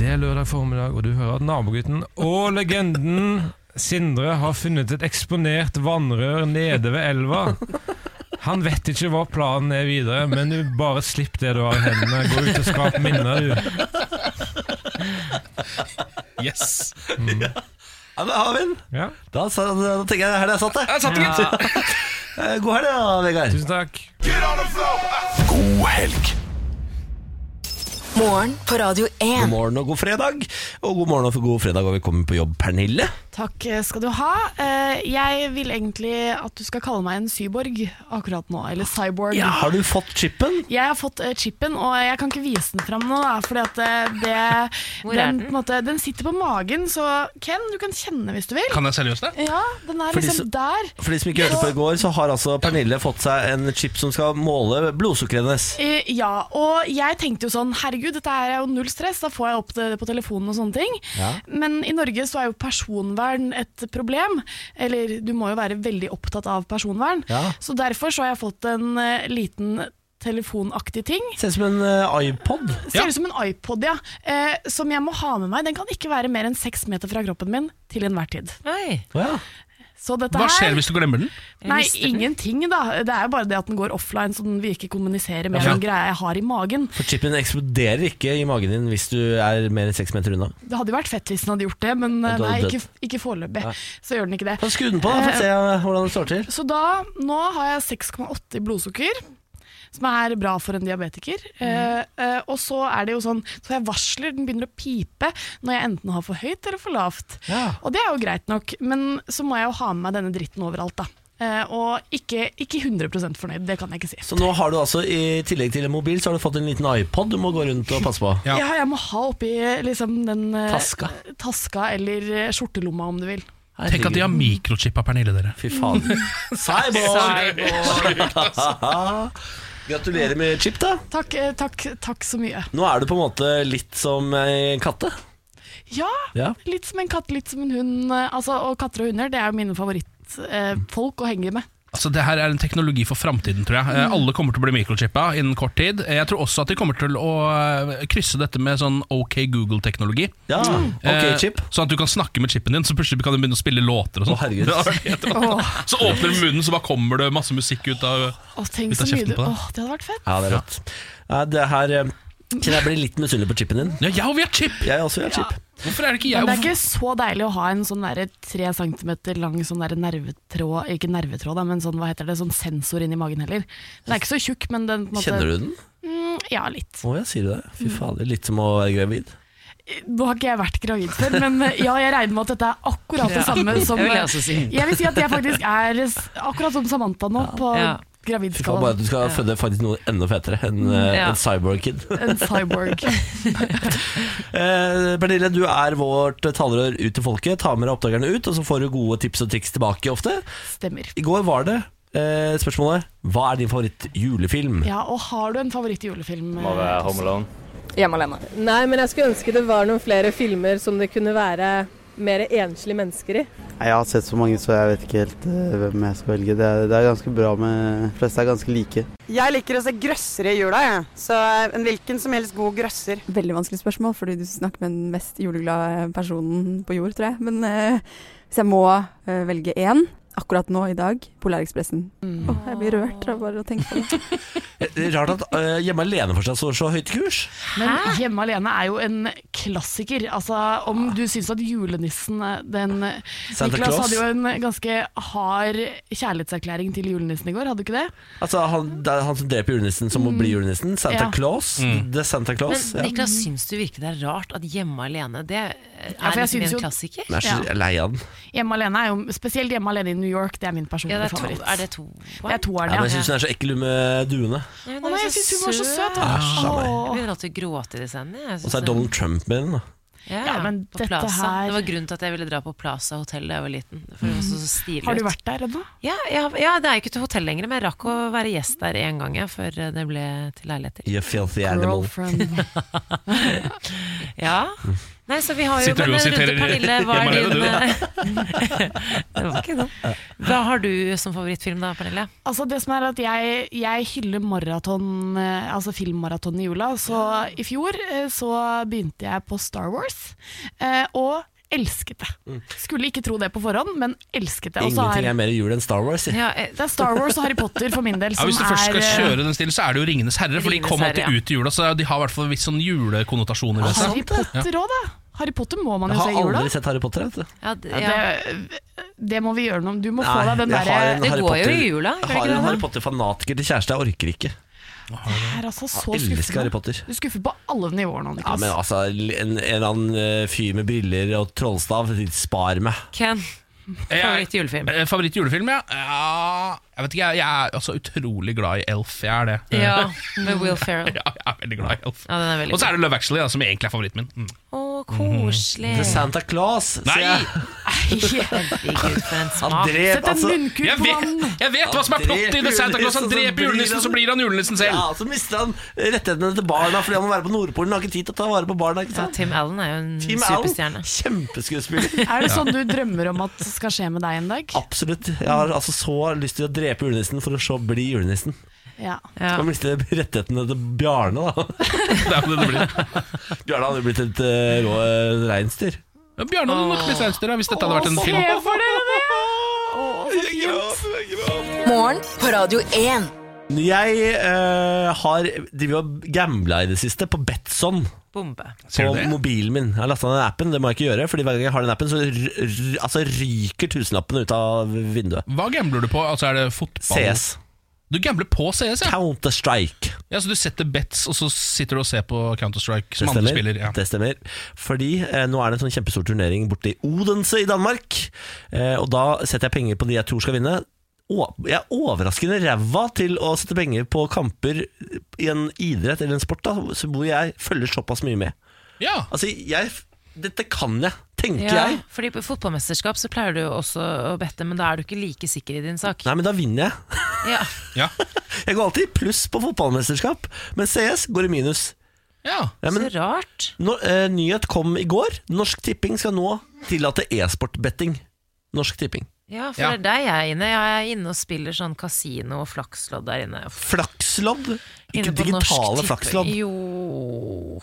[SPEAKER 6] Det er lørdag formiddag, og du hører at nabogutten og legenden Sindre har funnet et eksponert vannrør nede ved elva. Han vet ikke hva planen er videre, men du bare slipp det du har i hendene. Gå ut og skap minner, du.
[SPEAKER 2] Yes!
[SPEAKER 1] Ja, men Havin,
[SPEAKER 6] Ja.
[SPEAKER 1] da, sa- da tenker jeg her det er satt, det.
[SPEAKER 2] Jeg satt det, gitt!
[SPEAKER 1] Eh, God helg, da, Vegard.
[SPEAKER 6] Tusen takk.
[SPEAKER 7] God helg.
[SPEAKER 4] Morgen på Radio
[SPEAKER 1] God
[SPEAKER 4] 1.
[SPEAKER 1] morgen og god fredag. Og god morgen og god fredag, og velkommen på jobb, Pernille.
[SPEAKER 8] Takk skal du ha. Eh, Jeg vil egentlig at du skal kalle meg en syborg akkurat nå, eller cyborg.
[SPEAKER 1] Har du fått chipen?
[SPEAKER 8] Jeg har fått eh, chipen, og jeg kan ikke vise den fram nå, da, fordi at eh, det,
[SPEAKER 3] Hvor er
[SPEAKER 8] den,
[SPEAKER 3] den?
[SPEAKER 8] på en måte, den sitter på magen, så Ken, du kan kjenne hvis du vil.
[SPEAKER 2] Kan jeg seriøst det?
[SPEAKER 8] Ja, den er
[SPEAKER 1] Fordi
[SPEAKER 8] liksom
[SPEAKER 1] så-
[SPEAKER 8] der.
[SPEAKER 1] For de som ikke hørte på i går, så har altså Pernille fått seg en chip som skal måle blodsukkeret hennes.
[SPEAKER 8] Eh, Ja, og jeg tenkte jo sånn Herregud, dette er jo null stress, da får jeg opp det på telefonen og sånne ting. Men i Norge så er jo personvern et problem. Eller du må jo være veldig opptatt av personvern.
[SPEAKER 1] Ja.
[SPEAKER 8] Så derfor så har jeg fått en eh, liten telefonaktig ting.
[SPEAKER 1] Ser ut som en eh, iPod.
[SPEAKER 8] Ser ut som en iPod, ja. Eh, som jeg må ha med meg. Den kan ikke være mer enn seks meter fra kroppen min til enhver tid.
[SPEAKER 3] Oi.
[SPEAKER 1] Ja.
[SPEAKER 8] Så dette
[SPEAKER 2] Hva
[SPEAKER 8] her
[SPEAKER 2] skjer hvis du glemmer den?
[SPEAKER 8] Nei,
[SPEAKER 3] mister den?
[SPEAKER 8] ingenting, da. Det er jo bare det at den går offline, så den vil ikke kommunisere med
[SPEAKER 2] Ja.
[SPEAKER 8] den greia jeg har i magen.
[SPEAKER 1] For chipen eksploderer ikke i magen din hvis du er mer enn seks meter unna.
[SPEAKER 8] Det hadde jo vært fett hvis den hadde gjort det, men
[SPEAKER 1] Men
[SPEAKER 8] eh,
[SPEAKER 1] da
[SPEAKER 8] nei,
[SPEAKER 1] er det
[SPEAKER 8] ikke, ikke foreløpig. Så gjør den ikke det.
[SPEAKER 1] Kan skru den på, da, for å se eh, hvordan det står til.
[SPEAKER 8] Så da, nå har jeg 6,8 i blodsukker. Som er bra for en diabetiker.
[SPEAKER 1] Mm.
[SPEAKER 8] Eh, eh, og så er det jo sånn Så jeg varsler, den begynner å pipe når jeg enten har for høyt eller for lavt.
[SPEAKER 1] Ja.
[SPEAKER 8] Og det er jo greit nok, men så må jeg jo ha med meg denne dritten overalt, da. Eh, og ikke, ikke 100 fornøyd, det kan jeg ikke si.
[SPEAKER 1] Så nå har du altså, i tillegg til en mobil, så har du fått en liten iPod du må gå rundt og passe på.
[SPEAKER 2] Ja.
[SPEAKER 8] Ja, jeg må ha oppi liksom den eh,
[SPEAKER 1] Taska.
[SPEAKER 8] taska eller eh, skjortelomma, om du vil.
[SPEAKER 2] Tenk at de har mikrochippa Pernille, dere.
[SPEAKER 1] Fy faen. Cyborg! Gratulerer med chip, da.
[SPEAKER 8] Takk, eh, takk, takk så mye.
[SPEAKER 1] Nå er du på en måte litt som eh, en katte.
[SPEAKER 8] Ja,
[SPEAKER 1] Ja.
[SPEAKER 8] litt som en katt, litt som en hund. eh, Altså, og katter og hunder det er jo mine favorittfolk eh, folk å henge med.
[SPEAKER 2] Altså, det her er en teknologi for framtiden, tror jeg. Eh,
[SPEAKER 8] Mm.
[SPEAKER 2] Alle kommer til å bli mikrochippa innen kort tid. Eh, Jeg tror også at de kommer til å eh, krysse dette med sånn OK Google-teknologi.
[SPEAKER 1] Ja, ok,
[SPEAKER 2] Eh,
[SPEAKER 1] chip.
[SPEAKER 2] Sånn at du kan snakke med chipen din, så plutselig kan du begynne å spille låter
[SPEAKER 1] Å,
[SPEAKER 2] og sånn.
[SPEAKER 1] herregud.
[SPEAKER 2] Det hadde vært helt rått. Så åpner du munnen, så bare kommer det masse musikk ut av
[SPEAKER 8] Og
[SPEAKER 2] Vi
[SPEAKER 8] tenk
[SPEAKER 2] tar
[SPEAKER 8] så mye
[SPEAKER 2] kjeften
[SPEAKER 8] du
[SPEAKER 2] på deg.
[SPEAKER 8] Åh, det hadde vært fett.
[SPEAKER 1] Ja, det er rått. Ja, det her eh, Kjenner jeg blir litt misunnelig på chipen din.
[SPEAKER 2] Ja, jeg og vi har chip!
[SPEAKER 1] Jeg også vil ha chip.
[SPEAKER 2] Hvorfor er det ikke jeg?
[SPEAKER 8] Men det er ikke så deilig å ha en sånn derre tre centimeter lang sånn derre nervetråd Ikke nervetråd, da, men sånn, hva heter det, sånn sensor inni magen heller. Den er ikke så tjukk, men den på en måte, Mm,
[SPEAKER 1] Kjenner du den?
[SPEAKER 8] Ja, litt.
[SPEAKER 1] Å, jeg sier det. Fy
[SPEAKER 8] Mm.
[SPEAKER 1] fader. Litt som å være gravid.
[SPEAKER 8] Nå har ikke jeg vært gravid før, men eh, ja, jeg regner med at dette er akkurat det samme som
[SPEAKER 3] det
[SPEAKER 8] eh,
[SPEAKER 3] vil jeg også si.
[SPEAKER 8] Jeg vil si at jeg faktisk er s- akkurat som Samantha nå, på
[SPEAKER 3] Ja.
[SPEAKER 1] Fy faen, bare at
[SPEAKER 8] gravidskalaen.
[SPEAKER 1] du skal føde faktisk noe enda fetere enn
[SPEAKER 8] Mm,
[SPEAKER 1] eh,
[SPEAKER 3] Ja.
[SPEAKER 1] en cyborg-kid.
[SPEAKER 8] En cyborg.
[SPEAKER 1] Eh, Pernille, du er vårt talerør ut til folket. Ta med deg oppdagerne ut, og så får du gode tips og triks tilbake ofte.
[SPEAKER 8] Stemmer.
[SPEAKER 1] I går var det eh, spørsmålet Hva er din favoritt-julefilm?
[SPEAKER 8] Ja, og har du en favorittjulefilm?
[SPEAKER 9] Må være Home Alone.
[SPEAKER 4] Hjemme alene.
[SPEAKER 10] Nei, men jeg skulle ønske det var noen flere filmer som det kunne være mer enslige mennesker i.
[SPEAKER 9] Jeg har sett så mange, så jeg vet ikke helt eh, hvem jeg skal velge. Det er, det er ganske bra med De fleste er ganske like.
[SPEAKER 10] Jeg liker å se grøssere i jula, jeg. Så en hvilken som helst god grøsser.
[SPEAKER 11] Veldig vanskelig spørsmål, fordi du snakker med den mest juleglade personen på jord, tror jeg. Men eh, hvis jeg må eh, velge én, akkurat nå i dag Polarekspressen. Åh, jeg blir rørt av bare å tenke på det.
[SPEAKER 1] Det er Rart at eh, Hjemme alene fortsatt står så høyt i kurs.
[SPEAKER 8] Men Hjemme alene er jo en klassiker. Altså, om du syns at julenissen eh, den,
[SPEAKER 1] Santa
[SPEAKER 8] Niklas
[SPEAKER 1] Claus.
[SPEAKER 8] hadde jo en ganske hard kjærlighetserklæring til julenissen i går, hadde du ikke det?
[SPEAKER 1] Altså han, Det er han som dreper julenissen, som må bli julenissen. Santa
[SPEAKER 8] Mm. Ja.
[SPEAKER 1] Claus. Det er Santa Claus.
[SPEAKER 3] Men Niklas, syns du virkelig det er rart at Hjemme alene det er
[SPEAKER 8] for jeg
[SPEAKER 3] liksom
[SPEAKER 8] syns
[SPEAKER 3] en
[SPEAKER 8] jo-
[SPEAKER 3] klassiker?
[SPEAKER 1] Jeg er så
[SPEAKER 8] Ja.
[SPEAKER 1] lei av den.
[SPEAKER 8] Hjemme alene er jo Spesielt Hjemme alene i New York, det er min personlige
[SPEAKER 3] Ja, det er to-
[SPEAKER 8] favoritt.
[SPEAKER 3] er det to-
[SPEAKER 8] Det er toeren,
[SPEAKER 1] Ja, men jeg
[SPEAKER 8] ja.
[SPEAKER 1] syns hun er så ekkel hun med duene.
[SPEAKER 3] Nei,
[SPEAKER 8] Å nei, jeg synes hun var så søt, da.
[SPEAKER 1] Æsj a meg.
[SPEAKER 3] Jeg begynner alltid å gråte i de scenene. jeg
[SPEAKER 1] Og så
[SPEAKER 3] synes
[SPEAKER 1] er
[SPEAKER 3] det-
[SPEAKER 1] Donald Trump med den. da
[SPEAKER 3] Ja,
[SPEAKER 8] Ja, men
[SPEAKER 3] på
[SPEAKER 8] dette
[SPEAKER 3] Plaza.
[SPEAKER 8] her-
[SPEAKER 3] Det var grunnen til at jeg ville dra på Plaza hotell da jeg var liten. For det var så, så stilig
[SPEAKER 8] Har du
[SPEAKER 3] ut.
[SPEAKER 8] vært der ennå?
[SPEAKER 3] Ja, ja, ja, det er jo ikke til hotell lenger, men jeg rakk å være gjest der én gang jeg, før eh, det ble til leiligheter.
[SPEAKER 1] You filthy animal.
[SPEAKER 3] ja. Nei, så vi har jo
[SPEAKER 1] Sitter du og
[SPEAKER 3] men en runde,
[SPEAKER 1] siterer
[SPEAKER 3] Pernille, hva er
[SPEAKER 1] Hjemme
[SPEAKER 3] din eh,
[SPEAKER 1] alene,
[SPEAKER 3] Det var ikke noe. Hva har du som favorittfilm da, Pernille?
[SPEAKER 8] Altså det som er at jeg, jeg hyller maraton, eh, altså filmmaraton i jula. Så i fjor eh, så begynte jeg på Star Wars, eh, og elsket det. Skulle ikke tro det på forhånd, men elsket det. Og så
[SPEAKER 1] Ingenting er mer jul enn Star Wars. si.
[SPEAKER 3] eh,
[SPEAKER 8] det er Star Wars og Harry Potter for min del
[SPEAKER 2] Ja,
[SPEAKER 8] som
[SPEAKER 2] hvis du først skal
[SPEAKER 8] er eh,
[SPEAKER 2] kjøre den stilen, så er det jo 'Ringenes herre', for de
[SPEAKER 8] Ringenes
[SPEAKER 2] kom alltid
[SPEAKER 8] herre, ja.
[SPEAKER 2] ut i jula, så de har i hvert fall visse sånn julekonnotasjoner ved seg.
[SPEAKER 8] Harry Potter òg, da. Harry Potter må man
[SPEAKER 2] Jeg
[SPEAKER 8] jo
[SPEAKER 2] har
[SPEAKER 8] se i jula.
[SPEAKER 2] aldri
[SPEAKER 1] sett Harry Potter, vet du.
[SPEAKER 3] Ja,
[SPEAKER 8] Ja, det, det må vi gjøre noe om. Du må få
[SPEAKER 1] Nei,
[SPEAKER 8] deg den
[SPEAKER 1] jeg har
[SPEAKER 8] derre
[SPEAKER 1] en Harry Potter- Jeg har en Harry Potter-fanatiker til kjæreste, jeg orker ikke.
[SPEAKER 8] Jeg er altså så
[SPEAKER 1] Jeg elsker Harry
[SPEAKER 8] skuffende.
[SPEAKER 1] Potter.
[SPEAKER 8] Du skuffer på alle nivåer nå,
[SPEAKER 1] Ja,
[SPEAKER 8] Niklas.
[SPEAKER 1] men altså, en, en eller annen eh, fyr med briller og trollstav, spar meg.
[SPEAKER 3] Ken, favoritt julefilm?
[SPEAKER 2] Eh, Favoritt julefilm, ja. ja jeg vet ikke, jeg, jeg er altså utrolig glad i Elf, jeg er det. Eh,
[SPEAKER 3] Ja, med Will Ferrell.
[SPEAKER 2] Ja, jeg er veldig glad i Elf.
[SPEAKER 3] Ja, den er veldig
[SPEAKER 2] Og så er det Love Actually, da, som egentlig er favoritten min. Mm.
[SPEAKER 3] Å, koselig.
[SPEAKER 2] Det er sant.
[SPEAKER 1] Santa Claus!
[SPEAKER 2] Nei!
[SPEAKER 3] Herregud, for en
[SPEAKER 2] Han
[SPEAKER 3] smak.
[SPEAKER 2] dreper,
[SPEAKER 3] Sett en
[SPEAKER 2] altså-
[SPEAKER 3] munnkuk
[SPEAKER 2] Jeg
[SPEAKER 3] på
[SPEAKER 2] vet-
[SPEAKER 3] han.
[SPEAKER 2] Jeg vet hva som er plottet i det Santa Claus. Han dreper julenissen, så blir han julenissen selv.
[SPEAKER 1] Ja, Så mister han rettighetene til barna fordi han må være på Nordpolen. Han har ikke tid til å ta vare på barna. ikke
[SPEAKER 3] Ja,
[SPEAKER 1] sant?
[SPEAKER 3] Tim Allen er jo en
[SPEAKER 1] Tim Allen,
[SPEAKER 3] superstjerne.
[SPEAKER 1] Kjempeskuespiller.
[SPEAKER 8] Er det sånn du drømmer om at skal skje med deg en dag?
[SPEAKER 1] Absolutt. Jeg har altså så lyst til å drepe julenissen for å så bli julenissen.
[SPEAKER 8] Ja.
[SPEAKER 1] Han mister rettighetene til Bjarne, da.
[SPEAKER 2] det er jo det det blir.
[SPEAKER 1] Bjarne hadde jo blitt et eh, rå eh, reinsdyr.
[SPEAKER 2] Ja, Bjarne hadde nok blitt reinsdyr da, hvis dette hadde vært en
[SPEAKER 4] Åh,
[SPEAKER 2] film.
[SPEAKER 4] se for Morgen på Radio 1.
[SPEAKER 1] Jeg eh, har drivet og gambla i det siste på Betson.
[SPEAKER 3] Bombe.
[SPEAKER 1] På mobilen min. Jeg har lasta ned den appen, det må jeg ikke gjøre. Fordi hver gang jeg har den appen, så r r altså ryker tusenlappene ut av vinduet.
[SPEAKER 2] Hva gambler du på? Altså Er det fotball?
[SPEAKER 1] CS.
[SPEAKER 2] Du gambler på CS, ja?
[SPEAKER 1] Counter-Strike.
[SPEAKER 2] ja så du setter bets, og så sitter du og ser på Counter-Strike
[SPEAKER 1] Det
[SPEAKER 2] som andre
[SPEAKER 1] stemmer.
[SPEAKER 2] spiller? Ja.
[SPEAKER 1] det stemmer. Fordi eh, nå er det en sånn kjempestor turnering borte i Odense i Danmark. Eh, og da setter jeg penger på de jeg tror skal vinne. Og jeg er overraskende ræva til å sette penger på kamper i en idrett eller en sport da, så hvor jeg følger såpass mye med.
[SPEAKER 2] Ja.
[SPEAKER 1] Altså, jeg, dette kan jeg, tenker
[SPEAKER 3] Ja,
[SPEAKER 1] jeg.
[SPEAKER 3] fordi på fotballmesterskap så pleier du jo også å bette, men da er du ikke like sikker i din sak.
[SPEAKER 1] Nei, men da vinner jeg.
[SPEAKER 3] Ja.
[SPEAKER 1] Jeg går alltid i pluss på fotballmesterskap, men CS går i minus. Ja, men-
[SPEAKER 3] Så rart.
[SPEAKER 1] Når, eh, nyhet kom i går. Norsk Tipping skal nå tillate e-sportbetting. Norsk Tipping.
[SPEAKER 3] Ja, for
[SPEAKER 1] Ja.
[SPEAKER 3] det er der jeg er inne. Jeg er inne og spiller sånn kasino og flakslodd der inne.
[SPEAKER 1] Flakslodd? Ikke
[SPEAKER 3] Inne på Norsk
[SPEAKER 1] digitale
[SPEAKER 3] Tipping.
[SPEAKER 1] flakslodd.
[SPEAKER 3] Jo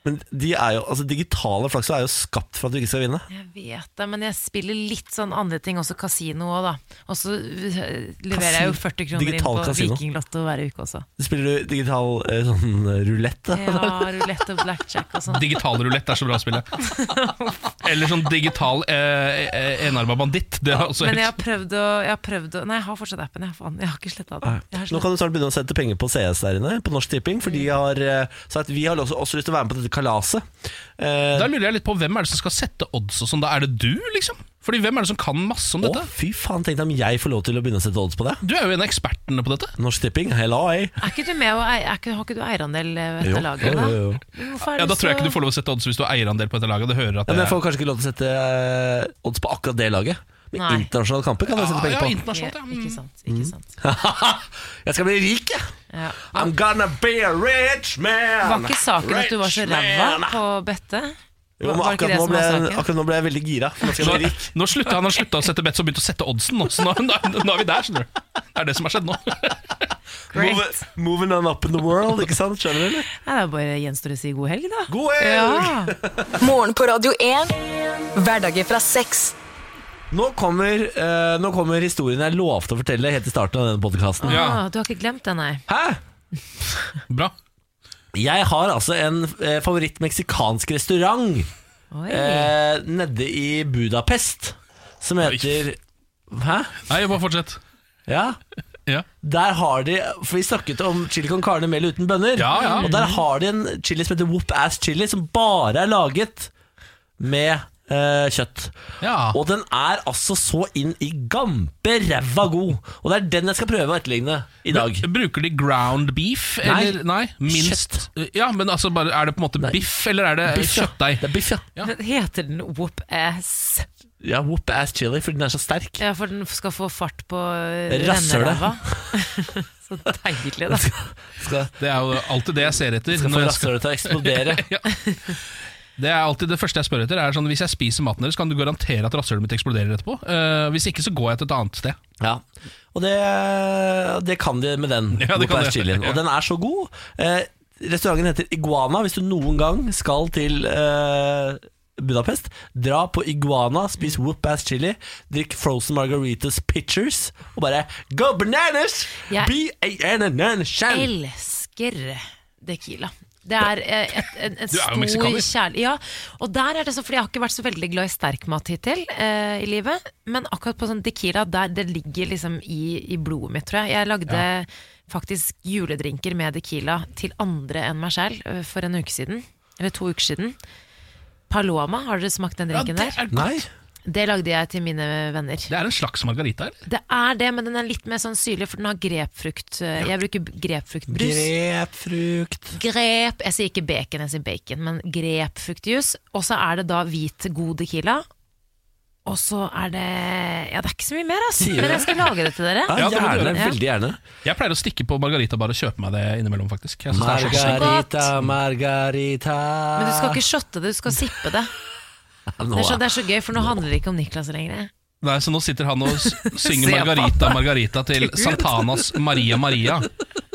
[SPEAKER 1] Men de er jo, altså, digitale flakslodd er jo skapt for at du ikke skal vinne.
[SPEAKER 3] Jeg vet det, men jeg spiller litt sånn andre ting, også kasino òg, da. Og så øh, leverer jeg jo
[SPEAKER 1] Kasino.
[SPEAKER 3] 40 kroner inn
[SPEAKER 1] Digital
[SPEAKER 3] på
[SPEAKER 1] kasino.
[SPEAKER 3] Vikinglotto hver uke også.
[SPEAKER 1] Spiller du digital eh, sånn eh, rulett? da?
[SPEAKER 3] Ja, rulett og blackjack og sånn.
[SPEAKER 2] Digital rulett er så bra å spille. Eller sånn digital eh, eh, enarma banditt. Det er også
[SPEAKER 3] Men jeg har
[SPEAKER 2] helt
[SPEAKER 3] prøvd å, jeg har prøvd å Nei, jeg har fortsatt appen, jeg, faen. Jeg har ikke sletta den. Jeg har
[SPEAKER 1] Nå kan du snart begynne å sette penger på CS der inne, på Norsk Tipping. For de
[SPEAKER 3] Mm.
[SPEAKER 1] har eh, sagt vi har også, også lyst til å være med på dette kalaset. Eh,
[SPEAKER 2] Da lurer jeg litt på hvem er det som skal sette odds og sånn. Da er det du, liksom? Fordi hvem er det som kan masse om dette?
[SPEAKER 1] Eh, Å, fy faen, tenkte jeg om jeg får lov til å begynne å sette odds på det.
[SPEAKER 2] Du er jo en av ekspertene på dette.
[SPEAKER 1] Norsk Tipping, hello. eh.
[SPEAKER 3] Er ikke du med og eier, er ikke, har ikke du eierandel eh, ved
[SPEAKER 1] Jo,
[SPEAKER 3] dette laget?
[SPEAKER 1] jo,
[SPEAKER 3] da?
[SPEAKER 1] jo, jo.
[SPEAKER 3] Men hvorfor er
[SPEAKER 2] Ja,
[SPEAKER 3] det
[SPEAKER 2] Da tror jeg
[SPEAKER 3] så-
[SPEAKER 2] ikke du får lov å sette odds hvis du har eierandel på dette laget. og Det hører at
[SPEAKER 1] Ja, men jeg får
[SPEAKER 2] det
[SPEAKER 1] kanskje ikke lov til å sette eh, odds på akkurat det laget. Men
[SPEAKER 3] Nei.
[SPEAKER 1] internasjonale kamper kan jeg sette penger på.
[SPEAKER 3] ja. Ikke sant. Ikke
[SPEAKER 1] Mm.
[SPEAKER 3] sant.
[SPEAKER 1] jeg skal bli rik, jeg.
[SPEAKER 3] Ja.
[SPEAKER 1] I'm gonna be a rich man.
[SPEAKER 3] Var ikke saken at du var så
[SPEAKER 1] Rich man.
[SPEAKER 3] ræva på å bette?
[SPEAKER 1] Jo, men
[SPEAKER 3] Var ikke
[SPEAKER 1] akkurat
[SPEAKER 3] det
[SPEAKER 1] nå,
[SPEAKER 3] som
[SPEAKER 1] ble,
[SPEAKER 3] var
[SPEAKER 1] jeg-
[SPEAKER 3] saken?
[SPEAKER 1] akkurat nå ble jeg veldig gira. for Nå skal jeg bli
[SPEAKER 2] Mm. nå,
[SPEAKER 1] rik.
[SPEAKER 2] nå slutta han har slutta å sette bets og begynt å sette oddsen, nå, så nå, nå, nå er vi der. skjønner du Det er det som har skjedd nå.
[SPEAKER 1] Move- moving on up in the world, ikke sant? Skjønner du, eller?
[SPEAKER 3] Nei, det er bare gjenstår å si god helg, da.
[SPEAKER 1] God
[SPEAKER 3] helg! Ja.
[SPEAKER 4] Morgen på Radio 1. Hverdager fra seks.
[SPEAKER 1] Nå kommer, eh, nå kommer historien jeg lovte å fortelle helt i starten av denne podkasten.
[SPEAKER 3] Ah, du har ikke glemt det, nei?
[SPEAKER 2] Bra.
[SPEAKER 1] Jeg har altså en eh, favoritt meksikansk restaurant eh, nede i Budapest som heter Hæ?
[SPEAKER 2] Nei, bare fortsett.
[SPEAKER 1] Ja. Der har de For vi snakket om chili con carne med eller uten bønner.
[SPEAKER 2] ja.
[SPEAKER 1] Og der har de en chili som heter whoop ass chili, som bare er laget med eh, kjøtt. Og den er altså så inn i gampe ræva god. Og det er den jeg skal prøve å etterligne i dag.
[SPEAKER 2] Bruker de ground beef?
[SPEAKER 1] Nei.
[SPEAKER 2] Eller, nei minst Ja, men altså bare, Er det på en måte biff, eller er det
[SPEAKER 1] Biff, ja.
[SPEAKER 2] kjøttdeig?
[SPEAKER 1] Det er biff, ja.
[SPEAKER 3] Heter den whoop ass?
[SPEAKER 1] Ja, whoop ass chili, fordi den er så sterk.
[SPEAKER 3] Ja, for den skal få fart på
[SPEAKER 1] Rasshølet.
[SPEAKER 3] renneræva. Så deilig, da.
[SPEAKER 2] Det er jo alltid det jeg ser etter.
[SPEAKER 1] Skal få
[SPEAKER 2] når jeg
[SPEAKER 1] rasshølet til å eksplodere.
[SPEAKER 2] Ja. Det er alltid det første jeg spør etter. Er sånn, hvis jeg spiser maten deres, kan du garantere at rasshølet mitt eksploderer etterpå? Eh, hvis ikke, så går jeg til et annet sted.
[SPEAKER 1] Ja. Og det, det kan de med den.
[SPEAKER 2] Ja, det kan
[SPEAKER 1] Whoop-ass
[SPEAKER 2] de.
[SPEAKER 1] chilien.
[SPEAKER 2] Ja.
[SPEAKER 1] Og den er så god. Eh, restauranten heter Iguana. Hvis du noen gang skal til eh, Budapest, dra på Iguana, spis
[SPEAKER 2] Mm.
[SPEAKER 1] whoop-ass chili, drikk frozen margaritas pictures, og bare go bananas!
[SPEAKER 3] Jeg-
[SPEAKER 1] B-A-N-N-N-Shan!
[SPEAKER 3] elsker tequila. Det er eh, et, en, en
[SPEAKER 1] Du er jo
[SPEAKER 3] stor
[SPEAKER 1] meksikaner.
[SPEAKER 3] kjærlighet Ja, og der er det sånn, fordi jeg har ikke vært så veldig glad i sterkmat hittil eh, i livet, men akkurat på sånn tequila, der, det ligger liksom i, i blodet mitt, tror jeg. Jeg lagde
[SPEAKER 12] Ja.
[SPEAKER 3] faktisk juledrinker med tequila til andre enn meg selv eh, for en uke siden, eller to uker siden. Paloma, har dere smakt den drinken der?
[SPEAKER 1] Nei.
[SPEAKER 3] Det lagde jeg til mine venner.
[SPEAKER 2] Det er en slags margarita, eller?
[SPEAKER 3] Det er det, men den er litt mer sånn syrlig, for den har grepfrukt. eh, Jeg bruker b- grepfruktbrus.
[SPEAKER 1] Grepfrukt.
[SPEAKER 3] Grep, jeg sier ikke bacon, jeg sier bacon, men grepfruktjus. Og så er det da hvit, god tequila. Og så er det Ja, det er ikke så mye mer, ass.
[SPEAKER 2] Sier du
[SPEAKER 3] Men
[SPEAKER 2] det?
[SPEAKER 3] jeg skal lage det til dere.
[SPEAKER 2] Ja, det må du gjøre.
[SPEAKER 1] gjerne.
[SPEAKER 2] Jeg pleier å stikke på margarita bare og kjøpe meg det innimellom, faktisk. Jeg synes det er så godt.
[SPEAKER 1] Margarita, margarita
[SPEAKER 3] Men du skal ikke shotte det, du skal sippe det.
[SPEAKER 1] Nå
[SPEAKER 3] Det er, så,
[SPEAKER 2] er-
[SPEAKER 3] det er så gøy, for nå handler det ikke om Niklas lenger.
[SPEAKER 2] Nei, Så nå sitter han og s- synger
[SPEAKER 3] Se på
[SPEAKER 2] Margarita,
[SPEAKER 3] han.
[SPEAKER 2] Margarita til
[SPEAKER 3] Gud.
[SPEAKER 2] Santanas Maria Maria.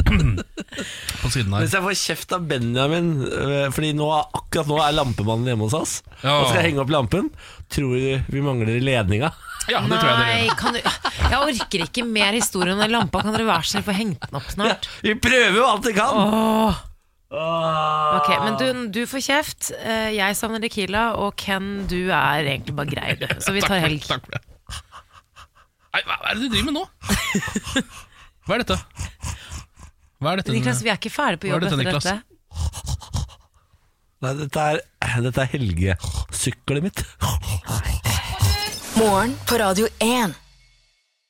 [SPEAKER 2] På siden her.
[SPEAKER 1] Hvis jeg får kjeft av Benjamin øh, Fordi nå, akkurat nå er lampemannen hjemme hos oss
[SPEAKER 2] Ja.
[SPEAKER 1] Og skal jeg henge opp lampen Tror du vi mangler ledninga?
[SPEAKER 2] Ja,
[SPEAKER 3] Nei, kan du Jeg orker ikke mer historie om den lampa. Kan dere være så snill få hengt den opp snart?
[SPEAKER 1] Vi prøver jo alt vi kan
[SPEAKER 3] Åh.
[SPEAKER 2] Ah.
[SPEAKER 3] Ok, men du, du får kjeft. Eh, Jeg savner Tequila, og Ken, du er egentlig bare grei, du. Så vi
[SPEAKER 2] Takk
[SPEAKER 3] tar
[SPEAKER 2] for-
[SPEAKER 3] helg.
[SPEAKER 2] Takk for det. Nei, hva er det du driver med nå? Hva er dette? Hva er dette?
[SPEAKER 3] Niklas, vi er ikke ferdig på
[SPEAKER 2] Hva er
[SPEAKER 3] jobb
[SPEAKER 2] dette,
[SPEAKER 3] etter
[SPEAKER 2] Niklas?
[SPEAKER 3] dette.
[SPEAKER 1] Nei, dette er, dette er helgesyklet mitt
[SPEAKER 4] Morgen på Radio 1.